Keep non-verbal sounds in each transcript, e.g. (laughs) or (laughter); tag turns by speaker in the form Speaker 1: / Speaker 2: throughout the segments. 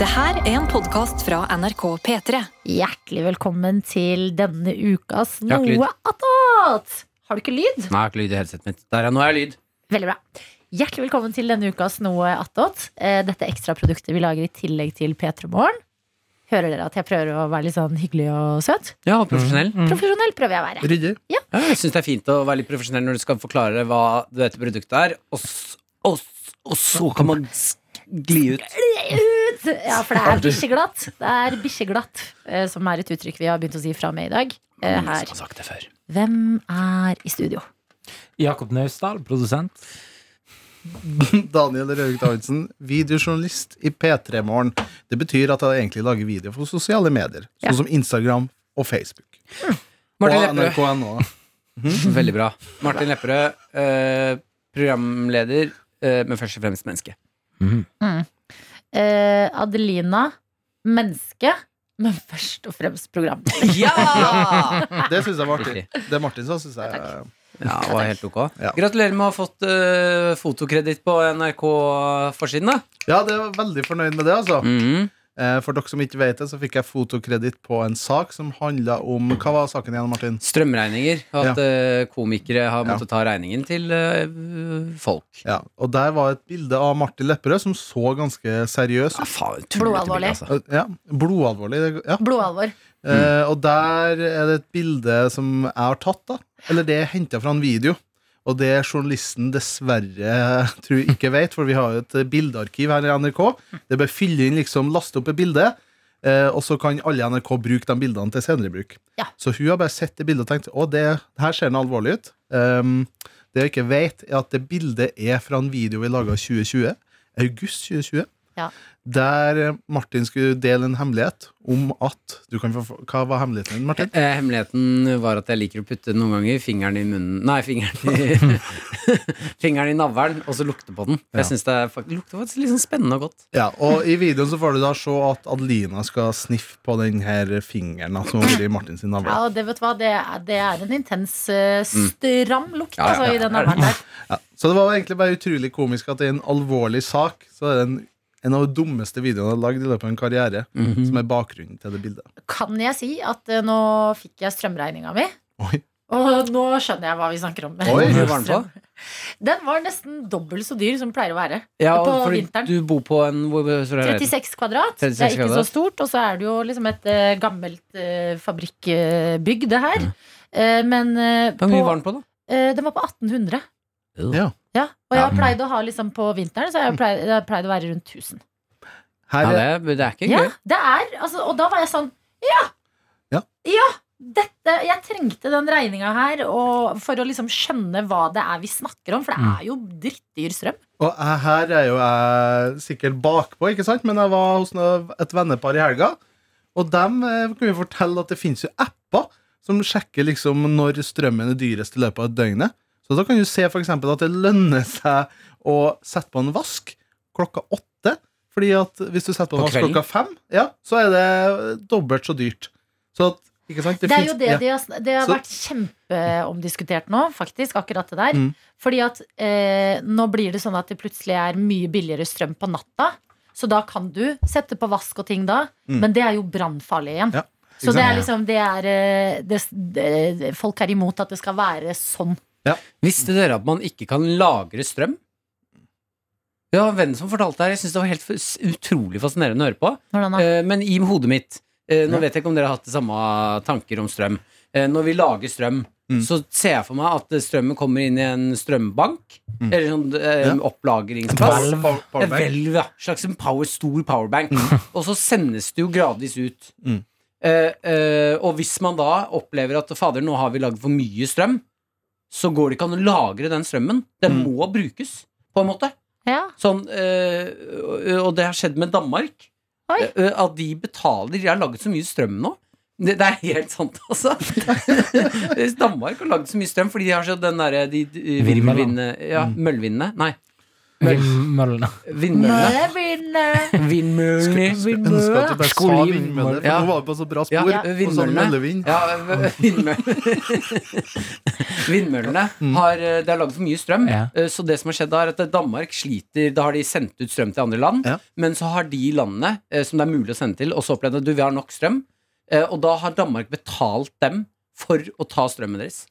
Speaker 1: Det her er en podkast fra NRK P3.
Speaker 2: Hjertelig velkommen til denne ukas
Speaker 3: Jeg har ikke
Speaker 2: Noe attåt! Har du ikke lyd?
Speaker 3: Nei, jeg har ikke lyd i headsetet mitt. Der, ja, nå er jeg lyd.
Speaker 2: Veldig bra. Hjertelig velkommen til denne ukas Noe attåt. Eh, Dette ekstraproduktet vi lager i tillegg til P3 Morgen. Hører dere at jeg prøver å være litt sånn hyggelig og søt?
Speaker 3: Ja, og profesjonell.
Speaker 2: Profesjonell prøver jeg å være.
Speaker 4: Ryddig.
Speaker 3: Ja, jeg syns det er fint å være litt profesjonell når du skal forklare hva dette produktet er, og, s- og, s- og så kan man s- gli ut.
Speaker 2: Ut! Ja, for det er bikkjeglatt. Det er bikkjeglatt, eh, som er et uttrykk vi har begynt å si fra og med i dag. eh,
Speaker 3: Ingen
Speaker 2: Her.
Speaker 3: som har sagt det før.
Speaker 2: Hvem er i studio?
Speaker 5: Jakob Naustdal, produsent.
Speaker 4: Daniel Røvik Davidsen, videojournalist i P3 Morgen. Det betyr at jeg egentlig lager video for sosiale medier,
Speaker 2: Ja.
Speaker 4: sånn som Instagram og Facebook.
Speaker 3: Mm. Martin
Speaker 4: og
Speaker 3: Lepperød.
Speaker 4: NRK.no.
Speaker 3: Mhm. Veldig bra. Martin Lepperød, eh, programleder, eh, men først og fremst menneske.
Speaker 2: Eh, Adelina, menneske, men først og fremst program.
Speaker 3: Ja!
Speaker 4: Det syns jeg var artig. Det Martin sa, syns jeg
Speaker 3: (laughs) ja det var helt ok.
Speaker 4: Ja.
Speaker 3: Gratulerer med å ha fått eh, fotokreditt på NRK-forsiden, da.
Speaker 4: Ja, det var veldig fornøyd med det, altså.
Speaker 3: Mhm.
Speaker 4: Eh, For dere som ikke vet det, så fikk jeg fotokreditt på en sak som handla om Hva var saken igjen, Martin?
Speaker 3: Strømregninger. og At eh, komikere har
Speaker 4: Ja.
Speaker 3: måttet ta regningen til eh, folk.
Speaker 4: Ja, Og der var et bilde av Martin Lepperød som så ganske seriøs
Speaker 3: Ja,
Speaker 4: ut.
Speaker 3: faen, tullete
Speaker 2: Blodalvorlig.
Speaker 3: bilde, altså.
Speaker 4: Ja, Blodalvorlig. det- Ja.
Speaker 2: Blodalvor.
Speaker 4: Eh, og der er det et bilde som jeg har tatt, da. Eller det er henta fra en video. Og det journalisten dessverre eh, tror jeg ikke vet, for vi har jo et eh, bildearkiv her i NRK. Det er bare å fylle inn, liksom, laste opp et bilde, eh, og så kan alle i NRK bruke de bildene til senere bruk.
Speaker 2: Ja.
Speaker 4: Så hun har bare sett det bildet og tenkt å, det her ser noe alvorlig ut. Um, det hun ikke vet, er at det bildet er fra en video vi laga i 2020. August 2020.
Speaker 2: Ja.
Speaker 4: Der eh, Martin skulle dele en hemmelighet om at du kan få, Hva var hemmeligheten din, Martin?
Speaker 3: Eh, Hemmeligheten var at jeg liker å putte noen ganger fingeren i munnen Nei, fingeren i (laughs) Fingeren i navlen, og så lukte på den. For
Speaker 4: Ja.
Speaker 3: Jeg synes det er, fakt- lukter faktisk litt sånn spennende og godt.
Speaker 4: Ja, og I videoen så får du da se at Adelina skal sniffe på den her fingeren da, som har vært i Martin sin navle.
Speaker 2: Ja, og det, vet du hva, det, er, det er en intens, eh, stram lukt
Speaker 3: Mm. Ja, ja,
Speaker 2: altså,
Speaker 3: ja,
Speaker 2: i den
Speaker 3: det er det.
Speaker 2: armen der.
Speaker 4: Ja. Så det var egentlig bare utrolig komisk at i en alvorlig sak så er det en, en av de dummeste videoene jeg har lagd i løpet av en karriere, som er bakgrunnen til det bildet.
Speaker 2: Kan jeg si at eh, nå fikk jeg strømregninga mi?
Speaker 4: Oi.
Speaker 2: Og nå skjønner jeg hva vi snakker om.
Speaker 4: Oi,
Speaker 3: Hvor var den på?
Speaker 2: (laughs) Den var nesten dobbelt så dyr som den pleier å være.
Speaker 3: Ja,
Speaker 2: på
Speaker 3: og fordi
Speaker 2: vinteren.
Speaker 3: du bor på en hvor, hvor, hvor, er det?
Speaker 2: 36 kvadrat.
Speaker 3: 36
Speaker 2: det er ikke
Speaker 3: kvadrat.
Speaker 2: så stort. Og så er det jo liksom et eh, gammelt eh, fabrikkbygg, det her. Eh, men eh,
Speaker 3: Hvor mye
Speaker 2: på-
Speaker 3: var den på, da?
Speaker 2: Eh, den var på 1800.
Speaker 4: Ja.
Speaker 2: Ja, og jeg har
Speaker 3: Ja. Mm.
Speaker 2: pleid å ha liksom på vinteren Så jeg har pleid, det har pleid å være rundt 1000.
Speaker 4: Her
Speaker 3: Ja,
Speaker 4: er,
Speaker 3: det, er- det er ikke
Speaker 2: Ja,
Speaker 3: gøy.
Speaker 2: det er, altså, og da var jeg sånn Ja!
Speaker 4: Ja.
Speaker 2: dette, jeg trengte den regninga her og, for å liksom skjønne hva det er vi snakker om, for
Speaker 4: Mm.
Speaker 2: det er jo drittdyr strøm.
Speaker 4: og jeg- her er jo jeg sikkert bakpå, ikke sant? men jeg var hos noe- et vennepar i helga, og dem eh, kunne jo fortelle at det finnes jo apper som sjekker liksom når strømmen er dyrest i løpet av døgnet. Så da kan du se for eksempel at det lønner seg å sette på en vask klokka åtte, fordi at hvis du setter på en
Speaker 3: På
Speaker 4: vask
Speaker 3: kvelden?
Speaker 4: klokka fem, ja, så er det dobbelt så dyrt. Så at, ikke sant?
Speaker 2: Det, er jo
Speaker 4: finnes-
Speaker 2: det
Speaker 4: ja.
Speaker 2: de har, sn- det har
Speaker 4: Så-
Speaker 2: vært kjempeomdiskutert nå, faktisk, akkurat det der.
Speaker 4: Mm.
Speaker 2: Fordi at eh, nå blir det sånn at det plutselig er mye billigere strøm på natta. Så da kan du sette på vask og ting da,
Speaker 4: Mm.
Speaker 2: men det er jo brannfarlig igjen.
Speaker 4: Ja,
Speaker 2: Så
Speaker 4: ikke
Speaker 2: det er
Speaker 4: sant?
Speaker 2: liksom det er, eh, det, det, Folk er imot at det skal være sånn.
Speaker 3: Visste dere at man ikke kan lagre strøm? Ja, vennen som fortalte det her, jeg synes det var helt f- utrolig fascinerende å høre på.
Speaker 2: Hvordan da?
Speaker 3: Eh, Men i hodet mitt eh, Nå
Speaker 4: Ja.
Speaker 3: vet jeg ikke om dere har hatt det samme tanker om strøm. Eh, Når vi lager strøm,
Speaker 4: Mm.
Speaker 3: så ser jeg for meg at eh, strømmen kommer inn i en strømbank.
Speaker 4: Mm.
Speaker 3: Eller sånn eh,
Speaker 4: Ja.
Speaker 3: opplagringsplass.
Speaker 4: Power-
Speaker 3: Et
Speaker 4: powerbank.
Speaker 3: hvelv, ja. Slags en power, stor powerbank. (laughs) Og så sendes det jo gradvis ut.
Speaker 4: Mm.
Speaker 3: Eh, eh, og hvis man da opplever at fader, nå har vi lagd for mye strøm, så går det ikke an å lagre den strømmen. Den
Speaker 4: Mm.
Speaker 3: må brukes, på en måte.
Speaker 2: Ja.
Speaker 3: Sånn, eh, og- og det har skjedd med Danmark.
Speaker 2: Oi.
Speaker 3: Eh, At de betaler De har laget så mye strøm nå. Det, det er helt sant, altså. Danmark har laget så mye strøm fordi de har så den derre de, de,
Speaker 5: Virvelvind.
Speaker 3: virvelvindene- Ja, møllvindene. Nei.
Speaker 4: (laughs)
Speaker 5: Vindmøllene.
Speaker 3: Vindmøllene.
Speaker 2: Vindmøller.
Speaker 3: Vindmøllene.
Speaker 4: Jeg ønsker at jeg bare sa
Speaker 3: Skolim-
Speaker 4: vindmøller, for
Speaker 3: Ja.
Speaker 4: nå var vi på så bra
Speaker 3: Ja,
Speaker 4: spor. Og sånn så
Speaker 3: vindmøllene.
Speaker 4: meldevind.
Speaker 3: Ja,
Speaker 5: (laughs)
Speaker 3: v- vindmøllene. (laughs) vindmøllene har, eh, Det er lagd for mye strøm.
Speaker 5: Mm. Ja.
Speaker 3: eh, Så det som har skjedd, da, er at Danmark sliter. Da har de sendt ut strøm til andre land.
Speaker 4: Ja.
Speaker 3: Men så har de landene eh, som det er mulig å sende til, også opplevd at du, vi har nok strøm. eh, Og da har Danmark betalt dem for å ta strømmen deres.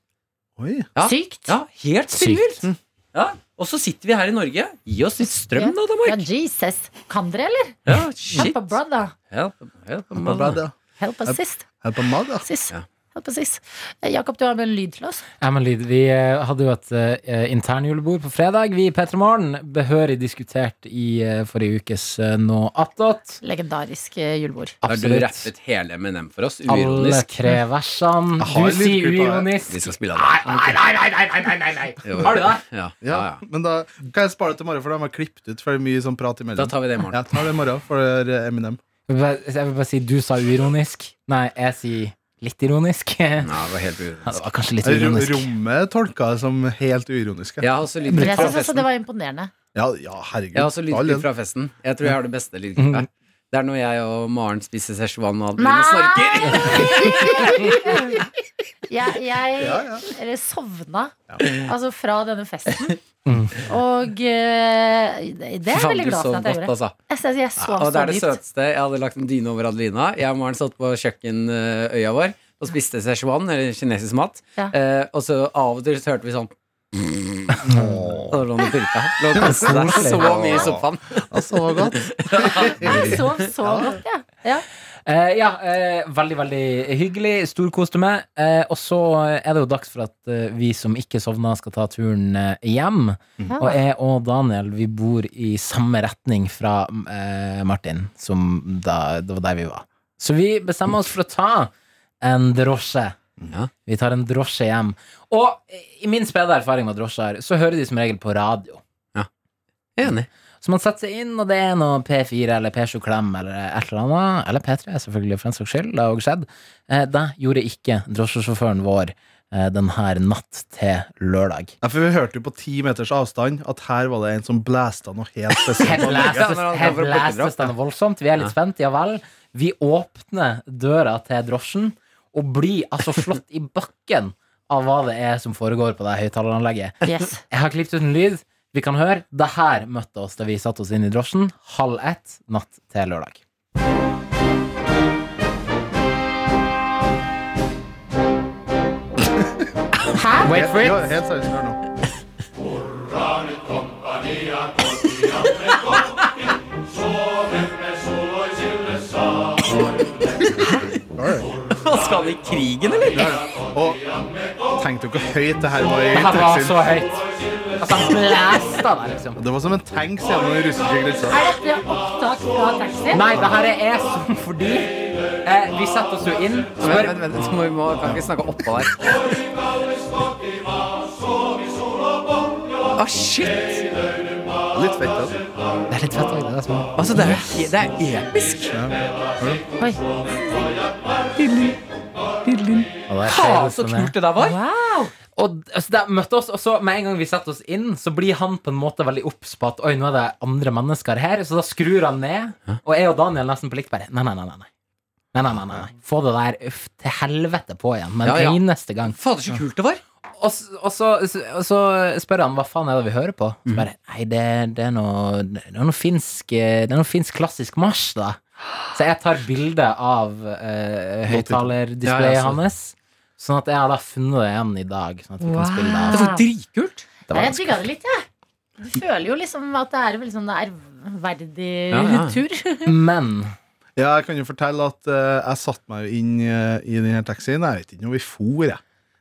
Speaker 4: Oi.
Speaker 3: Ja.
Speaker 2: Sykt.
Speaker 3: Ja, helt
Speaker 5: Sykt. Mm.
Speaker 3: spinnvilt! Ja. Og så sitter vi her i Norge. Gi oss litt strøm, da,
Speaker 2: Ja,
Speaker 3: Danmark.
Speaker 2: Jesus. Kan dere, eller?
Speaker 3: Ja, shit.
Speaker 2: Help a brother.
Speaker 3: Help, help,
Speaker 4: Her på bad,
Speaker 3: man.
Speaker 4: ja.
Speaker 2: Help a sist.
Speaker 4: Her på mad, ja.
Speaker 2: Sis.
Speaker 3: Ja.
Speaker 2: Help a sis. Eh, Jakob, du har med en lyd til oss.
Speaker 5: Ja, men Lyd, vi eh, hadde jo et eh, internjulebord på fredag. Vi i P3 Morgen behørig diskutert i eh, forrige ukes eh, Nå attåt.
Speaker 2: Legendarisk eh, julebord.
Speaker 3: Der du rappet hele M&M for oss,
Speaker 5: Alle
Speaker 3: uironisk.
Speaker 5: tre versene.
Speaker 4: Jeg har
Speaker 5: Du
Speaker 4: litt
Speaker 5: sier
Speaker 4: klipp av det.
Speaker 5: uironisk.
Speaker 3: Vi skal spille av det.
Speaker 5: Nei, nei, nei, nei, nei, nei, nei, nei. Har du det?
Speaker 3: Ja,
Speaker 4: Ja,
Speaker 3: ja, ja.
Speaker 4: men da kan jeg spare det til morgen, for da må jeg klippe det ut. For det er mye sånn prat
Speaker 3: Da
Speaker 4: imellom.
Speaker 3: tar vi det i morgen.
Speaker 4: Jeg tar det i morgen for det er Eminem.
Speaker 5: Jeg vil bare- Jeg vil bare si du sa uironisk. Nei, jeg sier litt ironisk. (laughs) Ja,
Speaker 3: Nei, det var helt uironisk.
Speaker 5: det var kanskje litt
Speaker 4: Ro-
Speaker 5: uironisk.
Speaker 4: Rommet tolka det som helt uironisk. Ja,
Speaker 3: Jeg har også
Speaker 2: Men
Speaker 3: lydklipp
Speaker 2: jeg
Speaker 3: fra
Speaker 2: synes også altså,
Speaker 3: festen.
Speaker 2: det var imponerende.
Speaker 4: ja, herregud.
Speaker 3: Jeg har også
Speaker 4: All den-
Speaker 3: lydklipp altså, fra festen. Jeg tror jeg har det beste lydklippet.
Speaker 5: Mhm.
Speaker 3: Det er når jeg og Maren spiser Szechuan og Adeline
Speaker 2: Nei!
Speaker 3: snorker.
Speaker 2: Jeg,
Speaker 4: Ja,
Speaker 2: jeg
Speaker 4: ja.
Speaker 2: eller sovna altså fra denne festen.
Speaker 3: (laughs)
Speaker 2: Og eh, det er jeg
Speaker 3: Mm. Faen,
Speaker 2: veldig
Speaker 3: du
Speaker 2: glad
Speaker 3: sov
Speaker 2: for at jeg
Speaker 3: godt,
Speaker 2: gjorde.
Speaker 3: altså.
Speaker 2: Jeg, synes jeg sov
Speaker 3: Og det
Speaker 2: så
Speaker 3: er det
Speaker 2: dypt.
Speaker 3: søteste. Jeg hadde lagt en dyne over Adelina. Jeg og Maren satt på kjøkkenøya vår og spiste Szechuan, eller kinesisk mat.
Speaker 2: Ja.
Speaker 3: Eh, og så av og til så hørte vi
Speaker 5: (laughs)
Speaker 3: sånn Og da lå han og purka. Lå og koste seg så mye i sofaen.
Speaker 4: Altså, det var godt.
Speaker 2: Jeg sov så godt, jeg. Ja.
Speaker 5: Eh, ja, eh, veldig, veldig hyggelig. Storkoste meg. Eh, og så er det jo dags for at eh, vi som ikke sovna, skal ta turen eh, hjem. Og jeg og Daniel vi bor i samme retning fra eh, Martin, som da, det var der vi var. Så vi bestemmer oss for å ta en drosje.
Speaker 3: Ja.
Speaker 5: Vi tar en drosje hjem. Og i min spede erfaring med drosjer, så hører de som regel på radio.
Speaker 3: Jeg er Enig.
Speaker 5: Så man setter seg inn, og det er noe P4 eller P7 Klem eller et eller annet. Eller P3, selvfølgelig, for den saks skyld. Det har også skjedd. Eh, det gjorde ikke drosjesjåføren vår eh, den her natt til lørdag.
Speaker 4: Ja, for vi hørte jo på ti meters avstand at her var det en som blæsta noe helt
Speaker 3: (laughs)
Speaker 5: Her
Speaker 4: spesielt.
Speaker 3: Ja, når han kommer for å plukke det
Speaker 5: blæstes
Speaker 3: opp,
Speaker 5: den voldsomt. Vi er litt spent, ja vel. Vi åpner døra til drosjen og blir altså slått i bakken av hva det er som foregår på det her høyttaleranlegget.
Speaker 2: Yes.
Speaker 3: (laughs)
Speaker 5: Jeg har klippet ut en lyd. Vi kan høre. Det her møtte oss da vi satte oss inn i drosjen halv ett natt til lørdag.
Speaker 2: Hæ?
Speaker 5: Wait for
Speaker 4: Ja,
Speaker 5: it.
Speaker 4: helt seriøst, hør nå.
Speaker 3: Hva skal han i krigen, eller?
Speaker 4: Og tenkte jo ikke høyt det her var i
Speaker 5: Det her var
Speaker 4: taxien.
Speaker 5: så høyt. Altså, han blæsta deg, liksom.
Speaker 4: Det var som en tanks gjennom den russiske grensa.
Speaker 2: Er dette opptak fra taxien?
Speaker 5: Nei, det her er som fordi eh, Vi setter oss jo inn.
Speaker 3: Vent,
Speaker 5: Spør,
Speaker 3: vent, vent. så må Vi må, kan ikke snakke oppå der.
Speaker 4: Ah,
Speaker 3: Å, shit!
Speaker 4: Litt fett, altså.
Speaker 5: det er litt fett. også, Det er små.
Speaker 3: Altså, det er, jo he- det er episk.
Speaker 2: Oi.
Speaker 5: Og det er
Speaker 3: Faen, så
Speaker 5: som er-
Speaker 3: kult det der var.
Speaker 2: Wow.
Speaker 5: Og altså, det møtte oss, og så med en gang vi setter oss inn, så blir han på en måte veldig obs på at oi, nå er det andre mennesker her, så da skrur han ned, og jeg og Daniel nesten på likt bare nei, nei, nei, nei. nei. Nei, nei, nei, nei, nei. Få det der uff, til helvete på igjen med en
Speaker 3: Ja, ja.
Speaker 5: eneste gang.
Speaker 3: Fader, så kult det var.
Speaker 5: Og, s- og, så, og så spør han hva faen er det vi hører på. Så
Speaker 3: Mhm.
Speaker 5: bare nei, det, det er noe Det er noe finsk eh, Det er noe finsk klassisk marsj, da. Så jeg tar bilde av uh, høyttalerdisplay
Speaker 3: Ja, ja, så-
Speaker 5: hans, sånn at jeg har da funnet det igjen i dag. Sånn at vi kan spille det av.
Speaker 3: Det var dritkult.
Speaker 5: Det
Speaker 2: Nei,
Speaker 5: var
Speaker 2: jeg digga det litt, jeg. Du føler jo liksom at det er veldig sånn ærverdig
Speaker 3: Ja, ja.
Speaker 2: tur.
Speaker 5: Men
Speaker 4: Ja, jeg kan jo fortelle at eh, jeg satte meg jo inn eh, i den her taxien. Jeg vet ikke når vi for, jeg.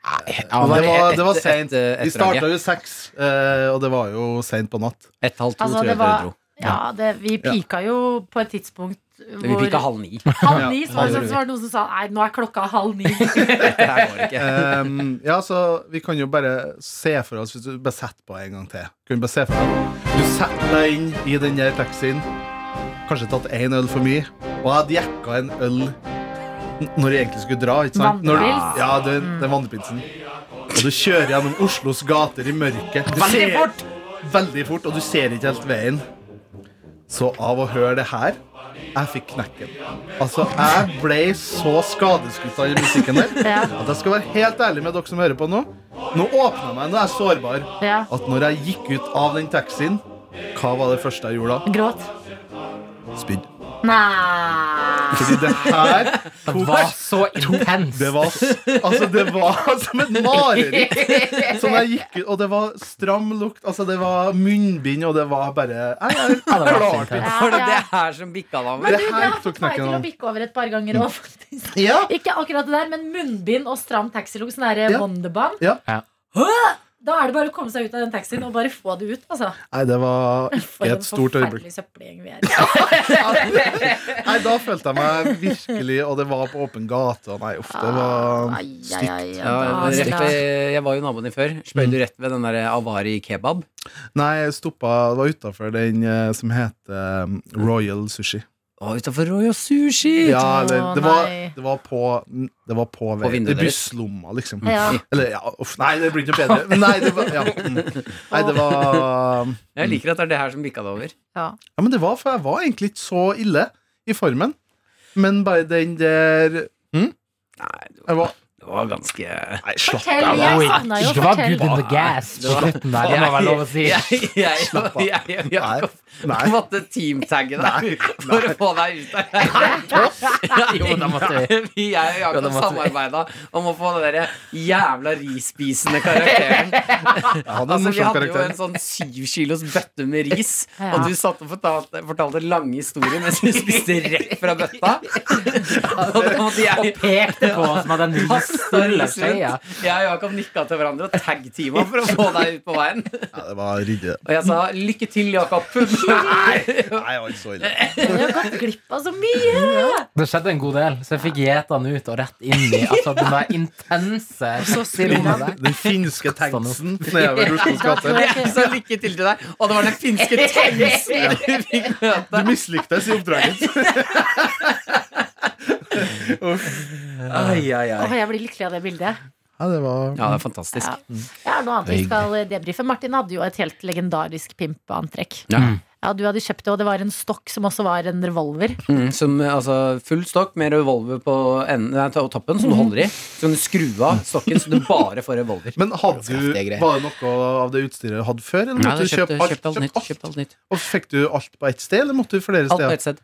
Speaker 4: Men det var, det var
Speaker 3: Et-
Speaker 4: sent.
Speaker 3: et- et-
Speaker 4: Vi starta
Speaker 3: et-
Speaker 4: jo seks, eh, og det var jo sent på natt.
Speaker 3: Et halvt to,
Speaker 2: Altså,
Speaker 3: tror jeg
Speaker 2: det
Speaker 3: dere
Speaker 2: var
Speaker 3: dro.
Speaker 2: Ja, det, vi pika jo på et tidspunkt
Speaker 3: Vi
Speaker 2: hvor
Speaker 3: pikka
Speaker 2: (laughs)
Speaker 3: halv ni.
Speaker 2: halv ni, så var det
Speaker 4: Ja,
Speaker 2: sånn- så var det noen som sa Nei, nå er klokka halv ni.
Speaker 3: Det her går ikke.
Speaker 4: (laughs) Ehm, ja, så vi kan jo bare se for oss Hvis du bare setter på en gang til Kan vi bare se for deg Du setter deg inn i den der taxien Kanskje tatt en øl for mye Og jeg hadde jekka en øl n- Når jeg egentlig skulle dra ikke sant? Når du-
Speaker 2: Vandrepils.
Speaker 4: Ja, den, den vandrepilsen Og du kjører gjennom Oslos gater i mørket Du
Speaker 5: Veldig
Speaker 4: ser,
Speaker 5: fort!
Speaker 4: veldig fort, og du ser ikke helt veien. Så av å høre det her Jeg fikk knekken. Altså, jeg ble så skadeskutt av den musikken der
Speaker 2: (laughs) Ja.
Speaker 4: at jeg skal være helt ærlig med dere som hører på nå. Nå åpna jeg meg, nå er jeg sårbar.
Speaker 2: Ja.
Speaker 4: At når jeg gikk ut av den taxien, hva var det første jeg gjorde da?
Speaker 2: Gråt.
Speaker 4: Spydd.
Speaker 2: Nei
Speaker 4: Fordi det
Speaker 5: (laughs)
Speaker 4: her tok
Speaker 5: Det var så intens!
Speaker 4: Det var, altså, det var (laughs) som et mareritt. Sånn jeg gikk ut, og det var stram lukt, altså, det var munnbind, og det var bare Nei, jeg
Speaker 5: Ja, det var så
Speaker 4: klarte
Speaker 5: intens.
Speaker 2: Ja,
Speaker 3: Var det
Speaker 2: ja.
Speaker 3: det her som bikka da?
Speaker 2: Men
Speaker 4: Det
Speaker 2: du, det
Speaker 4: her
Speaker 2: har
Speaker 4: tok
Speaker 2: fått meg
Speaker 4: knekken
Speaker 2: til å
Speaker 4: av.
Speaker 2: bikke over et par ganger òg, faktisk.
Speaker 4: ikke Ja,
Speaker 2: Ikke akkurat det der, men munnbind og stram taxilugg. Sånn der
Speaker 4: Ja.
Speaker 2: Wonderband.
Speaker 4: Ja.
Speaker 5: Ja.
Speaker 2: Hø! Da er det bare å komme seg ut av den taxien og bare få det ut. Altså.
Speaker 4: Nei, det var
Speaker 2: For
Speaker 4: ikke
Speaker 2: en
Speaker 4: et stort øyeblikk.
Speaker 2: forferdelig søppelgjeng vi er.
Speaker 4: Nei, Da følte jeg meg virkelig Og det var på åpen gate. Og nei, uff, det var stygt.
Speaker 3: Ja, rett ved, jeg var jo naboen din før. Spøy
Speaker 4: Mm.
Speaker 3: du rett ved den der Avari kebab?
Speaker 4: Nei, jeg stoppa Det var utafor den eh, som heter um, Royal Sushi.
Speaker 3: Å, utafor Royo Sushi!
Speaker 4: Ja, eller det
Speaker 2: Å,
Speaker 4: var,
Speaker 2: nei.
Speaker 4: det var på Det var på,
Speaker 3: På
Speaker 4: veien.
Speaker 3: vinduet
Speaker 4: I
Speaker 3: deres.
Speaker 4: busslomma, liksom.
Speaker 2: Ja.
Speaker 4: Eller, ja, uff, nei, det blir ikke noe bedre. Men nei, det var, ja. mm. nei, det var
Speaker 3: Jeg liker at det er det her som bikka det over.
Speaker 2: Ja.
Speaker 4: Ja, men det var, for jeg var egentlig ikke så ille i formen. Men bare den der hm?
Speaker 3: Nei, det var,
Speaker 4: Jeg var
Speaker 3: det var ganske
Speaker 4: Nei, slapp
Speaker 2: Fortell,
Speaker 4: av. da.
Speaker 2: jeg
Speaker 5: Oi,
Speaker 2: savna jo
Speaker 5: Det var
Speaker 2: fortell.
Speaker 5: good in the gas på slutten der, det må være lov å si.
Speaker 3: Jeg, jeg,
Speaker 4: Slapp av.
Speaker 3: jeg, jeg, jeg,
Speaker 4: Nei.
Speaker 3: jeg måtte teamtagge deg for å få deg ut av det.
Speaker 5: Jo, da måtte
Speaker 3: (laughs) vi. Jeg og
Speaker 5: Jo, da
Speaker 3: Jakob
Speaker 5: måtte vi.
Speaker 3: samarbeida om å få den derre jævla rispisende
Speaker 5: (laughs)
Speaker 3: karakteren.
Speaker 4: Jeg hadde en
Speaker 3: Altså, vi
Speaker 4: morsom
Speaker 3: hadde jo en
Speaker 4: karakter.
Speaker 3: sånn syv kilos bøtte med ris,
Speaker 5: (laughs)
Speaker 2: Ja.
Speaker 3: og du satt og fortalte, fortalte lange historier mens du spiste rett fra
Speaker 5: (laughs)
Speaker 3: bøtta. Og da måtte jeg
Speaker 5: Pekte på oss med den
Speaker 3: kaste
Speaker 5: lille
Speaker 3: ris
Speaker 5: skjea.
Speaker 3: rundt. Jeg og Jakob nikka til hverandre og tag-teama for å få deg ut på veien.
Speaker 4: Ja, det var rydde.
Speaker 3: Og jeg sa 'lykke til, (laughs) Jakob'.
Speaker 4: Nei, jeg var ikke så ille.
Speaker 2: Vi har gått glipp av så mye!
Speaker 5: Det skjedde en god del, så jeg fikk gjeta den ut og rett inn i altså, den der intense rommet der.
Speaker 4: Den finske tanksen nedover Oslos gater.
Speaker 3: (laughs) Jeg sa lykke til til deg, og det var den (laughs) finske tengsen du fikk møte.
Speaker 4: Du mislyktes i oppdraget.
Speaker 3: Ai, ai,
Speaker 2: Åh, jeg blir lykkelig av det bildet.
Speaker 4: Ja, det var
Speaker 3: Ja, det er fantastisk.
Speaker 2: Ja. Ja, noe annet vi skal debrife. Martin hadde jo et helt legendarisk pimpeantrekk.
Speaker 3: Ja.
Speaker 2: Ja, du hadde kjøpt det, og det var en stokk som også var en revolver.
Speaker 3: Mm, som, altså, full stokk med revolver på enden, nei, to- toppen, som du holder i. Så kan du skru av stokken så du bare får revolver.
Speaker 4: men hadde du,
Speaker 3: Kraftige greier.
Speaker 4: var det noe av det utstyret du hadde før? Eller
Speaker 3: Nei,
Speaker 4: måtte
Speaker 3: du
Speaker 4: du kjøpe
Speaker 3: kjøpte,
Speaker 4: alt?
Speaker 3: kjøpte alt nytt.
Speaker 4: Kjøpt alt.
Speaker 3: Kjøpte alt nytt.
Speaker 4: Og fikk du alt på ett sted, eller måtte du flere
Speaker 3: Alt på
Speaker 4: steder?
Speaker 3: ett sted.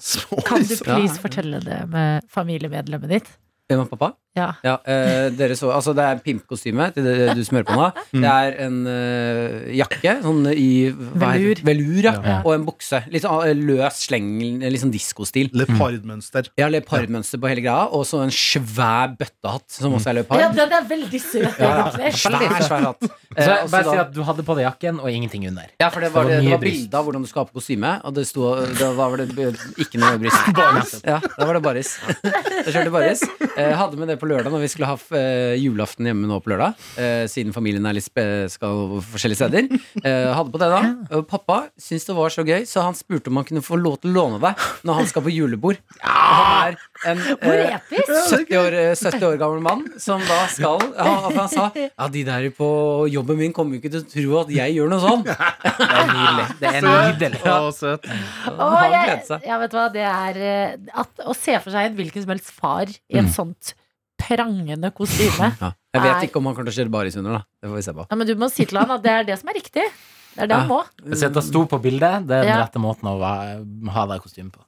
Speaker 4: Så-
Speaker 2: Kan du
Speaker 3: (laughs) Ja.
Speaker 2: please fortelle det med familiemedlemmet ditt?
Speaker 3: Hvem er pappa?
Speaker 2: Ja.
Speaker 3: Ja, eh, dere så, altså det er pimpkostyme til det du smører på nå.
Speaker 5: Mm.
Speaker 3: Det er en eh, jakke sånn i hva heter det? velur ja.
Speaker 5: Ja.
Speaker 3: og en bukse. Litt sånn eh, løs sleng, litt sånn diskostil.
Speaker 4: Leopardmønster.
Speaker 3: Jeg har leopardmønster på hele greia, og så en svær bøttehatt som også er
Speaker 2: ja,
Speaker 3: leopard.
Speaker 2: den er veldig søt. egentlig.
Speaker 3: Svær, svær hatt. Eh,
Speaker 5: (laughs)
Speaker 3: og
Speaker 5: Så
Speaker 3: så
Speaker 5: bare si
Speaker 3: da-
Speaker 5: at du hadde på deg jakken og ingenting under.
Speaker 3: ja, for det var, det,
Speaker 5: det var mye
Speaker 3: det var
Speaker 5: bryst.
Speaker 3: bilde av hvordan du skal ha på kostyme, og det sto, da var det b- ikke noe (laughs) bryst. Ja, da var det baris. Jeg kjørte baris. Eh, hadde med det på lørdag når vi skulle ha f- eh, julaften hjemme nå på lørdag. Eh, siden familien er litt spe skal forskjellige steder. Eh, hadde på det da. Og pappa syntes det var så gøy, så han spurte om han kunne få lov til å låne det når han skal på julebord. Ja! Han er en,
Speaker 2: Hvor
Speaker 3: eh,
Speaker 2: episk!
Speaker 3: 70 år, 70 år gammel mann som da skal han, han sa Ja, de der på jobben min kommer jo ikke til å tro at jeg gjør noe sånn.
Speaker 5: Det er nydelig. Det (laughs) er nydelig.
Speaker 4: Å, søt.
Speaker 2: Åh,
Speaker 3: Han
Speaker 2: jeg,
Speaker 3: gledet seg.
Speaker 2: ja, vet du hva, det er eh, at, Å se for seg en hvilken som helst far i
Speaker 3: Mm.
Speaker 2: et sånt prangende kostyme.
Speaker 3: Ja. Jeg vet ikke om han kommer til å kjøre baris under, da. Det får vi se på.
Speaker 2: Ja, men du må si til han at det er det som er riktig. Det er det han må.
Speaker 5: Så jeg sto på bildet. Det er den
Speaker 2: Ja.
Speaker 5: rette måten å va- ha deg kostyme på.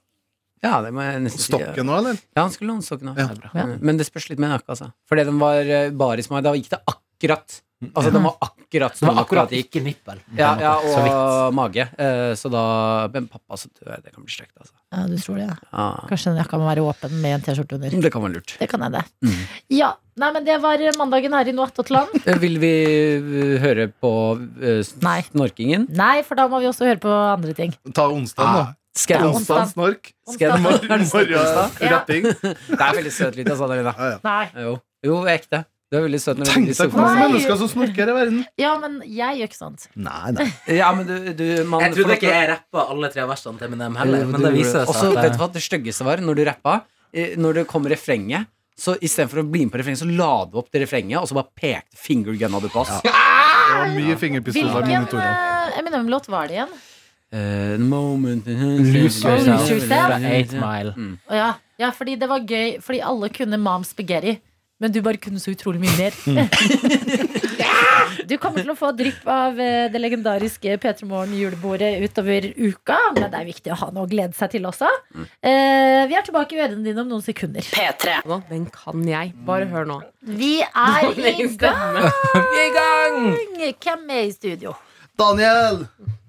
Speaker 3: Ja, det må jeg nesten si.
Speaker 4: Stokken òg, eller?
Speaker 3: Ja, han skulle låne stokken
Speaker 4: Ja.
Speaker 3: også. Det er bra.
Speaker 2: Ja.
Speaker 3: Men det spørs litt med jakka, altså. Fordi den var eh, baris meg, da gikk det akkurat. Altså, den var akkurat
Speaker 5: Det
Speaker 3: stor
Speaker 5: var
Speaker 3: nok til at
Speaker 5: akkurat
Speaker 3: det gikk.
Speaker 5: ikke nippel.
Speaker 3: Ja, ja,
Speaker 5: Så vidt.
Speaker 3: og mage. Eh, Så da Men pappa, så tror jeg det kan bli stygt, altså.
Speaker 2: Ja, du tror det, ja.
Speaker 3: Ja.
Speaker 2: Kanskje den jakka må være åpen med en T-skjorte under.
Speaker 3: Det kan være lurt.
Speaker 2: Det kan hende. Ja, nei, men det var eh, mandagen her i Noe attåt land.
Speaker 3: Eh, Vil vi eh, høre på eh,
Speaker 2: Nei.
Speaker 3: snorkingen?
Speaker 2: (laughs) Nei, for da må vi også høre på andre ting.
Speaker 4: Ta onsdagen, da.
Speaker 3: Skal jeg
Speaker 2: Ja.
Speaker 4: Onsdag,
Speaker 2: onsdag.
Speaker 4: snork.
Speaker 3: Skal jeg-
Speaker 2: Onsdag. Ja.
Speaker 4: Morgenrapping.
Speaker 3: Det er veldig søt lyd, altså, Adelina.
Speaker 2: Nei.
Speaker 3: Jo, jo jeg er ekte. Du er veldig søt. når du
Speaker 4: Tenk
Speaker 3: ligger i
Speaker 4: deg hvor mange
Speaker 2: Nei.
Speaker 4: mennesker som snorker i verden.
Speaker 2: Ja, men jeg gjør ikke sånt.
Speaker 4: Nei, nei.
Speaker 3: sofaen. Ja, men du, du man, får
Speaker 5: Jeg trodde ikke
Speaker 3: lov til å-
Speaker 5: jeg rappa alle tre versene til Eminem
Speaker 3: Jo,
Speaker 5: heller. Men
Speaker 3: du
Speaker 5: det viser
Speaker 3: gjorde
Speaker 5: seg
Speaker 3: Også,
Speaker 5: at
Speaker 3: vet du hva det styggeste var? Når du rappa, eh, når det kom refrenget så istedenfor å bli med på refrenget, så la du opp til refrenget, og så bare pekte fingergunna du på oss.
Speaker 4: Det var mye fingerpistoler og
Speaker 2: Hvilken
Speaker 4: monitorer.
Speaker 2: eh, Eminem-låt var det ign?
Speaker 3: (laughs) Eh, the moment
Speaker 5: Lose
Speaker 2: Yourself.
Speaker 5: Yourself fra 8 Mile.
Speaker 2: Å ja. ja, fordi det var gøy Fordi alle kunne Mom Spaghetti Men du bare kunne så utrolig mye mer (laughs) Du kommer til å få drypp av eh, det legendariske P3 Morgen julebordet utover uka Men det er viktig å ha noe å glede seg til også eh, Vi er tilbake i ørene dine om noen sekunder
Speaker 6: Nå, Den kan jeg. Bare hør nå.
Speaker 2: Vi er i
Speaker 6: Egen
Speaker 2: gang
Speaker 6: stemme.
Speaker 5: Vi er i gang!
Speaker 2: Hvem er i studio?
Speaker 4: Daniel!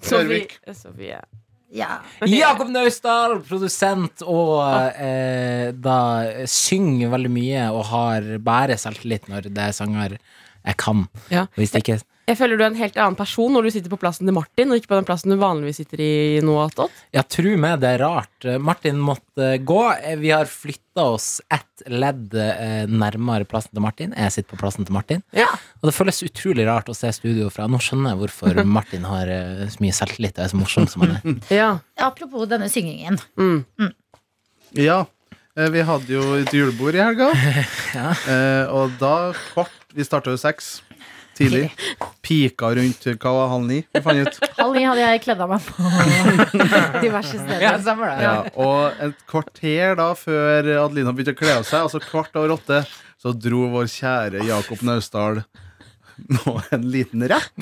Speaker 4: Sørvik.
Speaker 6: Sofie. eh, Sofie.
Speaker 2: Ja,
Speaker 5: Jakob Naustdal, produsent og eh, da synger veldig mye og har bærer selvtillit når det er sanger jeg kan.
Speaker 6: Ja.
Speaker 5: Hvis det ikke
Speaker 6: Jeg føler du er en helt annen person når du sitter på plassen til Martin, og ikke på den plassen du vanligvis sitter i nå. Attåt.
Speaker 5: Ja, tro meg, det er rart. Martin måtte gå. Vi har flytta oss ett ledd eh, nærmere plassen til Martin. Jeg sitter på plassen til Martin.
Speaker 6: Ja.
Speaker 5: Og det føles utrolig rart å se studio fra. Nå skjønner jeg hvorfor Martin har eh, så mye selvtillit og er så morsom som han er.
Speaker 6: Ja.
Speaker 2: apropos denne syngingen
Speaker 6: Mm.
Speaker 4: Ja. eh, Vi hadde jo et julebord i helga. Eh, Og da kvart Vi starta jo seks tidlig. Pika rundt hva var halv ni, vi fant ut.
Speaker 2: (laughs) Halv ni hadde jeg kledd av meg på diverse steder
Speaker 4: Ja, og et kvarter da før Adelina begynte å kle av seg, altså kvart over åtte, så dro vår kjære Jakob Naustdal nå en liten rapp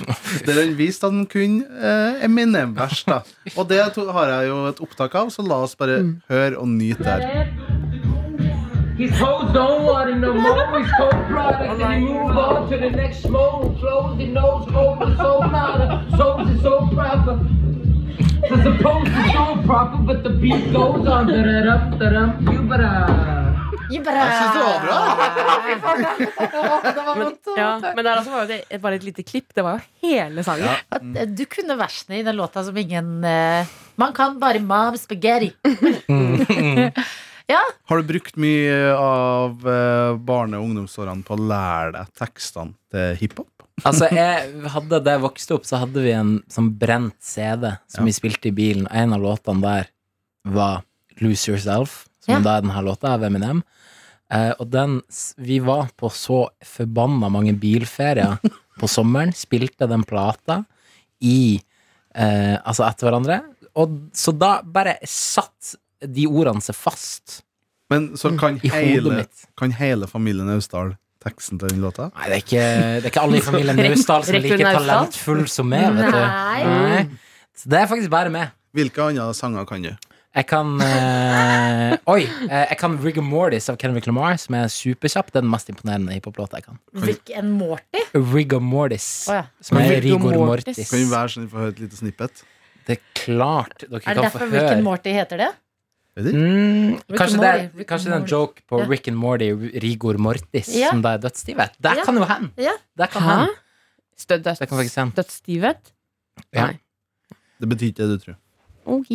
Speaker 4: der han viste at han kunne eh, Eminem-vers. da Og det to har jeg jo et opptak av, så la oss bare høre og nyte der.
Speaker 7: These hoes don't want it no more. It's cold product. Then you move on to the next mode. Close the nose, open so nada. Souls is so proper. The supposed is so proper, but the beat goes on. Da-da-dum, da-dum, you better.
Speaker 2: Jeg bare
Speaker 4: Jeg syns det var bra!
Speaker 6: Men, ja. Men der også var jo det altså bare et lite klipp. Det var jo hele sangen.
Speaker 2: At eh, du kunne versene i den låta som ingen eh, Man kan bare mom spaghetti.
Speaker 4: Har du brukt mye av eh, barne- og ungdomsårene på å lære deg tekstene til hiphop?
Speaker 5: Altså, jeg hadde, Da jeg vokste opp, så hadde vi en sånn brent CD som
Speaker 4: Ja.
Speaker 5: vi spilte i bilen. Og en av låtene der var Lose Yourself, som
Speaker 2: Ja.
Speaker 5: da er denne låta av Eminem. Eh, og den s- Vi var på så forbanna mange bilferier på sommeren. Spilte den plata i eh, Altså etter hverandre. Og, så da bare satt de ordene seg fast
Speaker 4: Men så kan
Speaker 5: i hodet
Speaker 4: hele,
Speaker 5: mitt.
Speaker 4: kan hele familien Naustdal teksten til den låta?
Speaker 5: Nei, det er ikke, det er ikke alle i familien Naustdal som er
Speaker 6: Rektor
Speaker 5: like
Speaker 6: Naustdal?
Speaker 5: talentfull som meg, vet du.
Speaker 2: Nei.
Speaker 5: Nei. Så det er faktisk bare meg.
Speaker 4: Hvilke andre sanger kan du?
Speaker 5: Jeg kan eh, Oi! eh, jeg kan Rigor Mortis av Kendrick Lamar, som er superkjapp. Det er den mest imponerende hiphop-låta jeg kan.
Speaker 2: Rick and Morty.
Speaker 5: Rigor Mortis.
Speaker 2: Å ja.
Speaker 5: Som er
Speaker 6: Rigor
Speaker 5: Rigor
Speaker 6: Mortis.
Speaker 5: Mortis.
Speaker 4: Kan vi være sånn at vi får høre et lite snippet?
Speaker 5: Det er klart dere
Speaker 2: Er det
Speaker 5: kan få
Speaker 2: derfor Rick and
Speaker 5: høre.
Speaker 2: Morty heter det?
Speaker 5: Mm,
Speaker 2: Rick
Speaker 5: kanskje
Speaker 2: and
Speaker 5: det,
Speaker 2: Morty, Rick
Speaker 5: kanskje
Speaker 2: and
Speaker 5: det er en
Speaker 2: Morty.
Speaker 5: joke på
Speaker 2: Ja.
Speaker 5: Rick and Morty, Rigor Mortis,
Speaker 2: Ja.
Speaker 5: som da er dødsstivhet. Det
Speaker 2: Ja.
Speaker 5: kan jo hende!
Speaker 2: Ja.
Speaker 5: Det kan
Speaker 6: Hæ?
Speaker 5: hende.
Speaker 6: Stø-
Speaker 5: Det kan faktisk
Speaker 6: døds-
Speaker 5: hende.
Speaker 6: Dødsstivhet?
Speaker 5: Ja.
Speaker 6: Nei.
Speaker 4: Det betyr ikke det du tror.
Speaker 6: Ok.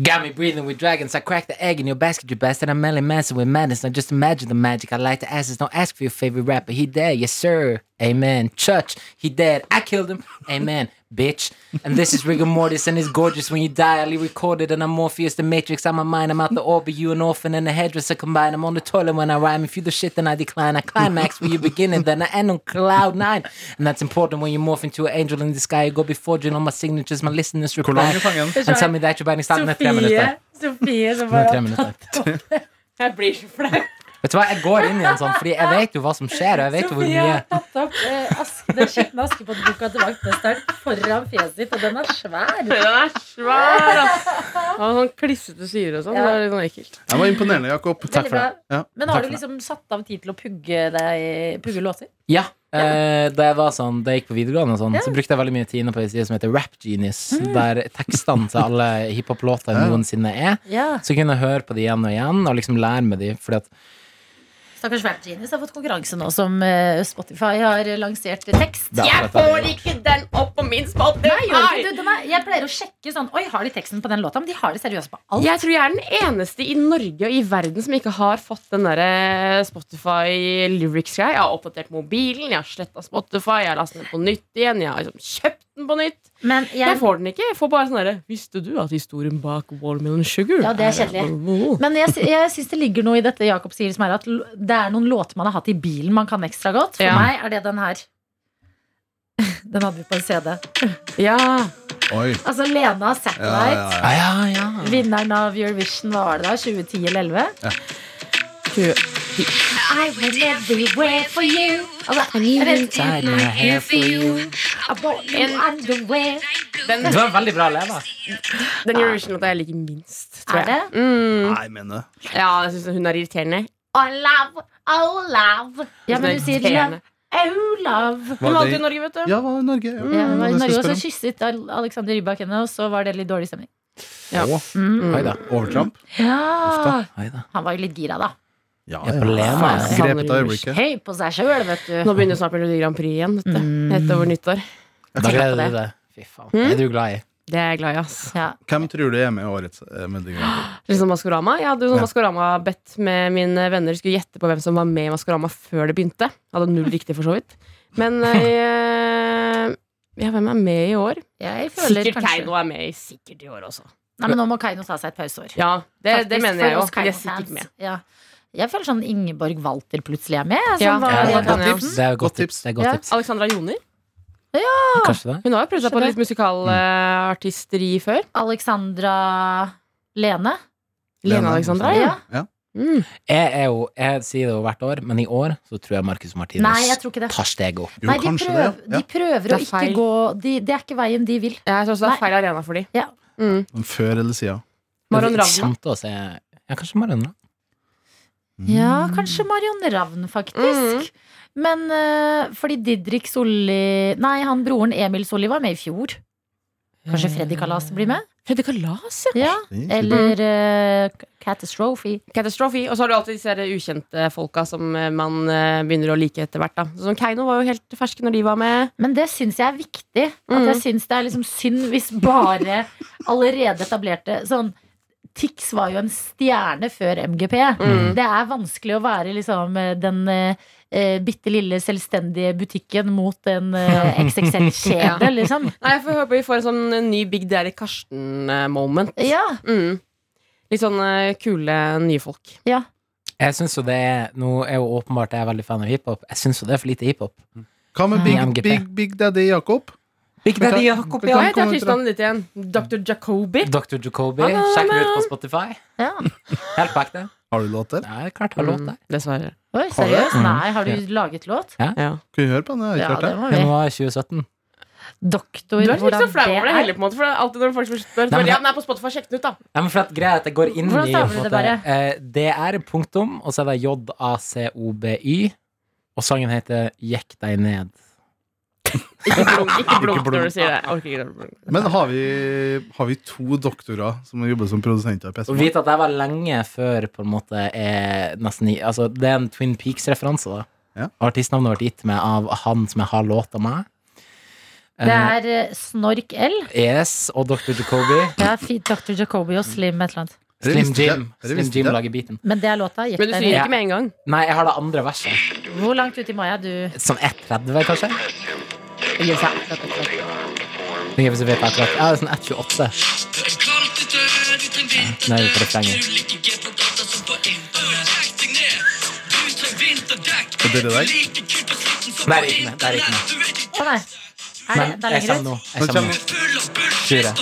Speaker 5: Got me breathing with dragons. I cracked the egg in your basket, you bastard. I'm Melly Manson with madness. Now just imagine the magic. I like the asses. Don't ask for your favorite rapper. He dead, yes sir. Amen. Church, he dead. I killed him. Amen, bitch. And this is rigor mortis, and it's gorgeous when you die. I recorded, and I'm Morpheus, the Matrix. I'm a mind. I'm out the orbit. You an orphan and a hairdresser combined. I'm on the toilet when I rhyme. If you the shit, then I decline. I climax where you begin, and then I end on cloud nine. And that's important when you morph into an angel in the sky. You go before you know my signatures. My listeners reply. And tell me that you're binding starting at tre minutter.
Speaker 2: Sofie som
Speaker 5: Nå er
Speaker 2: bare
Speaker 5: tre minutter.
Speaker 6: Jeg blir så flau.
Speaker 5: Vet du hva, jeg går inn i en sånn, fordi jeg vet jo hva som skjer, og jeg vet jo hvor
Speaker 2: Sofie
Speaker 5: mye
Speaker 2: har tatt opp eh, ask, den skitne Askepott-boka til vaktmesteren foran fjeset sitt, og den er svær.
Speaker 6: Den er svær, ass. Han har sånn klissete syre og sånn.
Speaker 2: Ja.
Speaker 6: Det er litt sånn ekkelt.
Speaker 4: Det var imponerende, Jakob.
Speaker 2: Veldig bra.
Speaker 4: Ja.
Speaker 2: Men har du liksom satt av tid til å pugge, deg, pugge låter?
Speaker 5: Ja, eh, da jeg var sånn, da jeg gikk på videregående og sånn, så brukte jeg veldig mye tid inne på en side som heter Rap Genius,
Speaker 2: Mm.
Speaker 5: der tekstene til alle hiphop-låter
Speaker 4: Ja.
Speaker 5: noensinne er.
Speaker 2: Ja.
Speaker 5: Så kunne jeg høre på de igjen og igjen, og liksom lære med de, fordi at
Speaker 2: Stakkars Rap Genius har fått konkurranse nå som eh, Spotify har lansert tekst.
Speaker 5: Det er
Speaker 6: Jeg
Speaker 5: akkurat
Speaker 6: får
Speaker 5: det.
Speaker 6: ikke den opp på min spalte!
Speaker 2: Nei, gjør ikke du, den er, jeg pleier å sjekke sånn Oi, har de teksten på den låta? Men de har det seriøst på alt.
Speaker 6: Jeg tror jeg er den eneste i Norge og i verden som ikke har fått den derre Spotify lyrics-greia. Jeg har oppdatert mobilen, jeg har sletta Spotify, jeg har lastet den på nytt igjen, jeg har liksom kjøpt den på nytt.
Speaker 2: Men
Speaker 6: Jeg
Speaker 2: jeg,
Speaker 6: får den ikke. Jeg får bare sånn derre Visste du at historien bak Watermelon Sugar
Speaker 2: Ja, det er kjedelig. men jeg, sy- jeg syns det ligger noe i dette Jakob sier, som er at l- det er noen låter man har hatt i bilen man kan ekstra godt. For
Speaker 6: Ja.
Speaker 2: meg er det den her. (laughs) Den hadde vi på en CD.
Speaker 6: Ja.
Speaker 4: Oi.
Speaker 2: Altså Lena
Speaker 4: Ja,
Speaker 2: Satellite.
Speaker 4: ja, ja.
Speaker 5: Ja, Ah, ja, ja.
Speaker 2: Vinneren av Eurovision, hva var det da? 2010 eller 2011?
Speaker 8: I went everywhere for you.
Speaker 2: Altså,
Speaker 8: And you
Speaker 2: er det-
Speaker 8: inside my hair for you.
Speaker 2: I bought new underwear.
Speaker 6: Den,
Speaker 5: Det var en veldig bra leve.
Speaker 6: den Eurovision-låta jeg liker minst, tror
Speaker 2: Er
Speaker 6: jeg.
Speaker 2: det?
Speaker 6: Mm.
Speaker 4: Nei, men eh, det.
Speaker 6: Ja, jeg syns hun er irriterende.
Speaker 8: Oh, love. Oh, love.
Speaker 2: Ja,
Speaker 6: Hun
Speaker 2: men
Speaker 6: er
Speaker 2: du sier
Speaker 6: irriterende.
Speaker 2: love. Oh, love.
Speaker 6: Hun
Speaker 4: Var
Speaker 6: vant
Speaker 4: det-
Speaker 6: jo Norge, vet du.
Speaker 4: Ja, var det Norge? Ja,
Speaker 2: Ja, hun
Speaker 6: Mm.
Speaker 2: var i
Speaker 4: det skal
Speaker 2: Norge,
Speaker 4: jeg
Speaker 2: og så
Speaker 4: spørre
Speaker 2: kysset Al- Alexander Rybak henne, og så var det litt dårlig stemning.
Speaker 6: Ja.
Speaker 2: Mm.
Speaker 5: Oi da.
Speaker 4: om. Overtramp?
Speaker 2: Ja.
Speaker 5: Oi da.
Speaker 2: Han var jo litt gira, da.
Speaker 4: Ja,
Speaker 5: Jeg er på Lena.
Speaker 6: Ja.
Speaker 4: Grepet av øyeblikket.
Speaker 2: Høy på seg sjøl, vet du.
Speaker 6: Nå begynner snart Melodi Grand Prix igjen. Vet du. Rett over nyttår.
Speaker 5: Da gleder du deg. Fy faen. Det er du glad i.
Speaker 6: Det er jeg glad i. ass
Speaker 2: Ja.
Speaker 4: Hvem tror du er med i årets eh, Melodi Grand Prix?
Speaker 6: Litt som Liksom Maskorama. Jeg hadde jo sånn
Speaker 4: Ja.
Speaker 6: Maskorama-bett med mine venner. Skulle gjette på hvem som var med i Maskorama før det begynte. Jeg hadde null riktig, for så vidt. Men eh, ja, hvem er med i år?
Speaker 2: Jeg føler
Speaker 6: Sikkert
Speaker 2: kanskje-
Speaker 6: Keiino er med i sikkert i år også.
Speaker 2: Nei, men nå må Keiino ta seg et pauseår.
Speaker 6: Ja, det, det
Speaker 2: Faktisk,
Speaker 6: mener jeg
Speaker 2: for
Speaker 6: jo.
Speaker 2: oss
Speaker 6: De er
Speaker 2: Keiino-fans.
Speaker 6: sikkert med.
Speaker 2: Ja. Jeg føler sånn Ingeborg Walter plutselig er med. Som
Speaker 6: Ja,
Speaker 2: var,
Speaker 6: det kan jeg.
Speaker 5: Det er et godt tips. Det er et godt
Speaker 2: Ja.
Speaker 5: tips.
Speaker 6: Alexandra Joner.
Speaker 5: Kanskje det?
Speaker 6: Hun har jo prøvd seg på
Speaker 2: Kanskje
Speaker 6: litt musikalartisteri
Speaker 2: Mm.
Speaker 6: før.
Speaker 2: Alexandra Lene.
Speaker 6: Lene Alexandra. Ja.
Speaker 2: Ja.
Speaker 6: Mm.
Speaker 5: Jeg, er jo, jeg sier det jo hvert år, men i år så tror jeg Marcus Martinus
Speaker 2: Nei, jeg tror ikke det.
Speaker 5: tar steget opp.
Speaker 4: Jo,
Speaker 2: Nei, de
Speaker 4: kanskje
Speaker 2: prøver,
Speaker 4: det.
Speaker 2: de prøver
Speaker 6: Det er
Speaker 2: å ikke
Speaker 6: feil.
Speaker 2: gå de, Det er ikke veien de vil.
Speaker 6: Jeg tror også det
Speaker 2: Nei.
Speaker 6: er feil arena for de
Speaker 2: Ja.
Speaker 6: Mm.
Speaker 4: Ja. Før eller siden.
Speaker 5: Men
Speaker 6: Maron
Speaker 5: vi
Speaker 6: Ravn.
Speaker 5: kommer til å se Ja, kanskje Maron Ravn.
Speaker 2: Ja,
Speaker 6: Mm.
Speaker 2: kanskje Marion Ravn, faktisk. Men eh, fordi Didrik Solli Nei, han broren Emil Solli var med i fjor. Kanskje Freddy Kalas blir med?
Speaker 6: Freddy Kalas, ja.
Speaker 2: Ja.
Speaker 4: Mm.
Speaker 2: Eller eh, Catastrophe.
Speaker 6: Catastrophe. Og så har du alltid disse her ukjente folka som eh, man eh, begynner å like etter hvert. da Sånn som Keiino var jo helt ferske når de var med.
Speaker 2: Men det syns jeg er viktig. At
Speaker 6: Mm.
Speaker 2: jeg syns det er liksom synd hvis bare allerede etablerte sånn Tix var jo en stjerne før MGP.
Speaker 6: Mm.
Speaker 2: Det er vanskelig å være liksom den uh, bitte lille selvstendige butikken mot en
Speaker 6: (laughs)
Speaker 2: eh,
Speaker 6: Ja.
Speaker 2: XXL-kjede, liksom.
Speaker 6: Nei, Jeg får håpe vi får en sånn eh, ny Big Daddy Karsten-moment.
Speaker 2: Ja,
Speaker 6: Mm. Litt sånn eh, kule nye folk.
Speaker 2: ja.
Speaker 5: Jeg synes jo det er Nå er jo åpenbart jeg er veldig fan av hiphop. Jeg syns jo det er for lite hiphop.
Speaker 4: Hva med
Speaker 5: Ja,
Speaker 4: Big,
Speaker 5: MGP.
Speaker 4: Big, Big Daddy Jakob?
Speaker 5: Big
Speaker 4: Daddy
Speaker 5: Jakob,
Speaker 6: Hva
Speaker 4: ja. kommer
Speaker 6: heter
Speaker 4: til
Speaker 6: artistnavnet ditt igjen? Dr. Jacobi?
Speaker 5: Dr. Jacobi. Sjekk det ut på Spotify.
Speaker 2: ja.
Speaker 5: (laughs) Helt back det.
Speaker 4: Har du låter?
Speaker 5: Det er klart har låt der.
Speaker 6: Mm, Dessverre.
Speaker 2: Oi, seriøst?
Speaker 5: Mm.
Speaker 2: Nei, har du laget låt?
Speaker 6: Ja.
Speaker 4: Kan vi høre på den? Jeg
Speaker 2: Ja,
Speaker 4: har ikke hørt
Speaker 2: det
Speaker 4: den.
Speaker 2: må vi.
Speaker 5: Januar 2017.
Speaker 2: Doktor,
Speaker 6: Du er litt så
Speaker 2: hvordan
Speaker 6: flau over det
Speaker 2: det
Speaker 6: heller,
Speaker 2: er.
Speaker 6: på en måte. For det er alltid når folk spør
Speaker 5: Nei, men-
Speaker 6: bare, Ja, den er på Spotify, sjekk den ut, da.
Speaker 5: Ja, men for at greia er at jeg går inn
Speaker 2: Hvordan
Speaker 5: i
Speaker 2: staver du
Speaker 5: på en
Speaker 2: det bare?
Speaker 5: måte, eh, DR, punktum, og så er det J-A-C-O-B-Y, og sangen heter Jekk deg ned.
Speaker 6: Ikke blunk, ikke blunk når du sier det. Jeg orker ikke det.
Speaker 4: Men har vi, har vi to doktorer som jobber som produsenter? i PSP?
Speaker 5: Og vite at jeg var lenge før på en måte er nesten i, altså, Det er en Twin Peaks-referanse. da
Speaker 4: Ja.
Speaker 5: Artistnavnet ble gitt meg av han som jeg har låta med.
Speaker 2: Det er eh, Snork L.
Speaker 5: Yes, og Dr. Jacobi.
Speaker 2: Det er fi- Dr. Jacobi og Slim et eller annet.
Speaker 4: Dere
Speaker 5: Slim
Speaker 4: visste ikke-
Speaker 5: Jim.
Speaker 4: dere
Speaker 5: Slim
Speaker 4: visste
Speaker 5: Jim
Speaker 4: ikke.
Speaker 5: lager beaten.
Speaker 2: Men det er låta. Gjett
Speaker 6: Men du
Speaker 2: deg
Speaker 6: sier
Speaker 2: ned.
Speaker 5: Ja.
Speaker 6: ikke med en gang.
Speaker 5: Nei, jeg har det andre verset.
Speaker 2: Hvor langt ut i mai er du?
Speaker 5: Sånn 1,30, kanskje?
Speaker 6: Yes, ja. Akkurat, akkurat.
Speaker 5: Det er vet jeg akkurat. Ja, det er sånn 1,28. Nå er vi på refrenget.
Speaker 4: Og dere der?
Speaker 5: Nei, det er ikke med. Det er ikke med.
Speaker 2: Å nei. Er det, det er lenger ut?
Speaker 5: Men jeg kommer nå. Jeg
Speaker 4: Nå
Speaker 5: kommer
Speaker 4: kommer-
Speaker 5: nå. Tror jeg.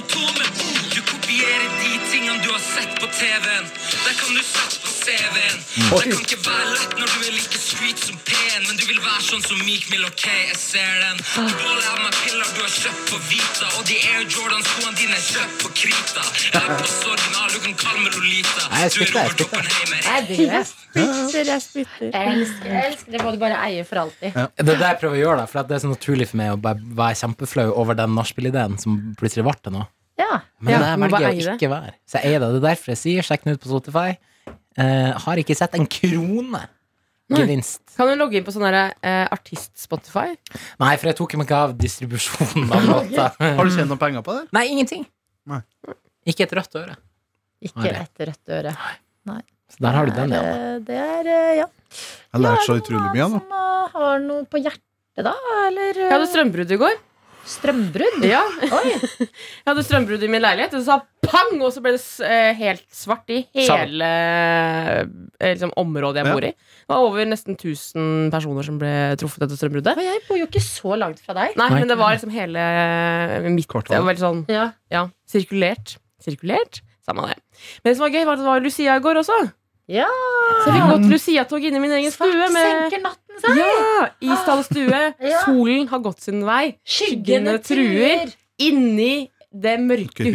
Speaker 9: Du kopierer de tingene du har sett på TV-en. Der kan du sette på CV-en. Det kan ikke være lett når du er like sweet som pen, men du vil være sånn som Meek Mill, OK, jeg ser den. Du båler av meg piller du har kjøpt på Vita, og de Air Jordan-skoene dine er kjøpt på Krita. Jeg er på original, du kan kalle meg Lolita.
Speaker 5: Nei, jeg
Speaker 9: Du er
Speaker 5: spytter, jeg
Speaker 9: Robert
Speaker 5: spytter.
Speaker 9: Oppenheimer.
Speaker 2: Nei, det gjør jeg. Elsk, elsk. Det må du bare eie for alltid.
Speaker 5: Det er det jeg prøver å gjøre, da, for at det er så naturlig for meg å bare være kjempeflau over den nachspiel-ideen som plutselig ble til noe.
Speaker 2: Ja.
Speaker 5: Men
Speaker 6: Ja,
Speaker 5: det
Speaker 6: må
Speaker 5: velger jeg
Speaker 6: bare
Speaker 5: å
Speaker 6: eie det.
Speaker 5: ikke være. Så jeg eier det. Det er derfor jeg sier sjekk den ut på Spotify. Eh, har ikke sett en krone gevinst.
Speaker 6: Kan du logge inn på sånn derre, eh, artist-Spotify?
Speaker 5: Nei, for jeg tok meg ikke av distribusjonen av låta.
Speaker 4: Har du tjent noen penger på det?
Speaker 5: Nei, ingenting.
Speaker 4: Nei.
Speaker 5: Ikke et rødt øre.
Speaker 2: Ikke et rødt øre.
Speaker 5: Så der har du den, ja.
Speaker 2: Eh, Det er eh, ja.
Speaker 4: Jeg har lært så utrolig mye.
Speaker 2: Som eh, har noe på hjertet, da? Eller
Speaker 6: Jeg hadde strømbrudd i går.
Speaker 2: Strømbrudd?
Speaker 6: Ja.
Speaker 2: Oi.
Speaker 6: Jeg hadde strømbrudd i min leilighet, og så sa pang, og så ble det s- eh, helt svart i hele eh, liksom, området jeg
Speaker 4: Ja.
Speaker 6: bor i. Det var over nesten 1000 personer som ble truffet etter strømbruddet.
Speaker 2: Men jeg bor jo ikke så langt fra deg.
Speaker 6: Nei, men det var liksom hele eh, mitt
Speaker 4: Kvartalet.
Speaker 6: Det var veldig sånn,
Speaker 2: Ja.
Speaker 6: ja, sirkulert. Sirkulert, samme det. Men det som var gøy, var at det var Lucia i går også.
Speaker 2: Ja.
Speaker 6: Så jeg fikk gått Lucia-tog inne i min egen
Speaker 2: Svart
Speaker 6: stue med
Speaker 2: senker natten seg.
Speaker 6: ja, Isdal stue.
Speaker 2: Ah. Ja.
Speaker 6: Solen har gått sin vei. Skyggene truer. inni det mørke
Speaker 4: Mørke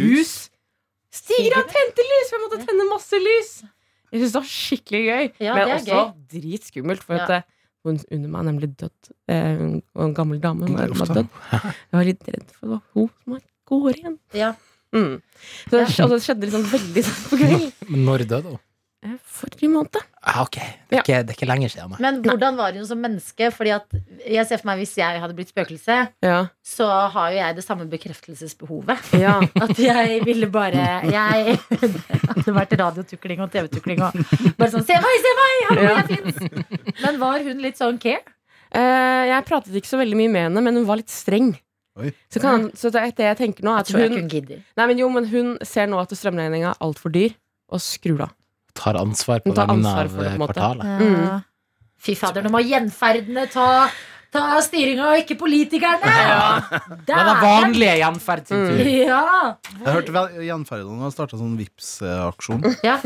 Speaker 4: hus.
Speaker 6: hus. Stiger av tente lys! For jeg måtte tenne masse lys. Jeg synes det var skikkelig gøy,
Speaker 2: Ja,
Speaker 6: men
Speaker 2: det er
Speaker 6: også dritskummelt. For at
Speaker 2: Ja.
Speaker 6: eh, hun under meg er nemlig dødd. Eh, hun- og en gammel dame. Hun
Speaker 4: Det er
Speaker 6: er
Speaker 4: ofte.
Speaker 6: dødd. Jeg var litt redd for det var hun som er- går igjen.
Speaker 2: Ja.
Speaker 6: Mm. Så det, og det skjedde liksom veldig sånn på kvelden.
Speaker 5: Men når døde hun?
Speaker 6: Eh, Forrige måned.
Speaker 5: Ah, ok, det
Speaker 6: Ja.
Speaker 5: er, ikke, det er ikke lenger siden. Nei.
Speaker 2: Men hvordan var hun som menneske? Fordi at jeg ser for meg Hvis jeg hadde blitt spøkelse,
Speaker 6: Ja.
Speaker 2: så har jo jeg det samme bekreftelsesbehovet.
Speaker 6: ja.
Speaker 2: At jeg ville bare jeg, Det hadde vært radiotukling og TV-tukling og bare sånn Se meg, se meg! Hallo, jeg fins! Men var hun litt sånn care?
Speaker 6: Eh, jeg pratet ikke så veldig mye med hende, men hun var litt streng.
Speaker 4: Oi.
Speaker 6: Så, kan, så det, det jeg tenker nå, er at
Speaker 2: Tror jeg
Speaker 6: hun
Speaker 2: ikke hun gidder.
Speaker 6: Nei, men jo, men hun ser nå at strømregninga er altfor dyr, og skrur av.
Speaker 5: Tar ansvar på
Speaker 6: Hun tar
Speaker 5: vegne
Speaker 6: ansvar
Speaker 5: av
Speaker 6: for det, på en måte.
Speaker 5: kvartalet.
Speaker 2: Ja. Fy fader, nå må gjenferdene ta, ta styringa, og ikke politikerne!
Speaker 5: Det er den vanlige gjenferd sin tur.
Speaker 2: Ja.
Speaker 4: Jeg hørte vel- gjenferden har starta sånn Vipps-aksjon.
Speaker 2: ja.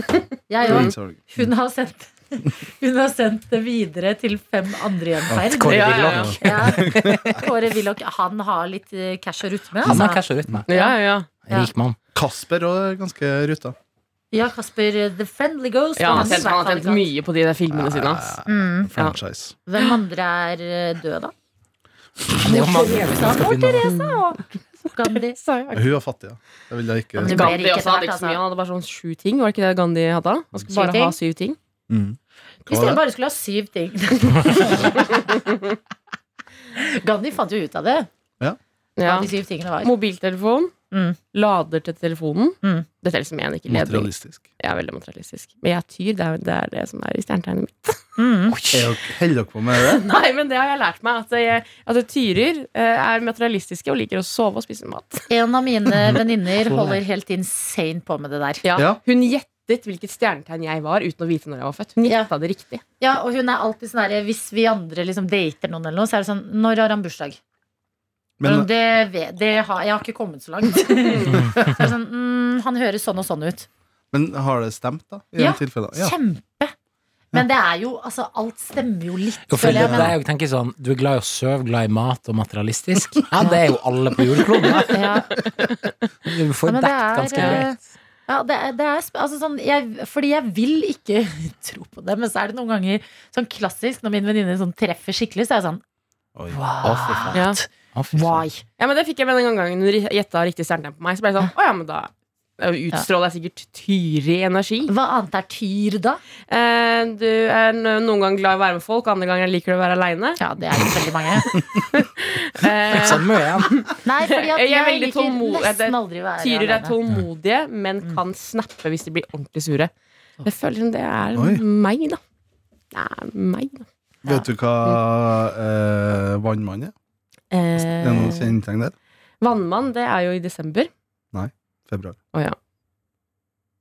Speaker 2: Jeg òg.
Speaker 4: Nei,
Speaker 2: Hun har sendt hun har sendt det videre til fem andre gjenferd.
Speaker 5: Kåre
Speaker 6: Ja, ja,
Speaker 5: Willoch.
Speaker 2: Ja. Kåre Willoch, han har litt eh, cash og rytme.
Speaker 5: Han har
Speaker 2: Altså.
Speaker 5: casha ut meg.
Speaker 6: Ja, ja, ja.
Speaker 2: Ja.
Speaker 5: Rik mann.
Speaker 4: Kasper òg er ganske ruta.
Speaker 2: Ja, Kasper eh, The Friendly Ghost.
Speaker 6: ja
Speaker 2: og
Speaker 6: han har
Speaker 2: hans
Speaker 6: tjent, han har
Speaker 2: svært
Speaker 6: tjent
Speaker 2: advokat.
Speaker 6: mye på de der filmene sine. Ass.
Speaker 2: Mm.
Speaker 4: Franchise.
Speaker 2: Hvem andre er eh, døde, da?
Speaker 5: Det er jo mange som
Speaker 2: Teresa.
Speaker 5: skal
Speaker 2: Mor
Speaker 5: begynne å-
Speaker 2: Teresa og Gandhi.
Speaker 4: Hun var fattig, ja. Det vil jeg ikke
Speaker 2: Men det ble
Speaker 6: Gandhi
Speaker 2: rik etter
Speaker 6: også
Speaker 2: hvert,
Speaker 6: hadde ikke så mye.
Speaker 2: altså.
Speaker 6: Han hadde bare sånn sju ting. Var det ikke det Gandhi hadde? Han skulle
Speaker 2: Syv
Speaker 6: bare
Speaker 2: ting?
Speaker 6: ha syv ting.
Speaker 4: Mm. Hva
Speaker 2: Hvis
Speaker 4: var
Speaker 2: dere
Speaker 4: det?
Speaker 2: bare skulle ha syv ting.
Speaker 5: (laughs)
Speaker 2: Gandhi fant jo ut av det, hva
Speaker 6: Ja.
Speaker 2: de syv tingene var.
Speaker 6: Mobiltelefon.
Speaker 2: Mm.
Speaker 6: Lader til telefonen.
Speaker 2: Mm.
Speaker 6: Dette er liksom en ikke ledning.
Speaker 4: Materialistisk.
Speaker 6: Jeg er veldig materialistisk. Men jeg er tyr. Det er det, er det som er i stjernetegnet mitt.
Speaker 2: Mm.
Speaker 4: Er dere- Holder dere på med det?
Speaker 6: Nei, men det har jeg lært meg. At, jeg, at tyrer eh, er materialistiske og liker å sove og spise mat.
Speaker 2: En av
Speaker 5: (laughs)
Speaker 2: mine
Speaker 5: Sånn,
Speaker 2: venninner holder helt insane på med det der.
Speaker 6: Ja.
Speaker 4: Ja.
Speaker 6: Hun gjettet hvilket stjernetegn jeg var, uten å vite når jeg var født. Hun
Speaker 2: Ja.
Speaker 6: gjetta det riktig.
Speaker 2: Ja, og hun er alltid sånn der, Hvis vi andre liksom dater noen, eller noe, så er det sånn Når har han bursdag?
Speaker 4: Men
Speaker 2: Sånn, det, ve- det har, jeg har ikke kommet så langt. (laughs) så er det sånn, mm, han høres sånn og sånn ut.
Speaker 4: Men har det stemt, da? I
Speaker 2: Ja.
Speaker 4: de tilfellene? Ja.
Speaker 2: Kjempe! Men det er jo altså, Alt stemmer jo litt,
Speaker 5: Jo, for
Speaker 2: føler jeg.
Speaker 5: det, det er
Speaker 2: Men,
Speaker 5: jo, tenker sånn, Du er glad i å søve, glad i mat og materialistisk.
Speaker 6: (laughs)
Speaker 5: Ja, det er jo alle på jordkloden.
Speaker 2: ja,
Speaker 5: Du får
Speaker 2: Ja, men det
Speaker 5: dekket
Speaker 2: er,
Speaker 5: ganske
Speaker 2: eh,
Speaker 5: greit.
Speaker 2: ja, det er, det er sp- altså, sånn jeg, Fordi jeg vil ikke (laughs) tro på det, men så er det noen ganger sånn klassisk når min venninne sånn treffer skikkelig, så er jeg sånn
Speaker 4: Oi.
Speaker 5: Å, fy faen.
Speaker 6: Ja.
Speaker 5: Å, fy faen.
Speaker 2: Why?
Speaker 6: Ja, men det fikk jeg med den gangen hun ri- gjetta riktig stjernetegn på meg. Så ble jeg sånn, å ja, men da utstråler jeg sikkert tyrig energi.
Speaker 2: Hva annet er tyr, da?
Speaker 6: Eh, du er n- noen ganger glad i å være med folk, andre ganger liker du å
Speaker 2: (laughs)
Speaker 6: være aleine.
Speaker 2: Ja, det er jo veldig mange.
Speaker 6: Eh,
Speaker 3: Sånn.
Speaker 5: Samme igjen.
Speaker 2: Nei, fordi at
Speaker 6: Jeg er
Speaker 2: jeg,
Speaker 6: veldig
Speaker 2: liker
Speaker 6: tålmodig. Det-
Speaker 2: nesten aldri å være
Speaker 6: Tyrer er
Speaker 2: alene.
Speaker 6: tålmodige, men kan snappe hvis de blir ordentlig sure. Jeg føler som det er
Speaker 4: Oi.
Speaker 6: meg, da. Det er meg, da.
Speaker 4: Vet du hva eh, vannmann er? Er det noen
Speaker 6: Eh,
Speaker 4: kjennetegn der?
Speaker 6: vannmann, det er jo i desember.
Speaker 4: Februar.
Speaker 6: Å ja.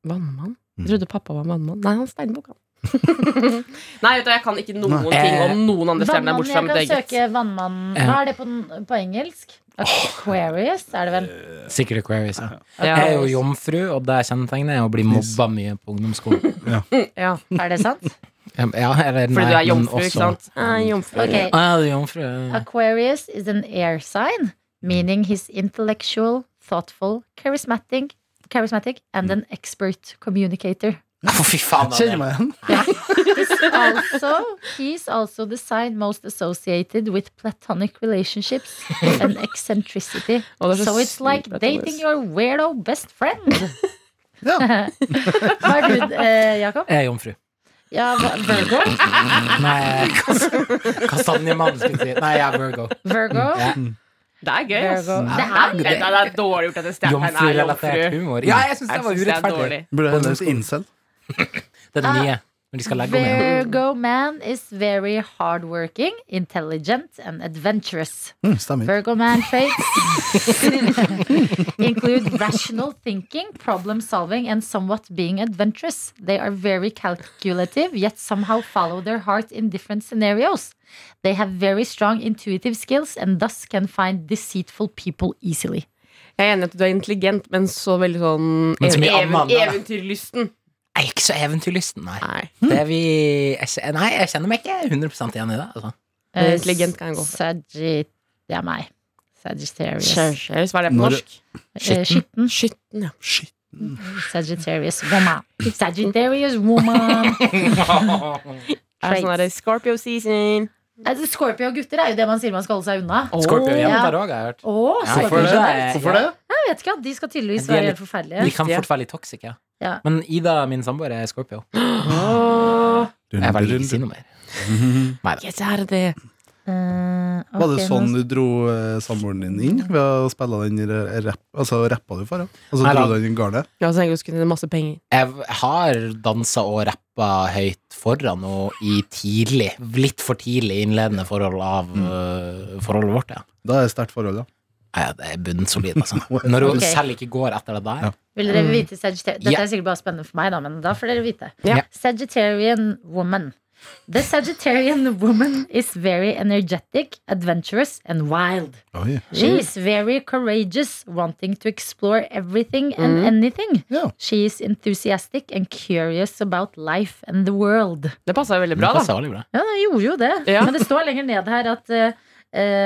Speaker 6: Vannmann? Jeg
Speaker 4: Mm.
Speaker 6: trodde pappa var vannmann. Nei, han er steinbukk, han. (laughs) Nei, vet du, jeg kan ikke noen
Speaker 4: Nei.
Speaker 6: ting om noen andre
Speaker 2: Vannmann,
Speaker 6: stjerner bortsett fra
Speaker 2: jeg
Speaker 6: mitt
Speaker 2: kan
Speaker 6: eget.
Speaker 2: søke vannmann Hva er det på, på engelsk? Aquarius, er det vel?
Speaker 5: Sikkert Aquarius. ja.
Speaker 6: Ja.
Speaker 5: Jeg er jo jomfru, og det kjennetegnet er å bli mobba mye på (laughs) ungdomsskolen.
Speaker 6: Ja.
Speaker 2: Er det sant?
Speaker 5: Ja, eller
Speaker 6: Fordi
Speaker 5: nei,
Speaker 6: du er
Speaker 5: men
Speaker 6: jomfru,
Speaker 5: også-
Speaker 6: ikke sant? Jeg er jomfru.
Speaker 2: Ok.
Speaker 5: Å, ja, du er jomfru. ja.
Speaker 2: Aquarius is an air sign, meaning he's intellectual, thoughtful, charismatic, charismatic and an expert communicator.
Speaker 5: Å, Fy faen, da,
Speaker 4: Kjenner
Speaker 5: det.
Speaker 4: meg igjen.
Speaker 2: He's also, he's also the sign most associated with platonic relationships and eccentricity.
Speaker 6: Og det er så
Speaker 2: So it's like
Speaker 6: sykt at han er
Speaker 2: dating
Speaker 6: så-
Speaker 2: your weirdo best friend.
Speaker 4: Ja.
Speaker 2: (laughs) Hva er du, eh, Jakob?
Speaker 5: Jeg er jomfru.
Speaker 2: Ja, hva- Virgo?
Speaker 5: (laughs) Nei, kas- kastanjemannen skulle jeg si. Nei, jeg er Virgo.
Speaker 2: Virgo?
Speaker 5: Ja.
Speaker 6: Det er gøy, ass.
Speaker 2: Virgo. Det er
Speaker 6: Det er, det er dårlig gjort at en stjernetegn er
Speaker 5: Jomfrurelatert
Speaker 6: jomfru.
Speaker 5: humor. Ja, jeg syns det
Speaker 6: Jeg
Speaker 5: var
Speaker 6: synes det er
Speaker 5: urettferdig.
Speaker 6: dårlig.
Speaker 4: Burde hende hete incel.
Speaker 5: Det er den nye. Den Når de skal legge om igjen.
Speaker 2: Virgo man is very hardworking, intelligent and adventurous.
Speaker 4: Mm, stemmer.
Speaker 2: Virgo man traits (laughs) include rational thinking, problem solving, and somewhat being adventurous. They are very calculative, yet somehow follow their heart in different scenarios. They have very strong intuitive skills and thus can find deceitful people easily.
Speaker 6: Jeg er enig i at du er intelligent, men så veldig sånn
Speaker 5: Men så mye
Speaker 6: ev-
Speaker 5: annet, da.
Speaker 6: eventyrlysten.
Speaker 5: Jeg er ikke så eventyrlysten, nei.
Speaker 6: Nei.
Speaker 5: Det er vi, jeg, kje- nei, jeg kjenner meg ikke 100 igjen i det. Altså.
Speaker 6: Men intelligent kan jeg gå for.
Speaker 2: Sagitt... Det er meg. Sagittarius.
Speaker 6: Sagittarius, hva er det på
Speaker 4: Når-
Speaker 6: norsk?
Speaker 2: Eh, Skitten.
Speaker 6: Skytten, ja.
Speaker 4: Shit.
Speaker 2: Sagittarius woman. Sagittarius woman.
Speaker 6: Er det sånn
Speaker 2: Traits.
Speaker 6: der Scorpio season.
Speaker 2: Altså, Scorpio gutter er jo det man sier man skal holde seg unna.
Speaker 5: (laughs) Scorpio
Speaker 2: ja.
Speaker 5: jenter òg, har jeg hørt.
Speaker 2: Å,
Speaker 5: Ja,
Speaker 2: så
Speaker 4: Hvorfor
Speaker 5: Hvorfor
Speaker 4: det?
Speaker 5: det?
Speaker 4: Hvorfor det?
Speaker 2: jeg vet ikke. De skal tydeligvis
Speaker 5: De er
Speaker 2: være
Speaker 5: litt-
Speaker 2: helt
Speaker 5: De
Speaker 2: forferdelige.
Speaker 5: kan
Speaker 6: Riktig, ja.
Speaker 5: fort være litt toxic, ja.
Speaker 2: Ja.
Speaker 5: Men Ida, min samboer, er Scorpio. Jeg velger ikke å si noe mer.
Speaker 6: Yes, er det det?
Speaker 2: Eh,
Speaker 4: Var det
Speaker 2: ok,
Speaker 4: sånn
Speaker 2: nå-
Speaker 4: du dro eh, samboeren din inn? Ved å spille den r- rapp, altså rappa du for henne? Og så
Speaker 5: Nei,
Speaker 4: dro
Speaker 5: da.
Speaker 4: du den i garnet?
Speaker 6: Ja, så tenker jeg å skulle tjene masse penger.
Speaker 5: Jeg har dansa og rappa høyt foran henne i tidlig, litt for tidlig innledende forhold av øh, forholdet vårt, ja.
Speaker 4: Da er det sterkt forhold, da.
Speaker 5: Nei, ja, det er bunnsolid, altså. Når hun
Speaker 2: Ok.
Speaker 5: selv ikke går etter det der.
Speaker 4: Ja.
Speaker 2: Vil dere vite Sagittarius? Dette
Speaker 5: Mm. Ja.
Speaker 2: er sikkert bare spennende for meg, da, men da får dere vite.
Speaker 5: Ja.
Speaker 2: Sagittarian woman. The Sagittarian woman is very energetic, adventurous and wild.
Speaker 4: Oi.
Speaker 6: Mm.
Speaker 2: She is very courageous, wanting to explore everything
Speaker 6: Mm.
Speaker 2: and anything.
Speaker 4: Ja.
Speaker 2: She is enthusiastic and curious about life and the world.
Speaker 6: Det passer jo
Speaker 5: Det
Speaker 6: veldig bra, da.
Speaker 5: passer veldig bra.
Speaker 2: Ja, det gjorde jo det.
Speaker 6: Ja.
Speaker 2: Men det står lenger ned her at eh,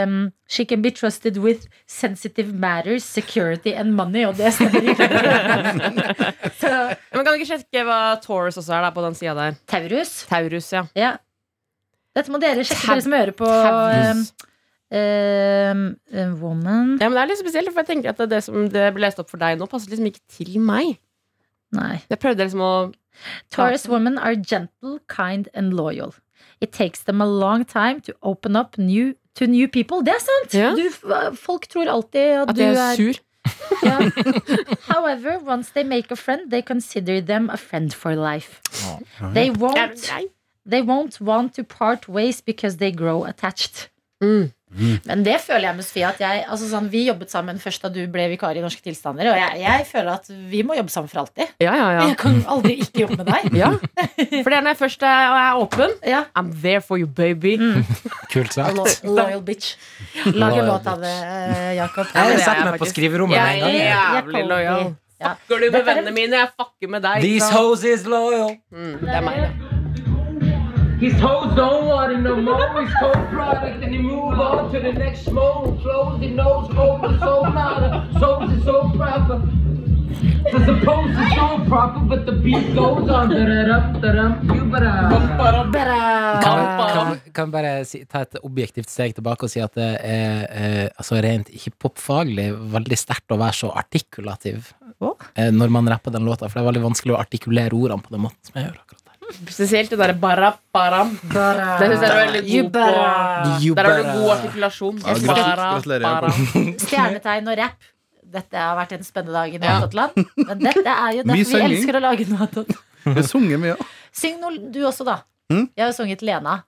Speaker 2: um, She can be trusted with sensitive matters, security and money. Og det stemmer
Speaker 6: (laughs)
Speaker 2: ikke. Så
Speaker 6: Men kan du ikke sjekke hva Taurus også er da, på den sida der?
Speaker 2: Taurus.
Speaker 6: Taurus, ja.
Speaker 2: Ja. Dette må dere sjekke,
Speaker 6: Tau-
Speaker 2: dere som hører på. Um,
Speaker 6: Taurus.
Speaker 2: um, um, woman
Speaker 6: Ja, men Det er litt spesielt, for jeg tenker at det, det som det ble lest opp for deg nå, passer liksom ikke til meg.
Speaker 2: Nei.
Speaker 6: Jeg prøvde liksom å
Speaker 2: Taurus women are gentle, kind and loyal. It takes them a long time to open up new, to new people. Det er sant!
Speaker 6: Ja.
Speaker 2: Du, f- eh, folk tror alltid at,
Speaker 6: At
Speaker 2: du
Speaker 6: jeg
Speaker 2: er
Speaker 6: er sur. (laughs)
Speaker 2: ja. However, once they make a friend, they consider them a friend for life. They won't, they won't want to part ways because they grow attached.
Speaker 6: Mm.
Speaker 2: Men det føler jeg med Sofie. At jeg, altså sånn, vi jobbet sammen først da du ble vikar i Norske Tilstander. Og jeg, jeg føler at vi må jobbe sammen for alltid.
Speaker 6: Ja, ja,
Speaker 2: (laughs)
Speaker 6: ja.
Speaker 2: Jeg kan aldri ikke jobbe med deg.
Speaker 6: ja. For det er når jeg først er, og er åpen.
Speaker 2: Ja.
Speaker 6: I'm there for you, baby.
Speaker 5: Kult sagt.
Speaker 2: Lo- Loyal bitch. Lag en
Speaker 5: Loyal
Speaker 2: låt av det, eh, Jakob.
Speaker 6: det
Speaker 5: Jeg
Speaker 6: er
Speaker 5: setter
Speaker 6: jeg
Speaker 5: meg på
Speaker 6: faktisk.
Speaker 5: skriverommet
Speaker 6: Jeg
Speaker 5: med en gang.
Speaker 6: er
Speaker 5: jeg.
Speaker 6: jævlig lojal. Går du med vennene mine? Jeg fucker med deg.
Speaker 5: These
Speaker 6: ikke sant?
Speaker 5: hoes is loyal.
Speaker 6: Mm, det er meg, det.
Speaker 7: His toes don't want it no more. His cold product, and he move on to the next mode. Flows his nose over, so nada, so is so proper. The supposed is so proper, but the beat goes on. Da da da da da. You better.
Speaker 5: Kan, kan, kan bare si, ta et objektivt steg tilbake og si at det er eh, altså rent ikke popfaglig veldig sterkt å være så artikulativ eh, når man rapper den låta, for det er veldig vanskelig å artikulere ordene på den måten som jeg gjør akkurat der.
Speaker 6: Spesielt det derre bara param. Det synes jeg er veldig
Speaker 2: You
Speaker 6: god på.
Speaker 5: You
Speaker 6: Der har du
Speaker 5: better-
Speaker 6: god artikulasjon.
Speaker 4: Ja, grat- gratulerer, Jakob.
Speaker 2: Stjernetegn og rap. Dette har vært en spennende dag i
Speaker 6: Ja.
Speaker 2: Nattland. Men dette er
Speaker 5: (laughs)
Speaker 2: jo
Speaker 4: Mye
Speaker 2: derfor vi
Speaker 4: sanging.
Speaker 2: elsker å lage Nattland.
Speaker 4: Jeg har sunget mye. ja.
Speaker 2: Syng noe du også, da.
Speaker 4: Mm?
Speaker 5: Hm?
Speaker 2: Jeg har jo sunget Lena.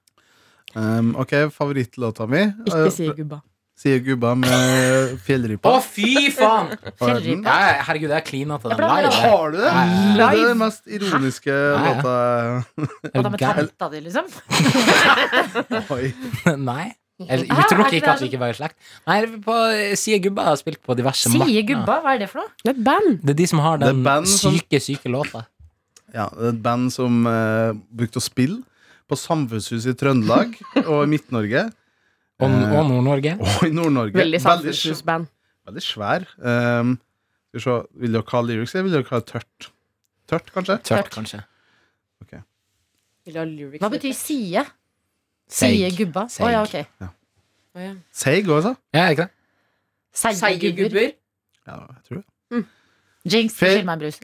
Speaker 4: Um, ok, favorittlåta mi
Speaker 6: Ikke
Speaker 4: eh,
Speaker 6: si gubba.
Speaker 4: Sier gubba med
Speaker 5: Å,
Speaker 4: fjellrypa.
Speaker 5: fy faen! (laughs)
Speaker 4: Har du den?
Speaker 5: Nei, herregud, jeg klina til
Speaker 2: Jeg
Speaker 5: den
Speaker 2: blander
Speaker 5: live.
Speaker 4: Har du det?
Speaker 5: Nei.
Speaker 4: Det er den mest ironiske
Speaker 5: Hæ?
Speaker 4: låta
Speaker 5: Er
Speaker 2: Og
Speaker 5: du
Speaker 2: da med
Speaker 5: gæren?
Speaker 2: tanta di, liksom.
Speaker 4: Oi.
Speaker 5: (laughs) Nei. Jeg
Speaker 6: altså,
Speaker 5: utelukker ikke at vi ikke var i slekt. Nei, på Sier Gubba har spilt på diverse
Speaker 2: Sie
Speaker 5: markeder.
Speaker 2: gubba, hva er det for noe?
Speaker 6: Det er et band.
Speaker 5: Det er de som har
Speaker 4: Det er
Speaker 5: den
Speaker 4: band som-
Speaker 5: syke, syke låta.
Speaker 4: Ja, det er et band som eh, brukte å spille på Samfunnshuset i Trøndelag og i Midt-Norge. Eh,
Speaker 5: Og, og Nord-Norge.
Speaker 4: Og i Nord-Norge.
Speaker 6: Veldig
Speaker 4: sv-
Speaker 6: samfunnshusband.
Speaker 4: veldig svær. Um, skal vi se, vil dere ha lyrics, eller vil dere ha tørt? Tørt, kanskje?
Speaker 5: Tørt, kanskje.
Speaker 6: Vil du ha lyrics?
Speaker 2: Hva betyr sie? Sie
Speaker 5: Seig.
Speaker 2: gubba. Å
Speaker 5: Seig.
Speaker 2: ja, ok.
Speaker 6: Å, ja.
Speaker 4: Seig òg, sa
Speaker 5: Ja, ikke sant?
Speaker 2: Seige
Speaker 6: Seige
Speaker 2: gubber.
Speaker 6: gubber.
Speaker 4: ja, jeg tror det.
Speaker 2: Jinx,
Speaker 4: Fe-
Speaker 2: skyld meg en brus.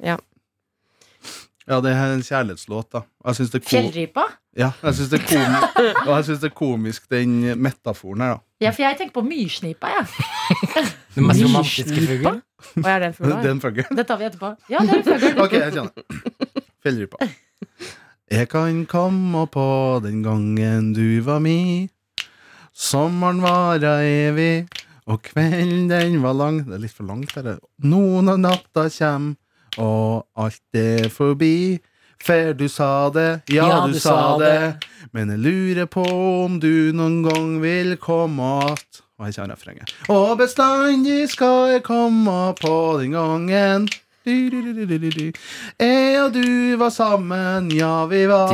Speaker 4: Ja, det er en kjærlighetslåt, da. Jeg syns det, er ko
Speaker 2: Fjellrypa?
Speaker 4: ja, jeg synes det, er komi- (laughs) og jeg synes det er komisk, den metaforen her, da.
Speaker 2: Ja, for jeg tenker på myrsnipa, jeg.
Speaker 5: Den mest romantiske fuglen.
Speaker 6: Hva er den for noe?
Speaker 4: Den følger. (laughs)
Speaker 2: Det tar vi etterpå. Ja, det er en fugl.
Speaker 4: Ok, jeg kjenner. Fjellrypa. Jeg kan komme på den gangen du var mi. Sommeren vara evig, og kvelden den var lang. Det er litt for langt, dette. Noen av natta kjem, og alt er forbi. For du sa det, ja, du, sa, det. men jeg lurer på om du noen gang vil komme att. Og her kommer refrenget. Og bestandig skal jeg komme på den gangen. Du, du, du, du, du, du. Jeg og du var sammen, ja, vi var.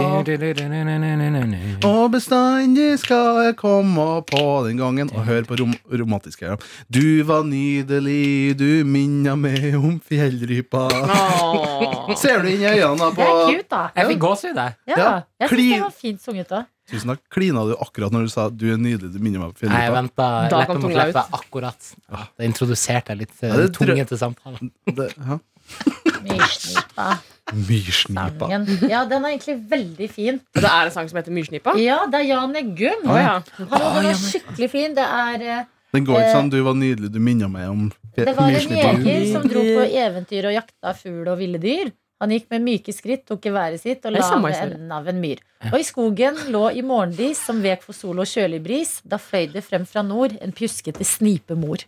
Speaker 4: Og bestandig skal jeg komme på den gangen Og hør på rom romantiske her. Du var nydelig, du minna meg om fjellrypa
Speaker 6: Åh.
Speaker 4: Ser du inn i øynene
Speaker 2: Det
Speaker 4: på
Speaker 2: er cute, da.
Speaker 5: Jeg fikk gåsehud, jeg.
Speaker 2: Ja,
Speaker 4: Ja,
Speaker 2: jeg synes
Speaker 4: clean.
Speaker 2: det var fint sunget, da.
Speaker 4: Tusen takk, klina du akkurat når du sa Du er nydelig, du minner meg
Speaker 5: Nei,
Speaker 4: om
Speaker 5: jeg
Speaker 4: fjellrypa
Speaker 5: venta
Speaker 6: Da
Speaker 5: leppe
Speaker 6: kom
Speaker 5: mot
Speaker 6: tunga ut.
Speaker 5: leppe akkurat. Det introduserte jeg litt
Speaker 4: Ja,
Speaker 5: ja,
Speaker 4: det tror-
Speaker 5: tunge til samtalen.
Speaker 4: Det- ja.
Speaker 2: Myrsnipa.
Speaker 4: Myrsnipa
Speaker 2: Ja, den er egentlig veldig fin.
Speaker 6: Og det er en sang som heter Myrsnipa?
Speaker 2: Ja, det er Jan Eggum.
Speaker 6: Å ja.
Speaker 2: Hallo, den er skikkelig fin. Det er eh,
Speaker 4: Den går ikke sånn, du var nydelig, du minner meg om fje-
Speaker 2: Det var en
Speaker 4: myrsnipa
Speaker 2: jeger som dro på eventyr og jakta fugl og ville dyr. Han gikk med myke skritt, tok geværet sitt og
Speaker 6: Det er
Speaker 2: la
Speaker 6: samme
Speaker 2: ved
Speaker 6: historie.
Speaker 2: enden av en myr. Og i skogen lå i morgendis, som vek for sol og kjølig bris, da fløy det frem fra nord en pjuskete snipemor.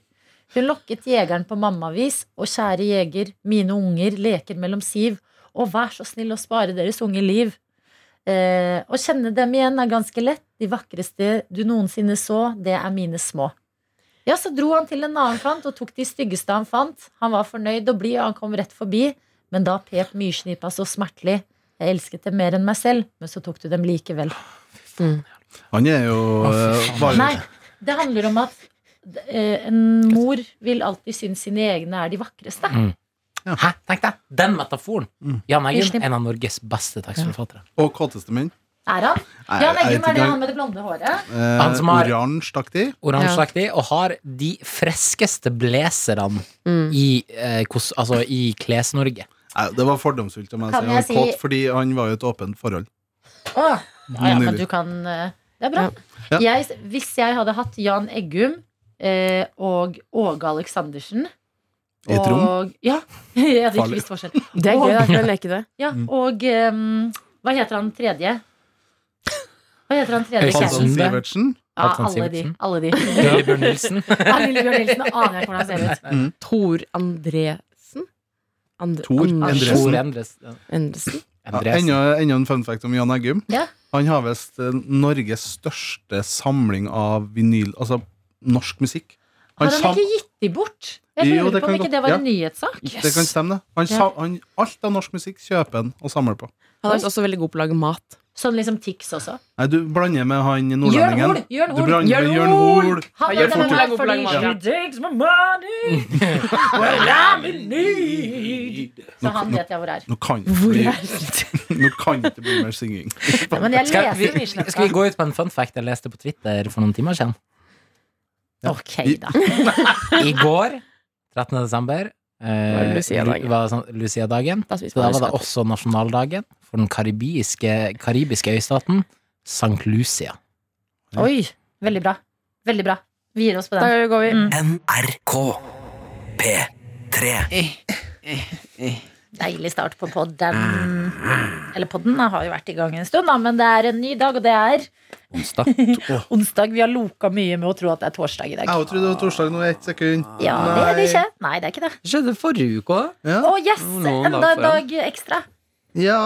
Speaker 2: Hun lokket jegeren på mammavis, og kjære jeger, mine unger leker mellom siv, og vær så snill å spare deres unge liv. Eh, å kjenne dem igjen er ganske lett, de vakreste du noensinne så, det er mine små. Ja, så dro han til en annen kant og tok de styggeste han fant. Han var fornøyd og blid, og han kom rett forbi, men da pep myrsnipa så smertelig. Jeg elsket dem mer enn meg selv, men så tok du dem likevel.
Speaker 4: Han er jo eh, bare-
Speaker 2: Nei, det handler om at eh, en mor vil alltid synes sine egne er de vakreste.
Speaker 5: Hæ, tenk deg! Den metaforen!
Speaker 4: Mm.
Speaker 5: Jan Eggum,
Speaker 2: Unnskyld.
Speaker 5: en av Norges beste tekstforfattere.
Speaker 4: Og kåteste min
Speaker 2: Er han? Jan
Speaker 4: Nei, jeg vet
Speaker 2: Eggum
Speaker 4: ikke
Speaker 2: er det
Speaker 4: engang.
Speaker 2: han med det blonde håret.
Speaker 4: Eh,
Speaker 5: Han som har-
Speaker 4: Oransjeaktig
Speaker 5: Oransjeaktig, og har de freskeste blazerne
Speaker 6: Mm.
Speaker 5: i, eh, kos, altså, i Kles-Norge.
Speaker 4: Nei, Eh, Det var fordomsfullt om
Speaker 2: Kan
Speaker 4: jeg sier han var
Speaker 2: jeg si-
Speaker 4: kåt, fordi han var jo et åpent forhold
Speaker 2: Åh, ja, ja, men
Speaker 4: Nydelig.
Speaker 2: du kan eh, Det er bra.
Speaker 4: Ja.
Speaker 2: Jeg, hvis jeg hadde hatt Jan Eggum eh, og Åge Aleksandersen
Speaker 4: I et rom
Speaker 2: og- Ja. (laughs) Jeg hadde ikke
Speaker 4: Farlig. Mm.
Speaker 2: visst forskjell.
Speaker 6: Det er gøy, da kan jeg leke det.
Speaker 2: Ja, og ehm, hva heter han tredje? Hva heter han tredje?
Speaker 5: Erik
Speaker 4: Hansson
Speaker 5: Hansen.
Speaker 2: kjæresten?
Speaker 4: Sivertsen
Speaker 2: Ja,
Speaker 5: Halvdan
Speaker 2: alle de.
Speaker 5: Sivertsen.
Speaker 2: Alle de.
Speaker 5: Lillebjørn Nilsen.
Speaker 2: Ja, Lillebjørn Nilsen aner jeg ikke hvordan han ser ut.
Speaker 6: Tor Andresen? And
Speaker 4: Tor Andresen.
Speaker 5: Tor Endres.
Speaker 6: Andresen?
Speaker 4: Ja,
Speaker 5: Andresen.
Speaker 4: Enda enda en fun fact om Jan Eggum.
Speaker 2: Ja.
Speaker 4: Han har visst eh, Norges største samling av vinyl, altså norsk musikk. Han
Speaker 2: Har han
Speaker 4: sam-
Speaker 2: ikke gitt de bort? Jeg
Speaker 4: Jo,
Speaker 2: lurer
Speaker 4: det
Speaker 2: på om
Speaker 4: kan
Speaker 2: ikke
Speaker 4: godt-
Speaker 2: det var en
Speaker 4: ja.
Speaker 2: nyhetssak.
Speaker 4: Det kan stemme, det. Han
Speaker 2: Ja.
Speaker 4: sa, han, alt av norsk musikk kjøper han og samler på.
Speaker 6: Han er også veldig god på å lage mat.
Speaker 2: Sånn liksom Tix også.
Speaker 4: Nei, du blander med han
Speaker 2: Jørn Hoel!
Speaker 4: nordlendingen.
Speaker 2: Jørn
Speaker 4: Du
Speaker 2: Hoel!
Speaker 4: blander med Jørn Hoel.
Speaker 2: Han
Speaker 6: Ja,
Speaker 2: er
Speaker 6: Jørn
Speaker 2: den
Speaker 6: Hoel er
Speaker 2: her
Speaker 6: god på
Speaker 2: fordi
Speaker 6: lang
Speaker 2: she
Speaker 6: vei.
Speaker 2: takes my money Well, I'm in need Så han vet jeg hvor er.
Speaker 4: Nå kan det bli, (laughs) nå kan det bli mer synging.
Speaker 2: Ja, men jeg
Speaker 5: Skal, vi,
Speaker 2: leser
Speaker 5: skal vi
Speaker 2: Myrsnøtta.
Speaker 5: gå ut med en fun fact jeg leste på Twitter for noen timer siden?
Speaker 2: Ok, da.
Speaker 5: I går, 13. desember, eh,
Speaker 6: Var det Lucia-dagen?
Speaker 5: lu- var sånn Lucia-dagen.
Speaker 6: Da
Speaker 5: Så
Speaker 6: spiser
Speaker 5: da
Speaker 6: man
Speaker 5: var det også
Speaker 6: luskaker.
Speaker 5: nasjonaldagen for den karibiske, karibiske øystaten Sankt Lucia.
Speaker 2: Oi, veldig bra. Veldig bra. Vi gir oss på
Speaker 6: Da
Speaker 2: den.
Speaker 6: går vi.
Speaker 9: NRK P3
Speaker 2: Deilig start på podden.
Speaker 4: Ah.
Speaker 2: Eller podden har jo vært i gang en stund, da, men det er en ny dag, og det er
Speaker 3: Onsdag.
Speaker 2: onsdag. Vi har loka mye med å tro at det er torsdag i dag.
Speaker 4: Jeg trodde det var torsdag nå i ett sekund.
Speaker 2: Ja, det er det ikke. Nei, det er ikke det.
Speaker 3: Det skjedde forrige uke òg.
Speaker 4: Ja.
Speaker 2: Å, yes!
Speaker 3: Noen
Speaker 2: Enda
Speaker 3: dag
Speaker 2: en dag ekstra.
Speaker 4: ja.